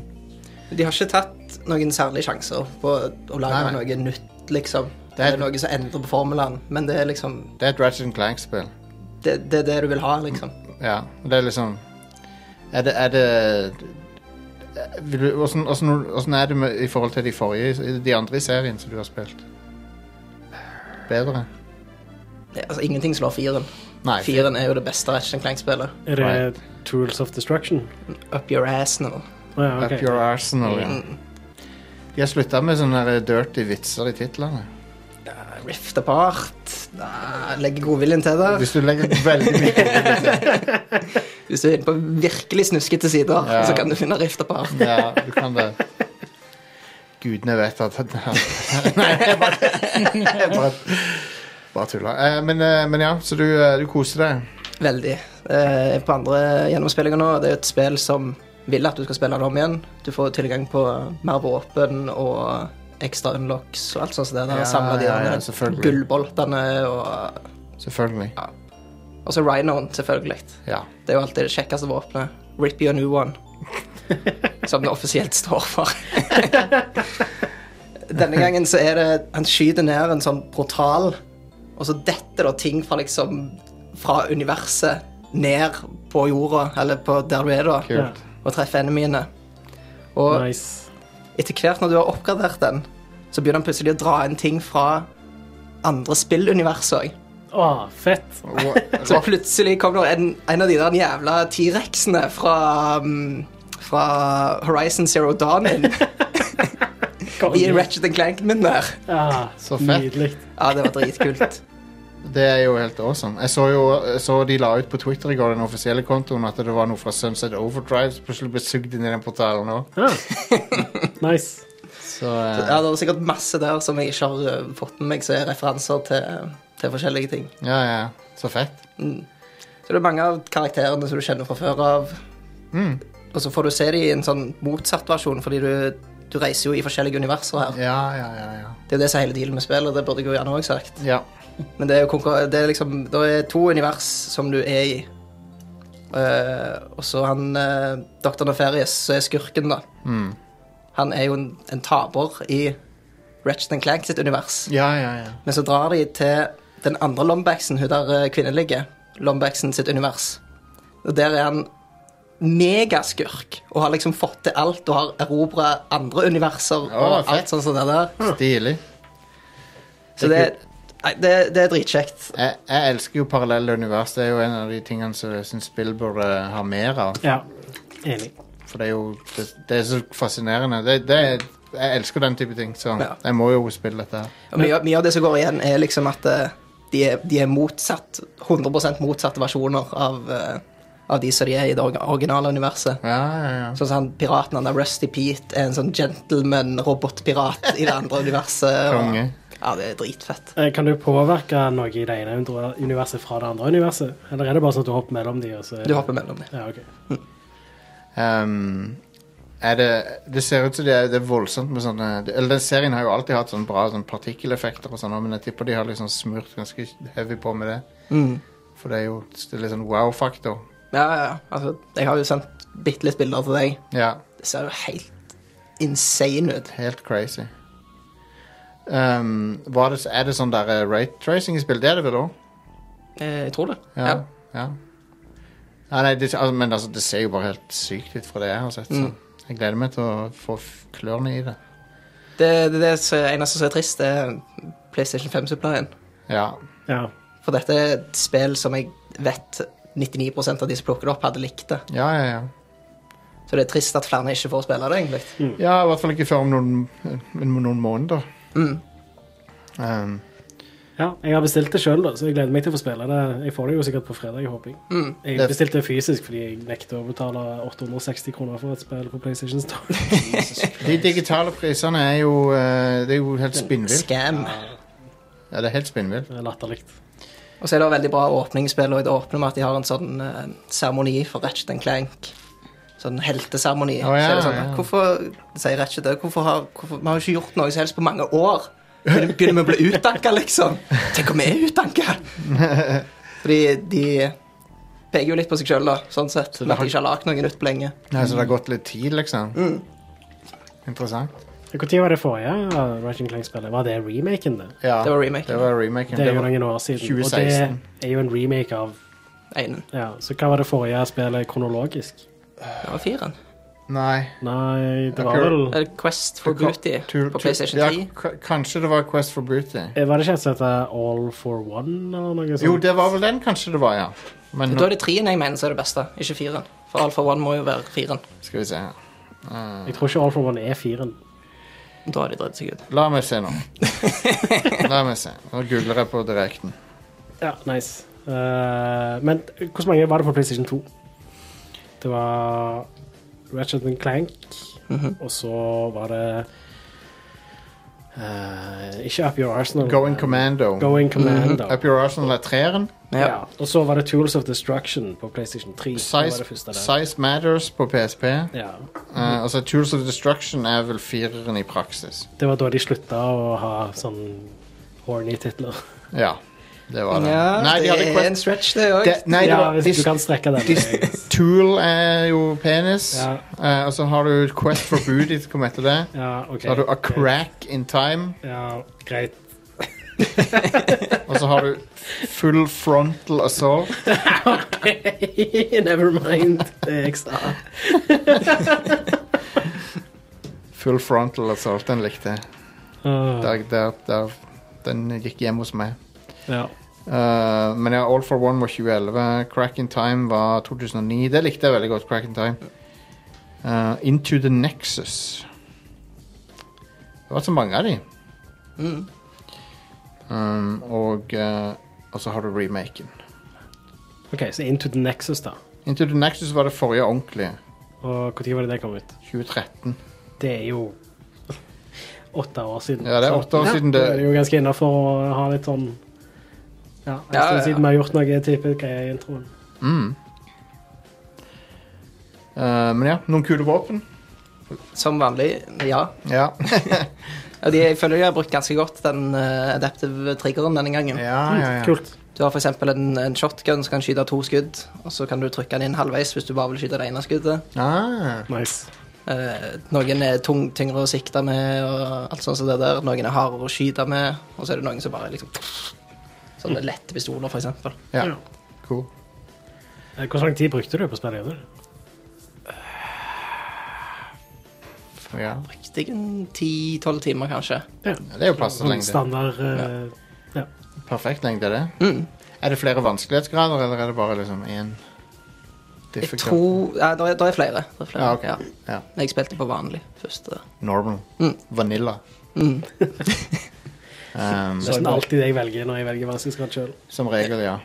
Speaker 6: De har ikke tatt noen særlige sjanser på å lage
Speaker 4: Nei, nei.
Speaker 6: noe nytt, liksom.
Speaker 4: Det er-
Speaker 6: Det er noe som endrer på formelen, men det er liksom
Speaker 4: Det er et Ratchet and Clank-spill.
Speaker 6: Det, det er det du vil ha, liksom.
Speaker 4: Ja, og det er liksom Er det, er det vil du- hvordan, hvordan, hvordan er det med, i forhold til de forrige De andre i serien som du har spilt? Bedre?
Speaker 6: Det, altså, ingenting slår firen.
Speaker 4: Nei.
Speaker 6: Firen er jo det beste Ratchet and Clank-spillet.
Speaker 5: Er det Tools of Destruction?
Speaker 6: Up your ass nå.
Speaker 5: Å ja,
Speaker 4: Up your
Speaker 5: ok.
Speaker 4: arsenal, ja.
Speaker 6: Mm.
Speaker 4: De har slutta med sånne der dirty vitser i titlene.
Speaker 6: Rift apart. Nei, Legger godviljen til det.
Speaker 4: Hvis du legger veldig mye
Speaker 6: Hvis du er inne på virkelig snuskete sider,
Speaker 4: Ja.
Speaker 6: så kan du finne rift apart.
Speaker 4: Ja, du kan det. Gudene vet at Nei, jeg bare jeg Bare, bare tuller. Eh, Men, eh, men ja, så du, eh, du koser deg.
Speaker 6: Veldig. Eh, på andre gjennomspillinger nå, det er jo et spill som vil at du skal spille det om igjen. Du får tilgang på mer våpen og ekstra unlocks og alt sånt. som Det der
Speaker 4: Ja,
Speaker 6: samler de
Speaker 4: ja, ja,
Speaker 6: der
Speaker 4: selvfølgelig.
Speaker 6: gullboltene og
Speaker 4: Selvfølgelig.
Speaker 6: Og så Rhinoen, selvfølgelig.
Speaker 4: Ja.
Speaker 6: Det er jo alltid det kjekkeste våpenet. Rip your new one. Som det offisielt står for. Denne gangen så er det Han skyter ned en sånn portal, og så detter da ting fra liksom Fra universet ned på jorda, eller på der du er, da.
Speaker 5: Ja.
Speaker 4: Kult.
Speaker 6: Og treffer enemiene. Og
Speaker 5: Nice.
Speaker 6: etter hvert når du har oppgradert den, så begynner han plutselig å dra inn ting fra andre spillunivers òg.
Speaker 5: Å, fett.
Speaker 4: Wha-
Speaker 6: Så plutselig kom det en, en av de der jævla T-rexene fra, um, fra Horizon Zero Dawn inn i Ratchet Clank min der.
Speaker 5: Ja,
Speaker 4: Så fett.
Speaker 5: Nydelig.
Speaker 6: Ja, det var dritkult.
Speaker 4: Det er jo helt awesome. Jeg så jo jeg så de la ut på Twitter i går, den offisielle kontoen, at det var noe fra Sunset Overdrive som plutselig ble sugd inn i den portalen òg.
Speaker 5: Ja. Nice.
Speaker 4: Så
Speaker 6: Ja,
Speaker 4: eh,
Speaker 6: det var sikkert masse der som jeg ikke har eh, fått med meg, som er referanser til, til forskjellige ting.
Speaker 4: ja, ja. Så fett.
Speaker 6: Så det er mange av karakterene som du kjenner fra før av. Og så får du se dem i en sånn motsatt versjon, fordi du, du reiser jo i forskjellige universer her.
Speaker 4: Ja, ja, ja. ja.
Speaker 6: Det er jo det som er hele dealen med spillet, det burde jeg jo gjerne òg sagt.
Speaker 4: ja.
Speaker 6: Men det er jo konkurr- det er liksom, det er to univers som du er i. Eh, og så han uh, Dr. Neferius, som er skurken, da. Mm. Han er jo en, en taper i Ratchet and Clank sitt univers.
Speaker 4: Ja, ja, ja.
Speaker 6: Men så drar de til den andre Lombaxen, hun der eh, kvinnelige. Lombaxen sitt univers. Og der er han megaskurk og har liksom fått til alt og har erobra andre universer
Speaker 4: Ja,
Speaker 6: og
Speaker 4: fett.
Speaker 6: alt sånt som det der.
Speaker 4: Stilig.
Speaker 6: Så det, er- nei, det, det er dritkjekt.
Speaker 4: Jeg, jeg elsker jo parallelle univers. Det er jo en av de tingene som jeg syns spill burde ha mer av.
Speaker 5: Ja. Enig.
Speaker 4: For det er jo Det, det er så fascinerende. Det, det er, jeg elsker den type ting, så
Speaker 6: Ja.
Speaker 4: jeg må jo spille dette her.
Speaker 6: Og mye, mye av det som går igjen, er liksom at eh, de er, de er motsatt, 100 motsatte versjoner av, eh, av de som de er i det orga- originale universet.
Speaker 4: Ja, ja, ja.
Speaker 6: Sånn som han piraten han der Rusty Pete er en sånn gentleman-robotpirat i det andre universet. og-
Speaker 4: Konge.
Speaker 6: Ja, det er dritfett.
Speaker 5: Eh, Kan du påvirke noe i det ene undre- universet fra det andre universet? Eller er det bare sånn at du hopper mellom de, og så
Speaker 6: Du hopper mellom dem.
Speaker 5: Ja, ok.
Speaker 4: Ehm, er det, det ser ut som det er, det er voldsomt med sånne Eller den serien har jo alltid hatt sånn bra sånn partikkeleffekter og sånn, men jeg tipper de har liksom smurt ganske heavy på med det. For det er jo det er litt sånn wow-faktor.
Speaker 6: Ja, ja, ja. Altså, jeg har jo sendt bitte litt bilder til deg.
Speaker 4: Ja,
Speaker 6: Det ser jo helt insane ut.
Speaker 4: helt crazy. Ehm, var det, er det sånn der eh, rate tracing i spill? Det er det vel òg?
Speaker 6: Eh, Jeg tror det.
Speaker 4: Ja. ja. ja nei, det, altså, men altså, det ser jo bare helt sykt ut fra det jeg har sett, så jeg gleder meg til å få f- klørne i det.
Speaker 6: Det, det, det som- eneste som er trist, det er PlayStation 5-supplyen.
Speaker 4: Ja.
Speaker 5: Ja.
Speaker 6: For dette er et spill som jeg vet 99 av de som plukker det opp, hadde likt det.
Speaker 4: Ja, ja, ja.
Speaker 6: Så det er trist at flere ikke får spille det, egentlig.
Speaker 4: Ja, i hvert fall ikke før om noen, om noen måneder.
Speaker 6: Mm.
Speaker 4: Um,
Speaker 5: ja. Jeg har bestilt det sjøl, så jeg gleder meg til å få spille det. Jeg får det jo sikkert på fredag, håper jeg. Jeg
Speaker 4: Det-
Speaker 5: bestilte det fysisk fordi jeg nekter å betale 860 kroner for et spill på PlayStation Store.
Speaker 4: de digitale prisene er jo eh, Det er jo
Speaker 6: Mm.
Speaker 4: helt spinnvilt.
Speaker 6: Scam.
Speaker 4: Ja, det er helt spinnvilt.
Speaker 5: Det er Latterlig.
Speaker 6: Og så er det også veldig bra åpningsspill, og det åpner med at de har en sånn eh, seremoni for Ratchet Clank. Sånn helteseremoni.
Speaker 4: Å, ja,
Speaker 6: så er det sånn,
Speaker 4: ja.
Speaker 6: Hvorfor sier Ratchet det? Hvorfor har, hvorfor, vi har jo ikke gjort noe som helst på mange år. Begynner, begynner vi å bli utdanka, liksom? Tenk om vi er utdanka! Fordi de peker jo litt på seg sjøl, da, sånn sett.
Speaker 4: det
Speaker 6: med at
Speaker 4: har- Altså,
Speaker 5: Mm.
Speaker 6: de ikke har lagd noe nytt på lenge. Mm.
Speaker 4: Nei, så det har gått litt tid, liksom. Interessant.
Speaker 5: Når var det forrige uh, Ratchet Clank-spillet? Var det remaken, det?
Speaker 4: Ja,
Speaker 6: Det var remaken.
Speaker 4: Det var remaken.
Speaker 5: Det er
Speaker 4: Det
Speaker 5: jo
Speaker 4: var-
Speaker 5: noen år siden.
Speaker 4: 2016.
Speaker 5: Og det er jo en remake av
Speaker 6: Einen.
Speaker 5: ja, Så hva var det forrige spillet kronologisk?
Speaker 6: Det var fireren.
Speaker 4: Nei.
Speaker 5: Nei, det var
Speaker 4: Akkurat.
Speaker 5: vel
Speaker 6: Eller Quest for
Speaker 4: Det kom-
Speaker 6: Booty
Speaker 4: Tur-
Speaker 6: på
Speaker 4: tur-
Speaker 6: PlayStation
Speaker 4: ja,
Speaker 6: 3.
Speaker 4: k- kanskje det var Quest for Booty.
Speaker 5: Eh, Var det ikke et som heter All for One, eller noe sånt?
Speaker 4: Jo, det var vel den kanskje det var, ja. Men
Speaker 6: Da
Speaker 4: nå
Speaker 6: er det treen jeg mener som er det beste, ikke fireren. For Alfa One må jo være fireren.
Speaker 4: skal vi se her.
Speaker 5: Jeg tror ikke All for One er firen.
Speaker 6: Da har de dritt seg ut.
Speaker 4: La meg se nå. La meg se. Nå googler jeg på direkten.
Speaker 5: Ja, nice. Eh, men hvor mange var det på PlayStation 2? Det var Ratchet Clank, og så var det eh, Ikke Up Your Arsenal.
Speaker 4: Going
Speaker 5: men
Speaker 4: Commando.
Speaker 5: Going Commando.
Speaker 4: Up Your Arsenal er treeren.
Speaker 5: ja. Og så var det Tools of Destruction på PlayStation 3. Det var det
Speaker 4: Size,
Speaker 5: første der.
Speaker 4: size Matters på PSP.
Speaker 5: Ja.
Speaker 4: Eh, altså Tools of Destruction er vel fireren i praksis.
Speaker 5: Det var da de slutta å ha sånn horny titler.
Speaker 4: Ja, det var det.
Speaker 6: Ja,
Speaker 4: Nei, de
Speaker 6: det
Speaker 4: hadde
Speaker 6: er en
Speaker 4: Quest
Speaker 6: stretch, det òg.
Speaker 4: det, Nei, det
Speaker 5: ja,
Speaker 4: var
Speaker 5: hvis du
Speaker 4: de,
Speaker 5: kan strekke den.
Speaker 4: Tool er jo penis.
Speaker 5: Ja.
Speaker 4: Eh, og så har du Quest for Booty som kom etter det.
Speaker 5: Ja, ok.
Speaker 4: Så har du A Crack in Time.
Speaker 5: Ja, greit.
Speaker 4: Og så har du Full Frontal Assault.
Speaker 5: Never mind. Det er ekstra.
Speaker 4: Full Frontal Assault, den likte jeg.
Speaker 5: Uh,
Speaker 4: Der, der, der, den gikk hjemme hos meg.
Speaker 5: ja.
Speaker 4: Eh, men ja, All for One var 2011. Crack in Time var 2009. Det likte jeg veldig godt. Crack in Time Eh, Into the Nexus. Det var så mange av de. Mm. Um, og eh, og så har du remaken.
Speaker 5: Ok, så Into the Nexus, da.
Speaker 4: Into the Nexus var det forrige ordentlige.
Speaker 5: Og når var det det kom ut?
Speaker 4: 2013.
Speaker 5: Det er jo åtte år siden.
Speaker 4: Ja, det er
Speaker 5: sant?
Speaker 4: åtte år siden
Speaker 5: Det
Speaker 4: det-
Speaker 5: er jo ganske innafor å ha litt sånn Ja, en
Speaker 6: Ja, ja,
Speaker 5: stund
Speaker 6: ja.
Speaker 5: siden vi har gjort noe type greier i introen.
Speaker 4: Mm. Eh, men ja, noen kule våpen.
Speaker 6: Som vanlig, ja.
Speaker 4: Ja.
Speaker 6: Og de, jeg føler de har brukt ganske godt den eh, adaptive triggeren denne gangen.
Speaker 4: ja, Ah, ja, ja.
Speaker 5: Kult.
Speaker 6: Du har f.eks. En, en shotgun som kan skyte to skudd, og så kan du trykke den inn halvveis hvis du bare vil skyte det ene skuddet.
Speaker 4: Ah,
Speaker 5: Nice.
Speaker 6: Eh, noen er tung, tyngre å sikte med, og alt sånt som det der. Noen er hardere å skyte med, og så er det noen som bare er liksom Sånne lette pistoler, f.eks.
Speaker 4: ja. Cool.
Speaker 5: Eh, Hvor lang tid brukte du på spillet? Jørgen?
Speaker 4: Ja.
Speaker 6: Riktig en 10-12 timer, kanskje.
Speaker 4: Det er jo passe
Speaker 5: Sånn
Speaker 4: lengde.
Speaker 5: standard eh, ja.
Speaker 4: Perfekt lengde, er det.
Speaker 6: Mm.
Speaker 4: Er det flere vanskelighetsgrader, eller er det bare liksom én
Speaker 6: Jeg tror Ja, det er, der er flere. Der er flere.
Speaker 4: Ja, ok.
Speaker 6: ja.
Speaker 4: Ja.
Speaker 6: Jeg spilte på vanlig først. eh.
Speaker 4: Normal.
Speaker 6: Mm.
Speaker 4: Vanilla.
Speaker 6: Mm.
Speaker 4: Um,
Speaker 5: Nesten alltid det jeg velger når jeg velger vanskelighetsgrad sjøl.
Speaker 4: som regel, ja.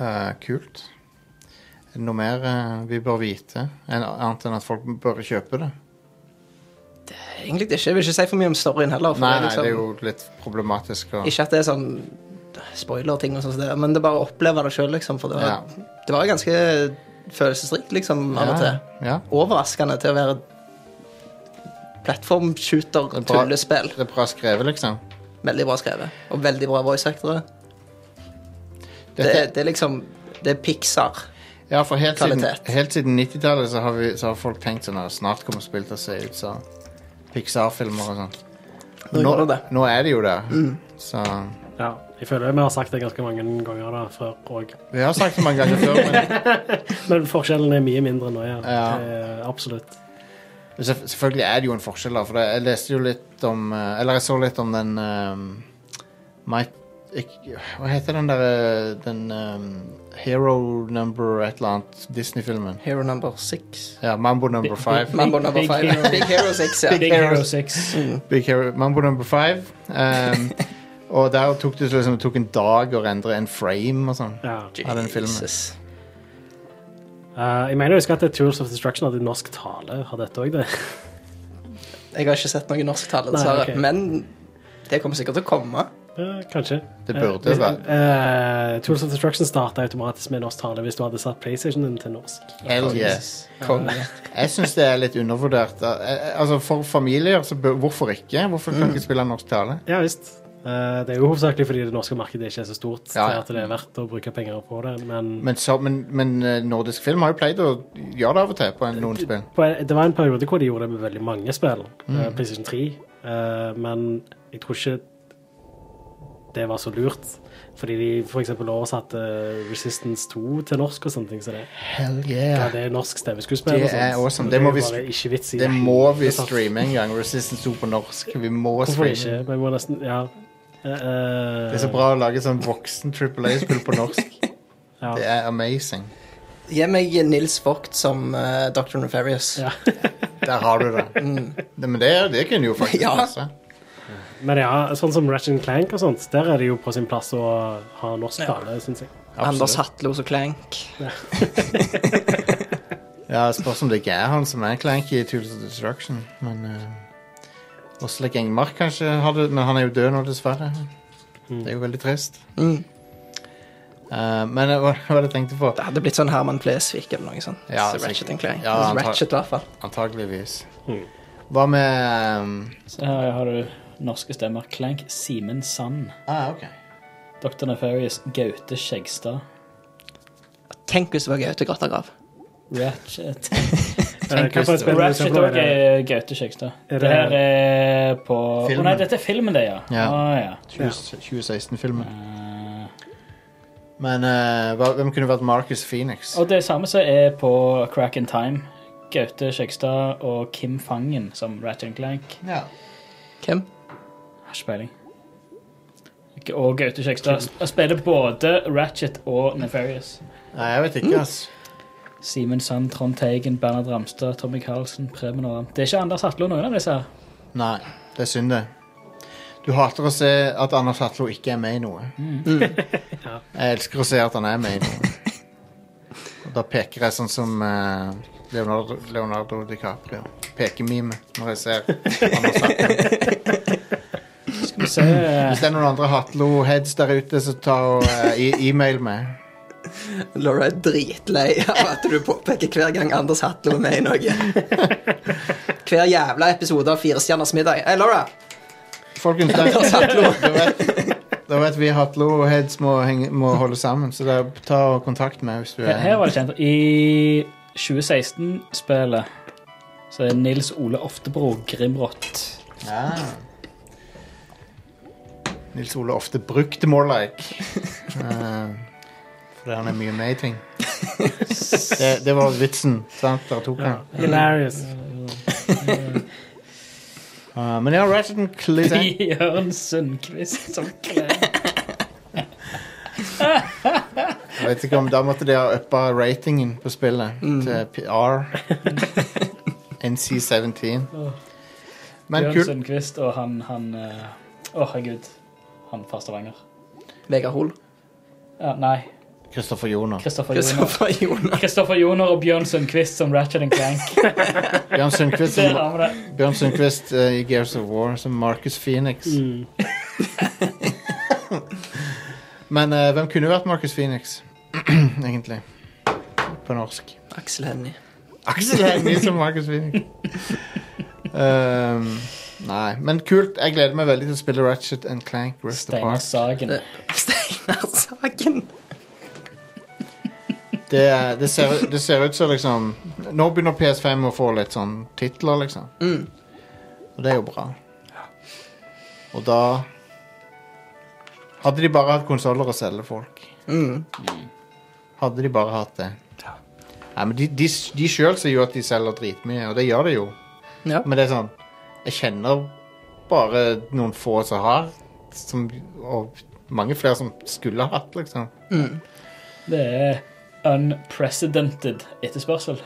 Speaker 4: Eh, kult. Er det noe mer eh, vi bør vite? En, annet enn at folk bør kjøpe det?
Speaker 6: Egentlig ikke. Jeg vil ikke si for mye om storyen heller. For
Speaker 4: Nei,
Speaker 6: er
Speaker 4: nei,
Speaker 6: liksom,
Speaker 4: det er jo litt problematisk. Og,
Speaker 6: Ikke at det er sånn spoiler-ting, og sånt, som det, men det er bare å oppleve det sjøl, liksom. For det var,
Speaker 4: Ja.
Speaker 6: det var ganske følelsesrikt, liksom, av og
Speaker 4: ja,
Speaker 6: til.
Speaker 4: ja.
Speaker 6: Overraskende til å være
Speaker 4: er bra.
Speaker 6: plattform-shooter-tullespill.
Speaker 4: Det er bra skrevet, liksom.
Speaker 6: Veldig bra skrevet. Og veldig bra voice actorer. Det,
Speaker 4: Dette,
Speaker 6: er- det er liksom Det er Pixar.
Speaker 4: ja, for helt siden,
Speaker 6: kvalitet.
Speaker 4: helt siden 90-tallet så, har vi- så har folk tenkt sånn at snart kommer spill til å se ut som Pixar-filmer og sånn.
Speaker 6: Nå gjør det Mm. det.
Speaker 4: nå er det jo det. Så
Speaker 5: Ja, jeg føler vi har sagt det ganske mange ganger da, før òg.
Speaker 4: Vi har sagt det mange ganger før, men
Speaker 5: Men forskjellen er mye mindre nå, ja.
Speaker 4: Ja.
Speaker 5: Eh, absolutt.
Speaker 4: selv- selvfølgelig er det jo en forskjell, da. For det- jeg leste jo litt om eh, Eller jeg så litt om den um, My, ikk- Hva heter den derre Den ehm, Hero Number et eller annet Disney-filmen?
Speaker 6: Hero number six.
Speaker 4: Ja, Mambo Number Five.
Speaker 6: Mambo
Speaker 7: Big-
Speaker 6: number
Speaker 7: Big
Speaker 6: five.
Speaker 7: Hero-
Speaker 6: Big Hero six, ja.
Speaker 7: Big Hero 6.
Speaker 4: Big Hero, Mambo Number Five. ehm, og der tok det liksom det tok en dag å endre en frame og sånn.
Speaker 5: Ja.
Speaker 4: Ja, den filmen.
Speaker 6: Jesus.
Speaker 5: Eh, jeg mener jeg husker at det er Tools of Destruction hadde norsk tale. Har dette òg det?
Speaker 6: Jeg har ikke sett noe norsk tale,
Speaker 5: Nei,
Speaker 6: dessverre.
Speaker 5: ok.
Speaker 6: Men det kommer sikkert til å komme.
Speaker 5: Eh, kanskje.
Speaker 4: Det
Speaker 5: Eh,
Speaker 4: burde
Speaker 5: hvis-
Speaker 4: være-
Speaker 5: eh, Tools of Destruction starta automatisk med norsk tale hvis du hadde satt PlayStation din til norsk.
Speaker 4: Hell yes.
Speaker 6: Konge.
Speaker 4: Jeg syns det er litt Eh, Mm. undervurdert. Al- al- Altså For familier, så bør, hvorfor ikke? Hvorfor kan ikke spille norsk tale?
Speaker 5: Ja visst. Eh, Det er jo hovedsakelig fordi det norske markedet ikke er så stort
Speaker 4: Ja, ja.
Speaker 5: til at det er verdt å bruke penger på det, men,
Speaker 4: Men, så, men, men eh, nordisk film har jo pleid å gjøre det av og til på en, noen spill.
Speaker 5: på en, det var en periode hvor de gjorde det med veldig mange spill.
Speaker 4: Mm.
Speaker 5: eh, PlayStation 3. eh, men jeg tror ikke det var så lurt. Fordi de f.eks. oversatte Resistance 2 til norsk og sånne ting. Så det,
Speaker 4: Hell
Speaker 5: ja,
Speaker 4: yeah.
Speaker 5: det er norsk stemmeskuespill.
Speaker 4: Det
Speaker 5: og sånt,
Speaker 4: er awesome.
Speaker 5: så
Speaker 4: Det må vi-
Speaker 5: bare ikke vits i
Speaker 4: Det må vi
Speaker 5: hele tatt.
Speaker 4: streame en gang. Resistance 2 på norsk. Vi må
Speaker 5: Hvorfor
Speaker 4: streame.
Speaker 5: ikke? Vi må nesten Ja. Eh,
Speaker 4: Det er så bra å lage sånn voksen Triple A-spill på norsk.
Speaker 5: Ja.
Speaker 4: Det er amazing.
Speaker 6: Gi meg Nils Vogt som eh, Dr. Nefarious.
Speaker 5: Ja.
Speaker 4: Der har du det. det men det, det kunne jo faktisk
Speaker 6: Ja.
Speaker 4: passe.
Speaker 5: Men ja, sånn som Ratchet Clank og sånt, der er det jo på sin plass å ha norsk tale, syns jeg.
Speaker 6: Anders Hatlos og Clank.
Speaker 4: Ja, det spørs om det ikke er han som er Clank i Tools of Destruction, men eh, Åsle Engmark kanskje har det, men han er jo død nå, dessverre. Det er jo veldig trist.
Speaker 6: Mm.
Speaker 4: Eh, men eh, hva var det jeg tenkte på?
Speaker 6: Det hadde blitt sånn Herman Flesvig eller noe sånt.
Speaker 4: Ja,
Speaker 6: Så Ratchet and
Speaker 4: sikkert.
Speaker 6: Clank. Altså,
Speaker 4: Ja, antag-
Speaker 6: Ratchet, i hvert fall.
Speaker 4: Antageligvis. Hva med um,
Speaker 7: Så her har du norske stemmer. Clank Simen Sand.
Speaker 4: Ah, ok.
Speaker 7: Dr. Nefarious Gaute Skjegstad.
Speaker 6: Tenk hvis det var Gaute Grattagrav.
Speaker 7: Ratchet.
Speaker 5: Eh, Hva for et spill er det som
Speaker 7: Ratchet
Speaker 5: er
Speaker 7: og
Speaker 5: bra?
Speaker 7: eh, Gaute Skjegstad.
Speaker 5: Er det-
Speaker 7: Det her er på Å
Speaker 4: Filmen.
Speaker 7: nei, dette er filmen, det, ja.
Speaker 4: Ja.
Speaker 7: Ah, ja.
Speaker 4: 20- 2016-filmen.
Speaker 7: Eh,
Speaker 4: Men eh, hva, hvem kunne vært Marcus Phoenix?
Speaker 7: og det samme som er på Crack in Time. Gaute Skjegstad og Kim Fangen som Ratchet and Clank.
Speaker 4: Ja.
Speaker 6: Hvem?
Speaker 7: Har ikke peiling. Ikke- Og Gaute Skjegstad sp- spiller både Ratchet og Nefarious.
Speaker 4: Nei, jeg vet ikke, ass.
Speaker 7: Simen Sand, Trond Teigen, Bernhard Ramstad, Tommy Carlsen, Preben Aram. Det er ikke Anders Hatlo noen av disse her.
Speaker 4: Nei, det er synd det. Du hater å se at Anders Hatlo ikke er med i noe.
Speaker 7: Mm.
Speaker 4: Jeg elsker å se at han er med i noe. Og da peker jeg sånn som eh, Leonardo, Leonardo DiCaprio. Pekemime når jeg ser Anders Hatlo.
Speaker 7: Skal vi se eh,
Speaker 4: Hvis det er noen andre Hatlo-heads der ute, så ta og eh, e- e-mail meg.
Speaker 6: Laura er dritlei av at du påpeker hver gang Anders Hatlo er med i noe. Hver jævla episode av Fire stjerners middag. Hei, Laura!
Speaker 4: Folkens, det
Speaker 6: Anders Hatlo.
Speaker 4: da vet, da vet vi Hatlo-heads må, henge- må holde sammen, så da ta og kontakt meg hvis du
Speaker 7: Her- Her
Speaker 4: er
Speaker 7: var det kjent. I 2016-spelet så er Nils Ole Oftebro Grimrott.
Speaker 4: Ja. Nils Ole ofte brukte more like. Eh, fordi han er mye med i ting. Det, det var vitsen, sant? Der tok han.
Speaker 5: Hilarious.
Speaker 4: Eh, men ja, Ratchet and Clank
Speaker 7: Bjørn Sundquist som klær.
Speaker 4: Jeg vet ikke om Da måtte de ha uppa ratingen på spillet til PR. NC17. Men
Speaker 7: Bjørn
Speaker 4: kult.
Speaker 7: Sundquist og han han eh, Å, herregud. Han fra Stavanger.
Speaker 6: Vegard Hoel.
Speaker 7: Ja, nei.
Speaker 4: Kristoffer Joner.
Speaker 7: Kristoffer Joner.
Speaker 6: Kristoffer Joner.
Speaker 7: Kristoffer Joner og Bjørn Sundquist som Ratchet and Clank.
Speaker 4: Bjørn Sundquist,
Speaker 7: Der
Speaker 4: som,
Speaker 7: har vi det.
Speaker 4: Bjørn Sundquist eh, i Gears of War som Marcus Phoenix. Men eh, hvem kunne vært Marcus Phoenix, egentlig? På norsk.
Speaker 6: Aksel Hennie.
Speaker 4: Aksel Hennie som Marcus Phoenix. Um, nei, men kult. Jeg gleder meg veldig til å spille Ratchet and Clank Rift
Speaker 7: Steinar
Speaker 4: Apart.
Speaker 7: Sagen.
Speaker 6: Steinar Sagen.
Speaker 4: Det, er- det, ser, det ser ut som liksom Nå begynner PS5 å få litt sånn titler, liksom.
Speaker 6: Mm.
Speaker 4: Og det er jo bra. Og da Hadde de bare hatt konsoller å selge folk.
Speaker 6: Mm.
Speaker 4: Hadde de bare hatt det. Nei, men De, de, de sjøl sier jo at de selger dritmye, og det gjør de jo.
Speaker 6: Ja.
Speaker 4: Men det er sånn Jeg kjenner bare noen få som har, som, og mange flere som skulle ha hatt, liksom.
Speaker 7: Det er unprecedented etterspørsel.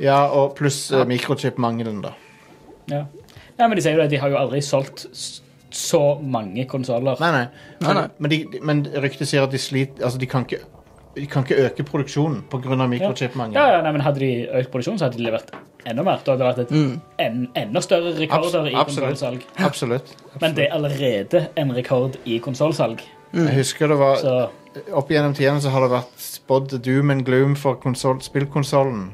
Speaker 4: Ja, og pluss eh, mikrochip-mangelen, da.
Speaker 7: Ja. Nei, men de sier jo det, de har jo aldri solgt s- så mange konsoller.
Speaker 4: Nei, nei. Men,
Speaker 6: Nei, nei.
Speaker 4: men, de- de, men ryktet sier at de sliter Altså, de kan ikke, de kan ikke øke produksjonen pga. mikrochip-mangel.
Speaker 7: Ja, ja, nei, men hadde de økt produksjonen, så hadde de levert enda mer. Da hadde det vært et en, enda større rekorder
Speaker 4: Abs-
Speaker 7: i
Speaker 4: absolutt.
Speaker 7: konsollsalg.
Speaker 4: Absolutt.
Speaker 7: Men det er allerede en rekord i konsollsalg.
Speaker 4: Jeg husker det var
Speaker 7: Så
Speaker 4: Opp gjennom tidene så har det vært spådd doom and gloom for konsol, spillkonsollen.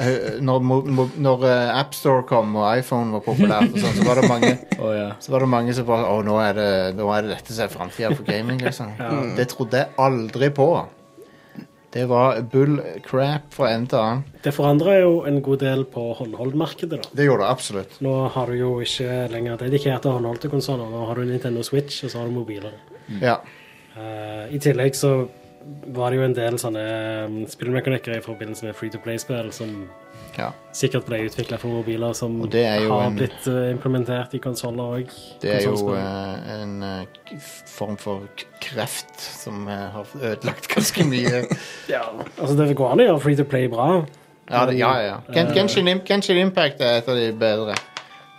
Speaker 4: eh, Når, mo- mo- når eh, AppStore kom og iPhone var populært, og sånn, så var det mange
Speaker 7: Å, ja.
Speaker 4: så var det mange som bare Å, nå er det, nå er det dette som er framtida for gaming. Liksom. Det trodde jeg aldri på. Det var bull crap fra ende til annen.
Speaker 5: Det forandrer jo en god del på håndholdmarkedet, da.
Speaker 4: Det gjorde det absolutt.
Speaker 5: Nå har du jo ikke lenger dedikerte håndhold til konsoller. Nå har du Nintendo Switch, og så har du mobiler.
Speaker 4: Mm. Ja.
Speaker 5: Eh, I tillegg så var det jo en del sånne um, spillmekanikker i forbindelse med free to play-spill som
Speaker 4: ja.
Speaker 5: sikkert ble utvikla for mobiler, som
Speaker 4: Og det er jo
Speaker 5: har
Speaker 4: en-
Speaker 5: blitt eh, implementert i konsoller òg.
Speaker 4: Det er jo eh, en eh, k- form for k- kreft som eh, har ødelagt ganske mye.
Speaker 5: Altså, det går an å gjøre free to play bra.
Speaker 4: Ja, det, ja, ja. Gen Genshin, Im- Genshin Impact er et av de bedre.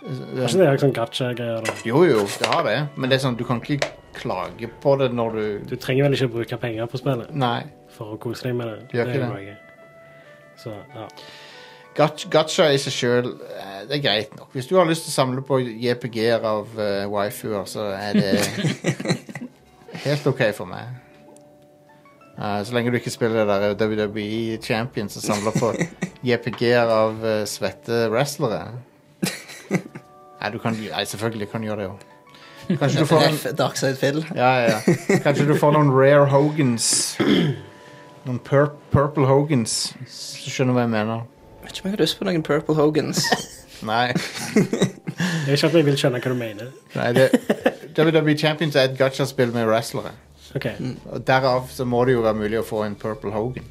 Speaker 5: Det er ikke det er sånn gacha-greier. da.
Speaker 4: Jo, jo, det har det, men det er sånn, du kan ikke klage på det når du
Speaker 5: Du trenger vel ikke å bruke penger på spillet
Speaker 4: Nei.
Speaker 5: for å kose deg med det.
Speaker 4: Gjør ikke
Speaker 5: er
Speaker 4: det.
Speaker 5: jo ikke. Så, ja.
Speaker 4: Gat- Gacha i seg sjøl det er greit nok. Hvis du har lyst til å samle på JPG-er av uh, waifuer, så er det helt OK for meg. Eh, så lenge du ikke spiller det der WWE Champions og samler på JPG-er av eh, svette wrestlere. Nei, du kan, nei, selvfølgelig kan du gjøre det òg. Kanskje du får en
Speaker 6: Ref Darkside Phil.
Speaker 4: Ja, ja, ja. Kanskje du får noen rare Hogans. Noen pur purple Hogans, hvis du skjønner hva jeg mener.
Speaker 6: Vet ikke om jeg har lyst på noen Purple Hogans.
Speaker 4: Nei.
Speaker 5: Jeg vet ikke at jeg vil skjønne hva du mener.
Speaker 4: Nei, det, WWE Champions er et gacha-spill med wrestlere.
Speaker 5: OK.
Speaker 4: Og Derav så må det jo være mulig å få en Purple Hogan.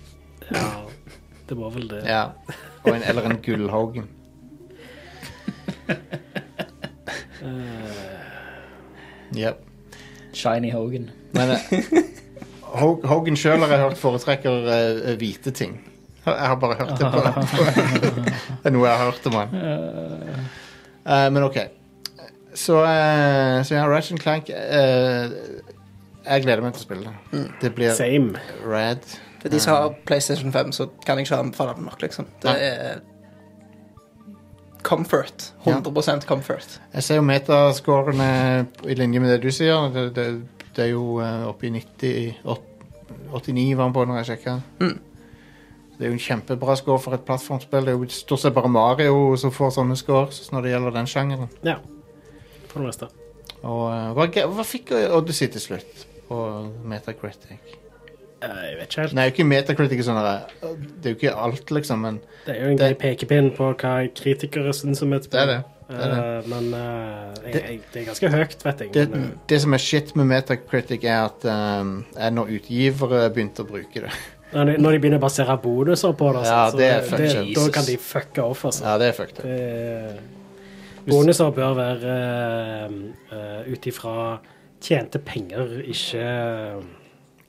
Speaker 5: Ja, det var vel det.
Speaker 4: Ja. Og en, eller en Gull Hogan. Yep.
Speaker 7: Shiny Hogan.
Speaker 4: Men eh, Hog- Hogan sjøl har jeg hørt foretrekker eh, hvite ting. Jeg har bare hørt det på, på Det er noe jeg har hørt om han. Eh, men OK. Så, eh, så ja, Ratchet Clank eh, Jeg gleder meg til å spille det. Det blir
Speaker 5: Same.
Speaker 4: rad.
Speaker 6: For de som har PlayStation 5, så kan jeg ikke anbefale det nok, liksom. Det er comfort. 100 comfort.
Speaker 4: Jeg ser jo metascorene i linje med det du sier. Det, det, det er jo eh, oppe i 90 åt- 89 var den på når jeg sjekka. Mm. Det er jo en kjempebra score for et plattformspill. Det er jo stort sett bare Mario som får sånne scores når det gjelder den sjangeren.
Speaker 5: Ja. For det meste.
Speaker 4: Og eh, hva, ga- hva fikk Odyssey til slutt på Metacritic?
Speaker 5: Eh, Jeg vet ikke helt.
Speaker 4: Nei, ikke Metacritic sånn der, eh, Det er jo ikke alt, liksom, men
Speaker 5: Det er jo en
Speaker 4: Det-
Speaker 5: grei pekepinn på hva kritikere syns om
Speaker 4: det er
Speaker 5: et spill.
Speaker 4: det. det, er det.
Speaker 5: Eh, men eh, jeg, jeg, det er ganske høyt, vet jeg.
Speaker 4: det,
Speaker 5: Men, eh,
Speaker 4: det som er shit med Metacritic, er at um, er når utgivere begynte å bruke det.
Speaker 5: når, de, når de begynner å basere bonuser på det,
Speaker 4: Ja,
Speaker 5: så-
Speaker 4: det er
Speaker 5: så
Speaker 4: fucked
Speaker 5: det,
Speaker 4: up.
Speaker 5: da kan de fucke off. Altså.
Speaker 4: Ja, det er fucked up.
Speaker 5: Det er- bonuser bør være uh, ut ifra tjente penger, ikke,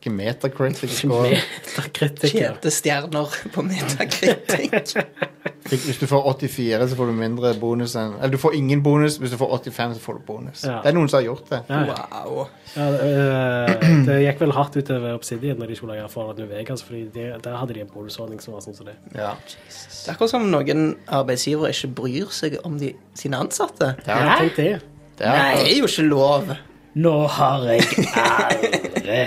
Speaker 4: Ikke Metacritic
Speaker 5: ikke
Speaker 4: score.
Speaker 5: metakritikere.
Speaker 6: Tjente stjerner på metakritikk.
Speaker 4: Hvis du får 84, så får du mindre bonus enn Eller du får ingen bonus. Hvis du får 85, så får du bonus.
Speaker 5: Ja.
Speaker 4: Det er noen som har gjort det.
Speaker 5: Ja, ja.
Speaker 6: Wow.
Speaker 5: Ja, eh, det gikk vel hardt utover Obsidian når de skulle lage Fallout New Vegas, fordi de, der hadde de en bonusordning som var sånn som det.
Speaker 4: Ja.
Speaker 6: Det er akkurat som noen arbeidsgivere ikke bryr seg om de, sine ansatte.
Speaker 5: Ja, tenk det.
Speaker 4: Det er,
Speaker 6: Det er jo ikke lov.
Speaker 7: Nå har jeg ære.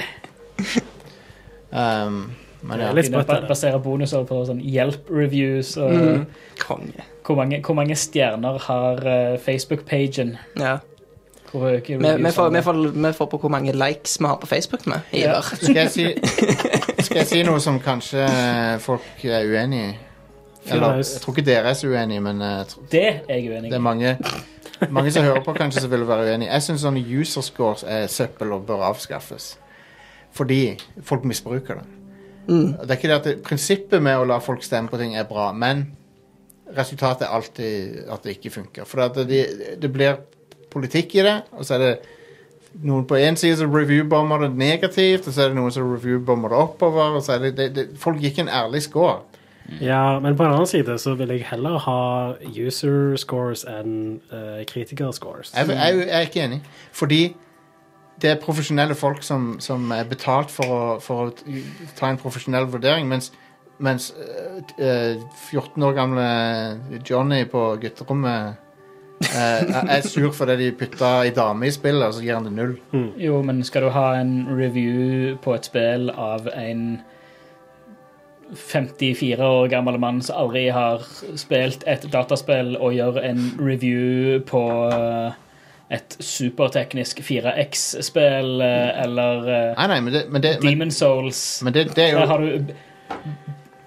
Speaker 4: Um, men ja.
Speaker 5: Det er
Speaker 7: Begynner å
Speaker 5: litt sprøtt.
Speaker 7: ba-
Speaker 5: det der.
Speaker 7: basere bonuser på sånn hjelp-reviews og
Speaker 4: Mm.
Speaker 6: Mm. Konge.
Speaker 7: hvor, mange, hvor mange stjerner har eh, Facebook-pagen?
Speaker 6: Ja.
Speaker 7: Hvor høye
Speaker 6: Vi, vi,
Speaker 7: reviews
Speaker 6: får,
Speaker 7: har
Speaker 6: vi,
Speaker 7: den?
Speaker 6: får, vi får på hvor mange likes vi har på Facebook med. Ivar.
Speaker 4: Skal jeg, si, skal jeg si noe som kanskje eh, folk er uenig i? Eller,
Speaker 5: løs.
Speaker 4: jeg tror ikke dere er så uenige, men eh, jeg tror-
Speaker 7: Det er jeg uenig
Speaker 4: det er
Speaker 7: i.
Speaker 4: mange Mange som hører på, kanskje som vil være uenige. Jeg syns sånne user scores er søppel og bør avskaffes. Fordi folk misbruker det. Og Det er ikke det at det, Prinsippet med å la folk stemme på ting er bra, men resultatet er alltid at det ikke funker. For at det, det blir politikk i det, og så er det noen på én side som reviewbomber det negativt, og så er det noen som reviewbomber det oppover. Og så er det, det, det, folk gir ikke en ærlig score.
Speaker 5: Ja, men på den annen side så vil jeg heller ha user scores enn uh, kritiker scores.
Speaker 4: Jeg, jeg, jeg er ikke enig. Fordi det er profesjonelle folk som, som er betalt for å, for å t- ta en profesjonell vurdering, mens, mens øh, t- øh, 14 år gamle Johnny på gutterommet øh, er er sur fordi de putta ei dame i spillet, og så gir han det null.
Speaker 7: Jo, men skal du ha en review på et spill av en 54 år gammel mann som aldri har spilt et dataspill, og gjør en review på eh, et superteknisk 4X-spill eh, eller eh,
Speaker 4: Nei, nei, men det, Mm. men det, men,
Speaker 7: Demon Souls.
Speaker 4: men det, det er
Speaker 7: Der
Speaker 4: jo
Speaker 7: har du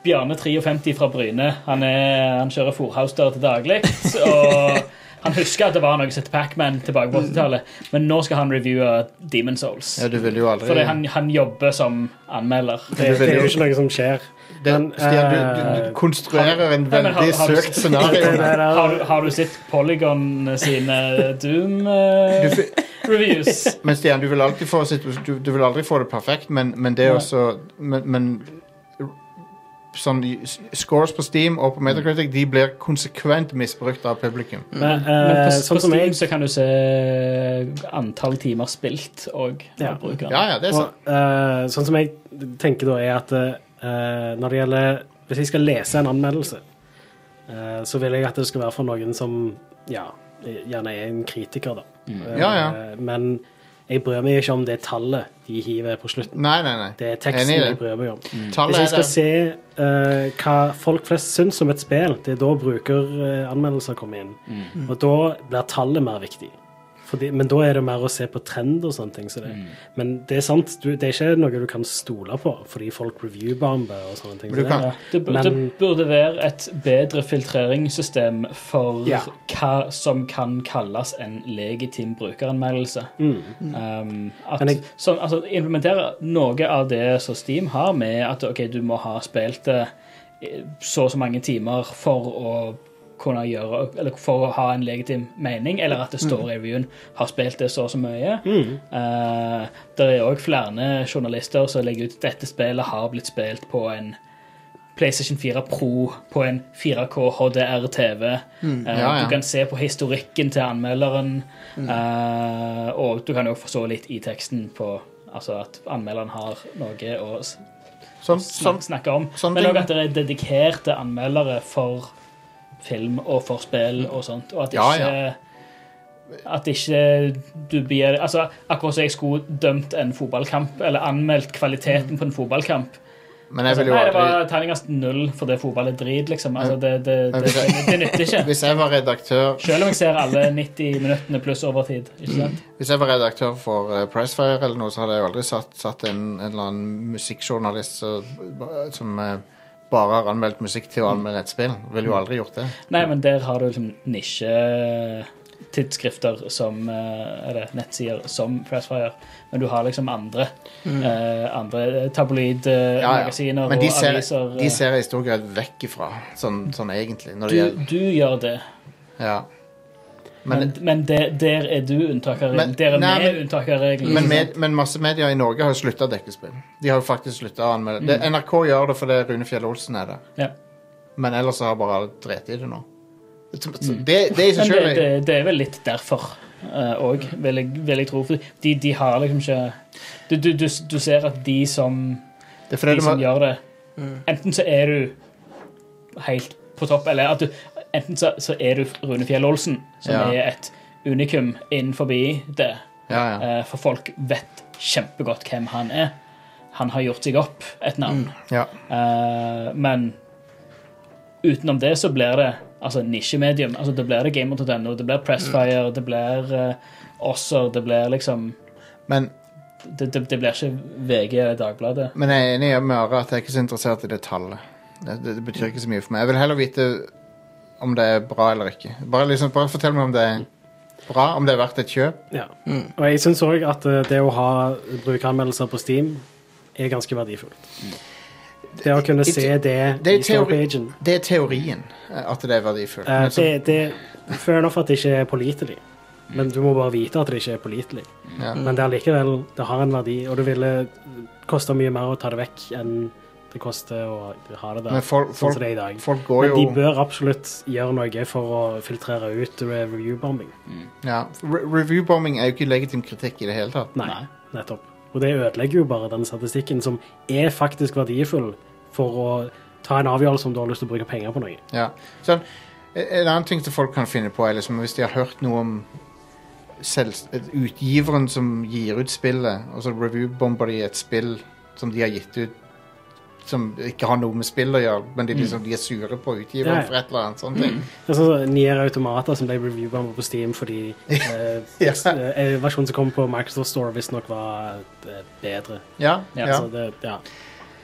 Speaker 7: Bjarne 53 fra Bryne. Han, er, han kjører Forhaus-dør til daglig. Og han husker at det var noe som het Pacman tilbake på 80-tallet, men nå skal han reviewe Demon Souls.
Speaker 4: ja, Du ville jo aldri
Speaker 7: Fordi han, han jobber som anmelder.
Speaker 5: Det, det er jo ikke noe som skjer.
Speaker 4: det,
Speaker 5: men,
Speaker 4: Stian, du, du, du
Speaker 5: eh,
Speaker 4: konstruerer en
Speaker 7: Nei, men har-
Speaker 4: veldig
Speaker 7: har du-
Speaker 4: søkt scenario.
Speaker 5: Det der er-
Speaker 7: Har, du- har du sett Polygon sine eh,
Speaker 4: Du, fi-
Speaker 7: Doom-reviews?
Speaker 5: Eh,
Speaker 4: Men Stian, du vil alltid få, situ- du, du vil aldri få det perfekt, men, men det er
Speaker 7: Nei.
Speaker 4: også men, men sånn, i- s- Scores på Steam og på Metacritic De blir konsekvent misbrukt av publikum.
Speaker 5: Men,
Speaker 7: Men
Speaker 5: eh,
Speaker 7: på, på
Speaker 5: sånn som
Speaker 7: Steam
Speaker 5: jeg
Speaker 7: så kan du se antall timer spilt og
Speaker 5: Ja.
Speaker 7: brukeren.
Speaker 4: Ja, ja, det er sant.
Speaker 5: Og, eh, sånn som jeg tenker da, er at eh, når det gjelder Hvis jeg skal lese en anmeldelse, eh, så vil jeg at det skal være for noen som ja, gjerne er en kritiker, da.
Speaker 7: Mm.
Speaker 5: Eh,
Speaker 4: Ja, ja.
Speaker 5: Men jeg bryr meg ikke om det tallet de hiver på slutten.
Speaker 4: Nei, nei, nei.
Speaker 5: Det er
Speaker 4: Enig
Speaker 5: teksten
Speaker 4: i det.
Speaker 5: jeg bryr
Speaker 7: Mm.
Speaker 5: meg om. Hvis jeg
Speaker 4: Tallet er
Speaker 5: skal
Speaker 4: der.
Speaker 5: se eh, hva folk flest syns om et spill, det er da brukeranmeldelser kommer inn.
Speaker 4: Mm.
Speaker 5: Og da blir tallet mer viktig. Fordi, men da er det mer å se på trend og sånne ting. Så
Speaker 4: Mm.
Speaker 5: det. Men det er sant, du, det er ikke noe du kan stole på, fordi folk reviewbomber og sånne ting.
Speaker 4: Men du
Speaker 5: så
Speaker 4: kan-
Speaker 5: det,
Speaker 7: Ja, det, burde,
Speaker 5: Men-
Speaker 7: det burde være et bedre filtreringssystem for
Speaker 5: Ja.
Speaker 7: hva som kan kalles en legitim brukeranmeldelse. Um, at,
Speaker 5: Mm. Men jeg-
Speaker 7: sånn, altså, implementere noe av det som Steam har, med at ok, du må ha spilt det eh, så og så mange timer for å kunne gjøre, eller for å ha en legitim mening, eller at det står
Speaker 5: Mm.
Speaker 7: i revyen har spilt det så og så mye. Eh, det er òg flere journalister som legger ut dette spillet har blitt spilt på en PlayStation 4 Pro på en 4K HDR-TV. Eh,
Speaker 4: ja, ja.
Speaker 7: Du kan se på historikken til anmelderen, eh, og du kan jo forstå litt i teksten på altså at anmelderen har noe å s-
Speaker 4: Sånn,
Speaker 7: snak
Speaker 4: sånn,
Speaker 7: snakke om.
Speaker 4: sånn
Speaker 7: Men
Speaker 4: ting-
Speaker 7: òg at det er dedikerte anmeldere for film og for spill og sånt, og at ikke
Speaker 4: Ja,
Speaker 7: At ikke du blir altså, Akkurat som jeg skulle dømt en fotballkamp, eller anmeldt kvaliteten på en fotballkamp.
Speaker 5: Sånn.
Speaker 4: men jeg
Speaker 7: Altså,
Speaker 4: vil jo
Speaker 7: nei, det
Speaker 4: aldri
Speaker 7: var terningkast null fordi fotball er drit, liksom. Altså, det, det,
Speaker 4: Men
Speaker 7: det,
Speaker 4: hvis
Speaker 7: det,
Speaker 4: jeg-
Speaker 7: det nytter ikke.
Speaker 4: Hvis jeg var redaktør
Speaker 7: Selv om jeg ser alle 90 minuttene pluss overtid. ikke sant?
Speaker 4: Hvis jeg var redaktør for uh, Pressfire eller noe, så hadde jeg jo aldri satt, satt en, en eller annen musikkjournalist som, som eh, bare har anmeldt musikk til å anmelde et spill. Ville jo aldri gjort det.
Speaker 7: Nei, men der har du liksom nisjetidsskrifter som eh, Eller nettsider som Pressfire. Men du har liksom andre. eh, andre
Speaker 4: Mm. Ja, ja.
Speaker 7: tabloidmagasiner
Speaker 4: Men de
Speaker 7: og
Speaker 4: ser,
Speaker 7: aviser. eh.
Speaker 4: de ser jeg i stor grad vekk ifra, sånn, sånn egentlig. Når det
Speaker 7: du,
Speaker 4: gjelder,
Speaker 7: du gjør det,
Speaker 4: ja.
Speaker 7: men,
Speaker 4: Men,
Speaker 7: men der- der er du unntaket av
Speaker 4: Men-
Speaker 7: regelen. Der er
Speaker 4: nei,
Speaker 7: vi
Speaker 4: men-
Speaker 7: unntaket av regelen.
Speaker 4: men,
Speaker 7: ikke
Speaker 4: med,
Speaker 7: sant?
Speaker 4: men masse medier i Norge har jo slutta å dekke spill. De har jo faktisk slutta å anmelde. Det,
Speaker 7: Mm.
Speaker 4: NRK gjør det fordi Rune Fjell Olsen er der,
Speaker 7: Ja.
Speaker 4: men ellers så har bare alle dreti i det nå. Så- så Det, det i seg
Speaker 7: Mm. Men
Speaker 4: sjøl
Speaker 7: det, det, det er vel litt derfor òg, vil, jeg- vil jeg tro. For de, de har liksom ikke du, du, du, du ser at de som,
Speaker 4: Det er fordi
Speaker 7: de
Speaker 4: du
Speaker 7: som
Speaker 4: må
Speaker 7: gjør det Enten så er du helt på topp, eller at du Enten så, så er du Rune Fjell Olsen, som
Speaker 4: Ja.
Speaker 7: er et unikum innenfor det.
Speaker 4: Ja, ja.
Speaker 7: Eh, For folk vet kjempegodt hvem han er. Han har gjort seg opp et navn.
Speaker 4: ja.
Speaker 7: Eh, men utenom det så blir det altså nisjemedium. Altså, det blir det gamer.no, det blir Pressfire, det blir uh, Osser, det blir liksom
Speaker 4: Men,
Speaker 7: det, det, det blir ikke VG eller Dagbladet.
Speaker 4: men jeg er enig med Are at jeg er ikke så interessert i det tallet. Det, det, det betyr ikke så mye for meg. Jeg vil heller vite om det er bra eller ikke. Bare, liksom, bare fortell meg om det er bra, om det er verdt et kjøp.
Speaker 5: ja.
Speaker 4: Mm.
Speaker 5: Og jeg syns òg at eh, det å ha brukeranmeldelser på Steam er ganske verdifullt. Det å kunne
Speaker 4: Mm. Det-
Speaker 5: se det,
Speaker 4: Det er,
Speaker 5: i
Speaker 4: teori,
Speaker 5: storepagen
Speaker 4: det er teorien eh, at det er verdifullt.
Speaker 5: Eh,
Speaker 4: Men så-
Speaker 5: det, det Fair enough at det ikke er pålitelig, men du må bare vite at det ikke er pålitelig.
Speaker 4: Ja.
Speaker 5: Men det er likevel, det har en verdi, og det ville kosta mye mer å ta det vekk enn det koster å ha det der,
Speaker 4: Men folk,
Speaker 5: sånn
Speaker 4: folk,
Speaker 5: som det er i dag.
Speaker 4: folk går
Speaker 5: Men
Speaker 4: jo
Speaker 5: de bør absolutt gjøre noe for å filtrere ut reviewbombing.
Speaker 4: ja. Re Reviewbombing er jo ikke legitim kritikk i det hele tatt.
Speaker 5: Nei, nettopp. Og det ødelegger jo bare den statistikken som er faktisk verdifull for å ta en avgjørelse om du har lyst til å bruke penger på noe.
Speaker 4: Ja. Sånn, en annen ting som folk kan finne på, er liksom hvis de har hørt noe om selvs- utgiveren som gir ut spillet, og så reviewbomber de et spill som de har gitt ut som ikke har noe med spill å gjøre, men de, liksom, de er sure på utgiveren
Speaker 5: Mm. Ja.
Speaker 4: for et eller annet. sånne ting.
Speaker 5: Det er sånn som Nier Automata som ble reviewa på Steam fordi eh,
Speaker 4: Ja.
Speaker 5: eh, versjonen som kom på Microsoft Store visstnok var eh, bedre.
Speaker 4: Ja,
Speaker 7: Ja,
Speaker 4: ja.
Speaker 5: Så det, ja.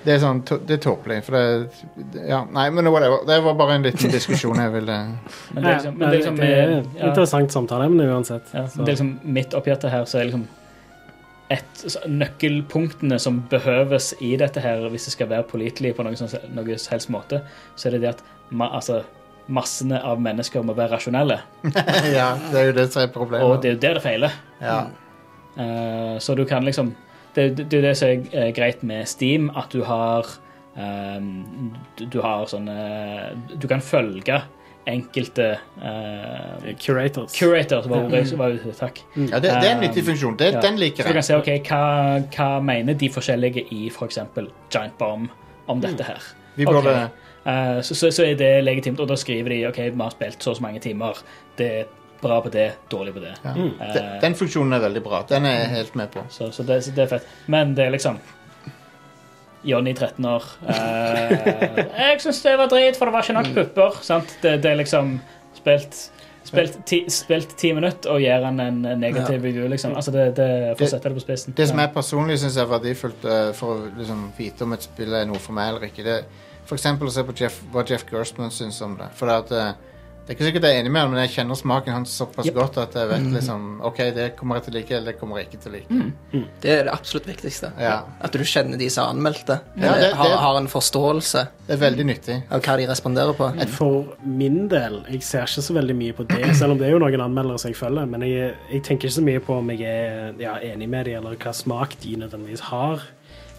Speaker 4: Det er sånn, to- det er tåpelig, for det, det- ja, nei, men whatever. Det var bare en liten diskusjon jeg ville
Speaker 7: Men det er liksom, men det er liksom,
Speaker 5: det er
Speaker 7: eh, ja.
Speaker 5: interessant samtaleemne uansett.
Speaker 7: Ja,
Speaker 5: Så-
Speaker 7: men det er liksom midt oppi dette her, så er liksom et, så Nøkkelpunktene som behøves i dette her, hvis det skal være pålitelig på noen, sånn, noen som helst måte, så er det det at ma, altså, massene av mennesker må være rasjonelle.
Speaker 4: Ja, det er jo det som er problemet.
Speaker 7: Og det er jo der det feiler.
Speaker 4: ja.
Speaker 7: Eh, så du kan liksom Det det- det er det som er eh, greit med Steam, at du har eh, du- Du har sånne Du kan følge enkelte eh,
Speaker 5: Curators.
Speaker 7: Curators var ordet jeg var ute etter, takk.
Speaker 4: ja det, det er en nyttig funksjon. Det,
Speaker 7: um, Ja.
Speaker 4: Mm. Den liker
Speaker 7: Så du kan
Speaker 4: jeg.
Speaker 7: se ok, hva, hva mener de forskjellige i f.eks. Giant Bomb om dette her.
Speaker 4: Mm. Vi burde
Speaker 7: Ok. Eh, så, så, så er det legitimt, og da skriver de ok, vi har spilt så og så mange timer. Det er bra på det, dårlig på det.
Speaker 4: ja.
Speaker 7: Eh,
Speaker 4: Den- Den funksjonen er veldig bra. Den er jeg helt med på.
Speaker 7: så, så, det, så det er fett. Men det er liksom Johnny 13 år. eh, jeg syns det var drit, for det var ikke nok pupper. Sant? Det, det er liksom spilt Spilt ti, spilt ti minutter og gir han en negativ review, liksom. Altså, det, det, for
Speaker 4: Det-
Speaker 7: å sette det på spissen.
Speaker 4: Det som
Speaker 7: Ja.
Speaker 4: jeg personlig syns er verdifullt eh, for å liksom, vite om et spill er noe for meg eller ikke, det er for eksempel å se på Jeff, hva Jeff Gerstmann syns om det. For det, at, eh, det er ikke sikkert jeg er enig med han, men jeg kjenner smaken hans såpass
Speaker 7: Yep. Mhm.
Speaker 4: godt at jeg vet liksom OK, det kommer jeg til å like, eller det kommer jeg ikke til å like.
Speaker 7: Mm.
Speaker 6: Det er det absolutt viktigste.
Speaker 4: Ja.
Speaker 6: At du kjenner de som anmeldte.
Speaker 4: Ja, det-
Speaker 6: Eller
Speaker 4: det-
Speaker 6: har, har en forståelse
Speaker 4: Det er veldig nyttig.
Speaker 6: av hva de responderer på.
Speaker 5: Mm. For min del, jeg ser ikke så veldig mye på det, selv om det er jo noen anmeldere som jeg følger, men jeg, jeg tenker ikke så mye på om jeg er ja, enig med dem, eller hva smak de nødvendigvis har.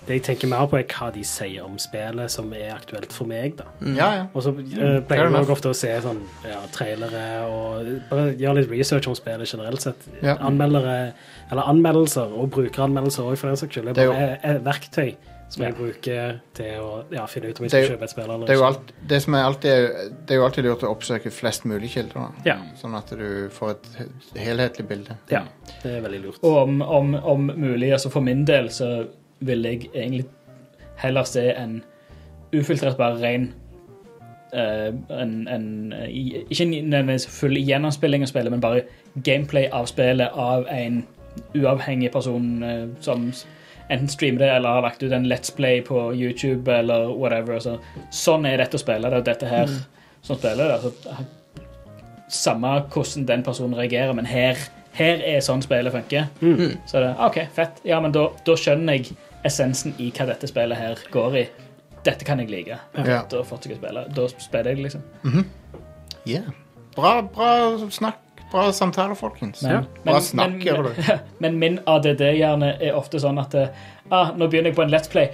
Speaker 5: Det jeg tenker mer på, er hva de sier om spillet som er aktuelt for meg, da.
Speaker 7: Mm.
Speaker 4: Ja, ja.
Speaker 5: Og så eh,
Speaker 4: fair
Speaker 5: pleier jeg
Speaker 4: enough.
Speaker 5: nok ofte å se sånn, ja, trailere og bare gjøre litt research om spillet generelt sett.
Speaker 4: Ja.
Speaker 5: Anmeldere, eller anmeldelser og brukeranmeldelser òg, for den saks skyld. Det
Speaker 4: Det er jo-
Speaker 5: er bare et verktøy som jeg
Speaker 7: Ja.
Speaker 5: bruker til å ja, finne ut om jeg
Speaker 4: Det er
Speaker 5: skal
Speaker 4: jo-
Speaker 5: kjøpe et spill eller
Speaker 4: Det er, jo
Speaker 5: ikke.
Speaker 4: alt, det, som er alltid, det er jo alltid lurt å oppsøke flest mulig kilder, da.
Speaker 5: Ja.
Speaker 4: sånn at du får et he- helhetlig bilde.
Speaker 5: Ja, det er veldig lurt.
Speaker 7: Og om, om, om mulig, altså for min del, så ville jeg egentlig heller se en ufiltrert, bare ren eh, en, en, eh, i- Ikke nødvendigvis full gjennomspilling av spillet, men bare gameplay av spillet av en uavhengig person eh, som s- enten streamer det eller har lagt ut en Let's Play på YouTube eller whatever. Så, sånn er dette å spille. Det er dette her som spiller. det, Altså, samme hvordan den personen reagerer, men her, her er sånn spillet funker. Så det, OK, fett. Ja, men da, da skjønner jeg essensen i hva dette spillet her går i. Dette kan jeg like.
Speaker 4: Ja.
Speaker 7: Da fortsetter jeg å spille. Da spiller jeg, liksom.
Speaker 4: Yeah. Bra, bra snakk. Bra samtaler, folkens.
Speaker 7: Men,
Speaker 4: Bra snakk, gjør du.
Speaker 7: men, men min ADD-hjerne er ofte sånn at eh, ah, nå begynner jeg på en Let's Play.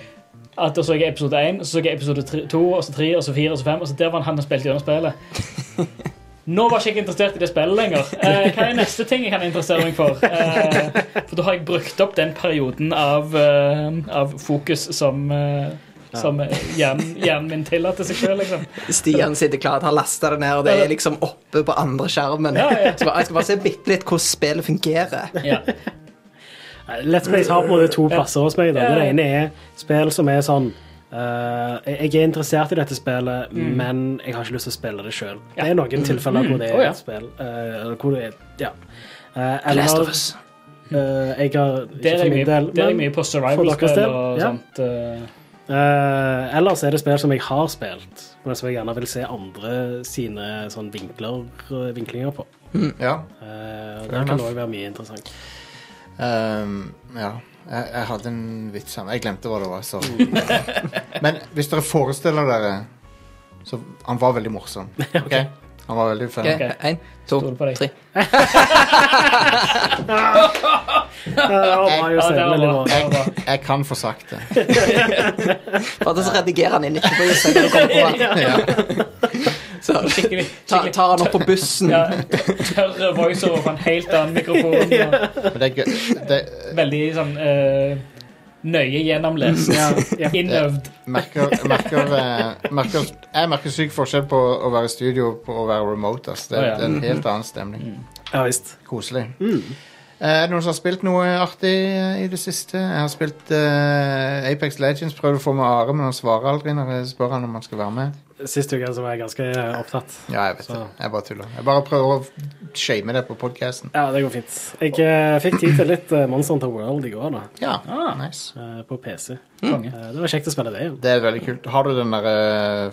Speaker 7: At da så jeg episode 1, så så jeg episode 2, og så 3, og så 4, og så 5, og så der var han som spilte gjennom spillet. Nå var ikke jeg interessert i det spillet lenger. Eh, hva er neste ting jeg kan interessere meg for? Eh, for da har jeg brukt opp den perioden av, eh, av fokus som eh, som hjernen, hjernen min tillater seg sjøl, liksom.
Speaker 6: Stian sitter klar, han har lasta det ned, og det er liksom oppe på andre skjermen.
Speaker 7: Ja, ja.
Speaker 6: Så bare, jeg skal bare se bitte litt hvordan spillet fungerer.
Speaker 7: Ja.
Speaker 5: Nei, Let's Plays har på en måte to plasser hos meg. Da.
Speaker 7: Ja.
Speaker 5: Det ene er spill som er sånn eh, Jeg er interessert i dette spillet, men jeg har ikke lyst til å spille det sjøl. Det er noen tilfeller hvor
Speaker 7: Å,
Speaker 5: det er
Speaker 7: ja.
Speaker 5: et spill. eh, eller hvor det er, ja. Eh,
Speaker 6: Last of
Speaker 5: eller
Speaker 6: Us.
Speaker 5: eh, jeg har
Speaker 7: Der
Speaker 5: ikke
Speaker 7: er
Speaker 5: for
Speaker 7: jeg
Speaker 5: min
Speaker 7: mye,
Speaker 5: del,
Speaker 7: der er jeg
Speaker 5: men
Speaker 7: mye på
Speaker 5: for deres
Speaker 7: survival-spill
Speaker 5: del,
Speaker 7: og
Speaker 5: ja.
Speaker 7: sånt. eh,
Speaker 5: eh, ellers er det spill som jeg har spilt, men som jeg gjerne vil se andre sine sånn vinkler, eh, vinklinger på.
Speaker 4: Ja.
Speaker 5: Eh, og
Speaker 4: Fair
Speaker 5: det kan
Speaker 4: enough.
Speaker 5: òg være mye interessant.
Speaker 4: Ehm, ja. Jeg, jeg hadde en vits her, men jeg glemte hva det var. Sorry. men hvis dere forestiller dere Så han var veldig morsom. ok? Han var veldig funny.
Speaker 6: Ok, Én, to,
Speaker 7: Stol på deg.
Speaker 6: tre.
Speaker 5: Ja, det var bra,
Speaker 7: Ja,
Speaker 5: Jostein.
Speaker 7: det var
Speaker 5: Veldig
Speaker 7: bra.
Speaker 5: bra.
Speaker 7: Det var bra.
Speaker 4: Jeg kan få sagt det.
Speaker 6: Bare så redigerer han inn ikke på Jostein når du kommer på han.
Speaker 4: Ja.
Speaker 6: Så
Speaker 7: Skikkelig,
Speaker 6: ta,
Speaker 7: skikkelig
Speaker 6: tar han opp på bussen.
Speaker 7: ja, tørre voiceover fra en helt annen mikrofon. Og
Speaker 4: Men det er gøy. Det,
Speaker 7: veldig sånn eh, nøye gjennomlest. Innøvd.
Speaker 4: merker, merker, eh, merker, jeg merker syk forskjell på å være i studio og på å være remote. ass. Det,
Speaker 7: Å, ja.
Speaker 4: det er en helt annen stemning.
Speaker 5: Ja visst.
Speaker 4: Koselig. Eh, Er det noen som har spilt noe artig eh, i det siste? Jeg har spilt eh, Apex Legends, prøvd å få med Are, men han svarer aldri når jeg spør han om han skal være med.
Speaker 5: Sist uke så var jeg ganske eh, opptatt.
Speaker 4: Ja, jeg vet
Speaker 5: Så-
Speaker 4: det. Jeg bare tuller. Jeg bare prøver å shame det på podkasten.
Speaker 5: Ja, det går fint. Jeg eh, fikk tid til litt eh, Monster Hunter World i går, da.
Speaker 4: Ja,
Speaker 7: Ah.
Speaker 4: nice.
Speaker 5: eh, På PC.
Speaker 7: Konge.
Speaker 5: Eh, Det var kjekt å spille det igjen.
Speaker 4: Det er veldig kult. Har du den eh, derre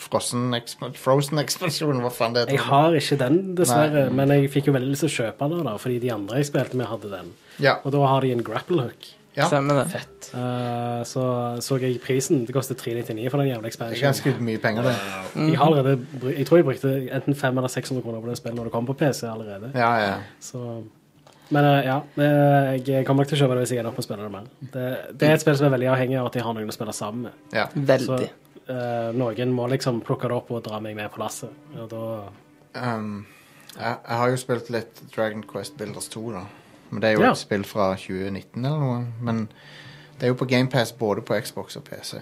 Speaker 4: Frozen-ekspansjonen? Frozen Expansion, hva faen det
Speaker 5: Jeg
Speaker 4: heter?
Speaker 5: har ikke den, dessverre, men jeg fikk jo veldig lyst til å kjøpe den, da, fordi de andre jeg spilte med, hadde den.
Speaker 4: Ja.
Speaker 5: Og da har de en grapple hook.
Speaker 4: Ja.
Speaker 6: Stemmer det.
Speaker 5: Eh, så så jeg prisen. Det koster 399 for den jævla
Speaker 4: Det er
Speaker 5: expansionen.
Speaker 4: ganske mye penger, det.
Speaker 5: Jeg, har allerede, bru- jeg tror jeg brukte enten 500 eller 600 kroner på det spillet når det kom på PC allerede.
Speaker 4: Ja, ja.
Speaker 5: Så, men eh, ja, eh, jeg kommer nok til å kjøpe det hvis jeg ender opp med å spille det mer. Det, det er et spill som er veldig avhengig av at jeg har noen å spille sammen med.
Speaker 4: ja.
Speaker 5: Så
Speaker 6: Veldig.
Speaker 5: eh, noen må liksom plukke det opp og dra meg med på lasset. Og da
Speaker 4: Um, jeg, jeg har jo spilt litt Dragon Quest Builders 2, da. Men det er jo
Speaker 5: Ja.
Speaker 4: et spill fra 2019 eller noe. Men det er jo på GamePass både på Xbox og PC.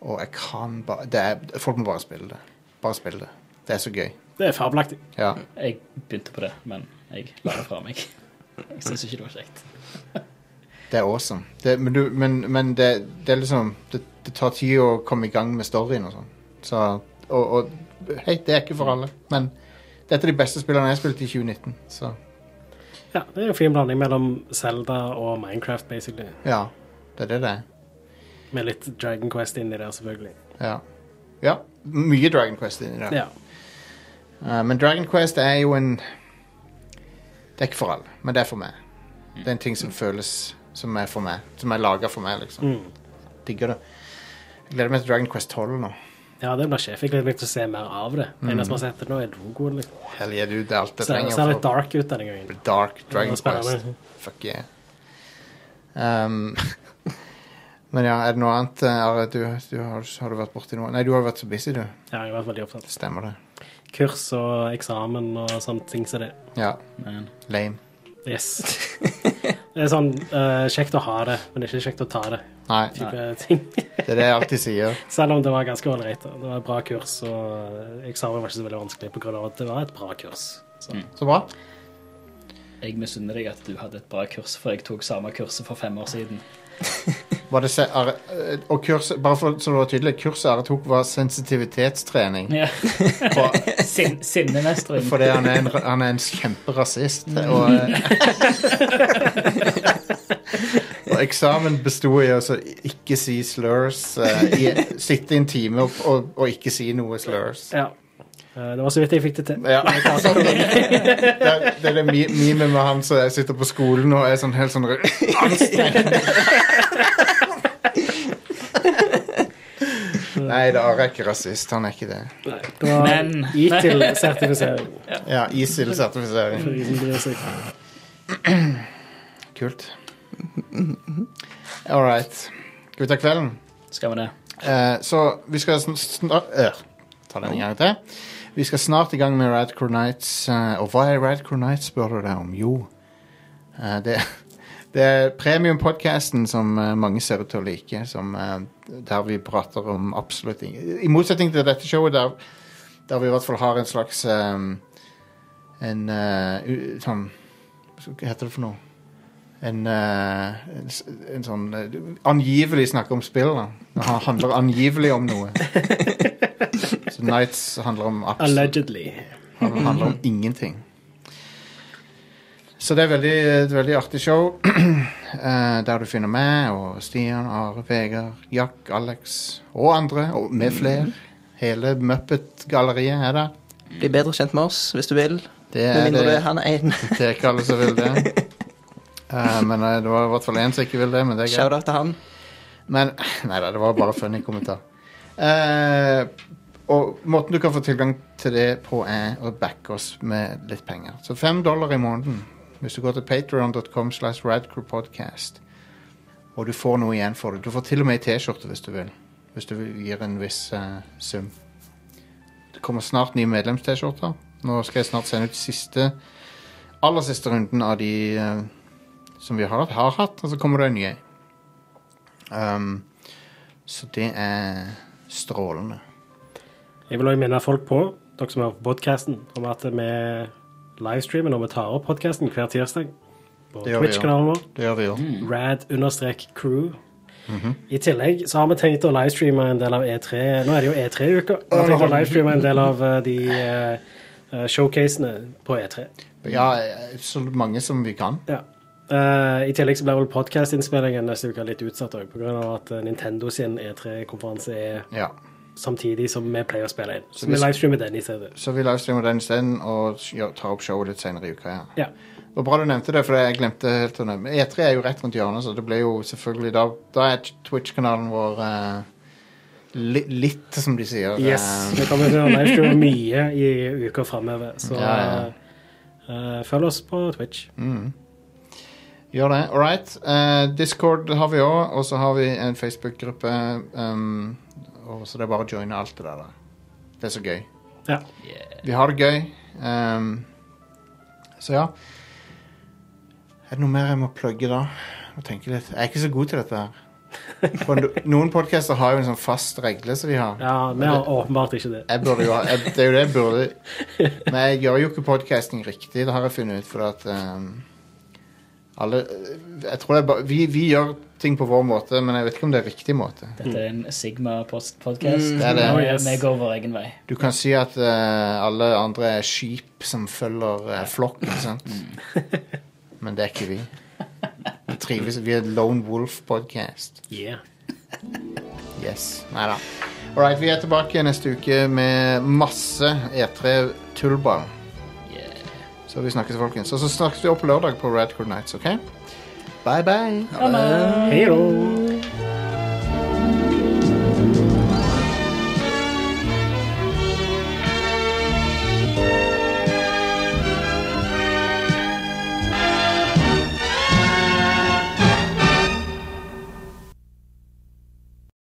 Speaker 4: Og jeg kan bare det er- Folk må bare spille det. Bare spille det. Det er så gøy.
Speaker 5: Det er fabelaktig.
Speaker 4: Ja.
Speaker 7: Jeg begynte på det, men jeg la det fra meg. Jeg syns ikke det var kjekt.
Speaker 4: Det er awesome. Det, men du, men, men det, det er liksom det, det tar tid å komme i gang med storyen og sånn. Så og, og Hei, det er ikke for alle. Men dette er de beste spillene jeg har spilt i 2019, så
Speaker 5: Ja, det er en fin blanding mellom Zelda og Minecraft, basically.
Speaker 4: ja. Det er det det er.
Speaker 5: Med litt Dragon Quest inni der, selvfølgelig.
Speaker 4: Ja. ja. Mye Dragon Quest inni der.
Speaker 5: Ja.
Speaker 4: Eh, men Dragon Quest er jo en Det er ikke for alle, men det er for meg.
Speaker 5: Mm.
Speaker 4: Det er en ting som føles som er for meg. Som er laga for meg, liksom.
Speaker 5: Mm.
Speaker 4: Digger det. Jeg gleder meg til Dragon Quest 12 nå.
Speaker 5: ja, det blir sjef. Jeg gleder meg til å se mer av det. Det eneste som har sett det nå, er logoen. Liksom.
Speaker 4: Hell yeah, dude. Mm. Det er alt jeg
Speaker 5: Ser,
Speaker 4: trenger.
Speaker 5: ser
Speaker 4: for-
Speaker 5: litt dark ut denne gangen.
Speaker 4: Dark Dragon
Speaker 5: Det var spennende.
Speaker 4: Quest. Fuck yeah. Um, men ja, er det noe annet, eh, Are? Du, du har, har du vært borti noe? Nei, du har vært så busy, du.
Speaker 5: Ja, jeg har vært veldig opptatt.
Speaker 4: Stemmer det.
Speaker 5: Kurs og eksamen og sånne ting som det.
Speaker 4: Ja.
Speaker 7: Men
Speaker 4: Lame.
Speaker 5: Yes. Det er sånn eh, kjekt å ha det, men det er ikke kjekt å ta det.
Speaker 4: Nei,
Speaker 5: Type ting.
Speaker 4: det er det jeg alltid sier.
Speaker 5: Selv om det var ganske ålreit. da. Det var et bra kurs, og eh, eksamen var ikke så veldig vanskelig pga. at det var et bra kurs. Så.
Speaker 4: Så bra.
Speaker 7: jeg misunner deg at du hadde et bra kurs, for jeg tok samme kurset for fem år siden.
Speaker 4: Var det se, Are, eh, og kurset, bare for, så det var tydelig, kurset Are tok, var sensitivitetstrening.
Speaker 7: Ja.
Speaker 4: For,
Speaker 7: Sin, Sinnemestring.
Speaker 4: fordi han er en, ra- han er en kjemperasist. Og, eh, og eksamen besto i å så ikke si slurs. eh, i, sitte i en time og, og, og ikke si noe slurs.
Speaker 5: Ja. Eh, Det var så vidt jeg fikk det til.
Speaker 4: Ja. sånn. Det, det er det mi- memet med han som sitter på skolen og er sånn helt sånn anstrengt. Nei, det er ikke rasist. Han er ikke det.
Speaker 5: Det var,
Speaker 7: Men-
Speaker 5: Gikk til sertifisering.
Speaker 4: Ja, ISIL-sertifisering.
Speaker 5: For de som bryr seg.
Speaker 4: Kult. All right. Skal vi ta kvelden?
Speaker 7: Skal vi det?
Speaker 4: Eh, så vi skal snart sn øh, Ta den en gang til. Vi skal snart i gang med Radcrow Nights. eh, og hva er Radcrow Nights, spør du deg om? Jo, eh, det, det er premium-podcasten som eh, mange ser ut til å like. Som, eh, der vi prater om absolutt ing- I motsetning til dette showet, der, der vi i hvert fall har en slags eh, En eh, u- sånn Hva heter det for noe? en, eh, en, s- en sånn eh, angivelig snakke om spill. da. Det han- handler angivelig om noe. Så Nights handler om absolutt
Speaker 5: Allegedly.
Speaker 4: han handler
Speaker 6: Mm.
Speaker 4: om ingenting. Så det er veldig, et veldig artig show, eh, der du finner meg og Stian, Are, Vegard, Jack, Alex og andre, og med
Speaker 6: Mm.
Speaker 4: flere. Hele Muppet-galleriet er der.
Speaker 6: Bli bedre kjent med oss hvis du vil.
Speaker 4: Det
Speaker 6: Med
Speaker 4: er
Speaker 6: mindre det er
Speaker 4: det,
Speaker 6: han ene.
Speaker 4: det er ikke alle som vil det. Eh, men eh, det var i hvert fall én som ikke vil det. men det er greit.
Speaker 6: Shout-out til han.
Speaker 4: Men Nei da, det var bare funny kommentar. Eh, og måten du kan få tilgang til det på, er å backe oss med litt penger. Så fem dollar i måneden hvis du går til patreon.com slash radcrewpodcast. Og du får noe igjen for det. Du får til og med ei T-skjorte hvis du vil. Hvis du gir en viss eh, sum. Det kommer snart nye medlems-T-skjorter. Nå skal jeg snart sende ut siste aller siste runden av de eh, som vi har hatt, har hatt, og så kommer det en ny. Um, så det er strålende.
Speaker 5: Jeg vil også minne folk på, dere som hører på podcasten, om at vi livestreamen når vi tar opp podkasten hver tirsdag. På
Speaker 4: Det gjør vi, ja.
Speaker 5: Twitch-kanalen vår.
Speaker 4: Det gjør vi jo.
Speaker 5: Rad-crew.
Speaker 4: Mhm.
Speaker 5: I tillegg så har vi tenkt å livestreame en del av E3. Nå er det jo E3-uka. Vi har tenkt å livestreame en del av eh, de eh, eh, showcasene på E E3.
Speaker 4: Ja, så mange som vi kan.
Speaker 5: Ja. Eh, I tillegg så blir vel podcastinnspillingen neste uke litt utsatt òg, pga. at eh, Nintendo sin E3-konferanse er
Speaker 4: Ja.
Speaker 5: samtidig som vi pleier å spille inn. Så vi
Speaker 4: hvis-
Speaker 5: livestreamer den i stedet.
Speaker 4: Så vi livestreamer den isteden og gjør- tar opp showet litt senere i uka. Ja.
Speaker 5: Ja.
Speaker 4: Og Bra du nevnte det, for jeg glemte helt å nevne E3 er jo rett rundt hjørnet, så det ble jo selvfølgelig Da, da er Twitch-kanalen vår eh, li, litt, som de sier.
Speaker 5: Yes,
Speaker 4: eh,
Speaker 5: vi kommer til å livestreame mye i uka framover, så
Speaker 4: Ja, ja. Mm.
Speaker 5: eh, eh, følg oss på Twitch.
Speaker 4: gjør det. All right. Eh, Discord har vi òg, og så har vi en Facebook-gruppe. ehm, og så det er bare å joine alt det der. Da. Det er så gøy.
Speaker 5: Ja.
Speaker 4: Vi har det gøy. ehm, så ja. Er det noe mer jeg må plugge da? Må tenke litt. Jeg er ikke så god til dette her. På no- noen podcaster har jo en sånn fast regle som de har.
Speaker 5: Ja, vi har åpenbart ikke det.
Speaker 4: Jeg burde jo ha, jeg, det er jo det jeg burde. Men jeg gjør jo ikke podcasting riktig, det har jeg funnet ut, for at ehm, alle, jeg tror det er bare, vi, vi gjør ting på vår måte, men jeg vet ikke om det er riktig måte.
Speaker 7: Dette er en Sigma-podcast.
Speaker 4: Mm. Det er det.
Speaker 5: Oh, yes.
Speaker 7: Vi går vår egen vei.
Speaker 4: Du kan si at eh, alle andre er skip som følger eh, flokken, sant? Men det er ikke vi. Vi trives, vi er et lone wolf podcast.
Speaker 5: Yeah.
Speaker 4: Yes. Neida. All right, vi er tilbake neste uke med masse E3-tullball. Så vi snakkes, folkens. Og så snakkes vi opp lørdag på Radcord Nights, OK? Bye, bye.
Speaker 5: Hei då!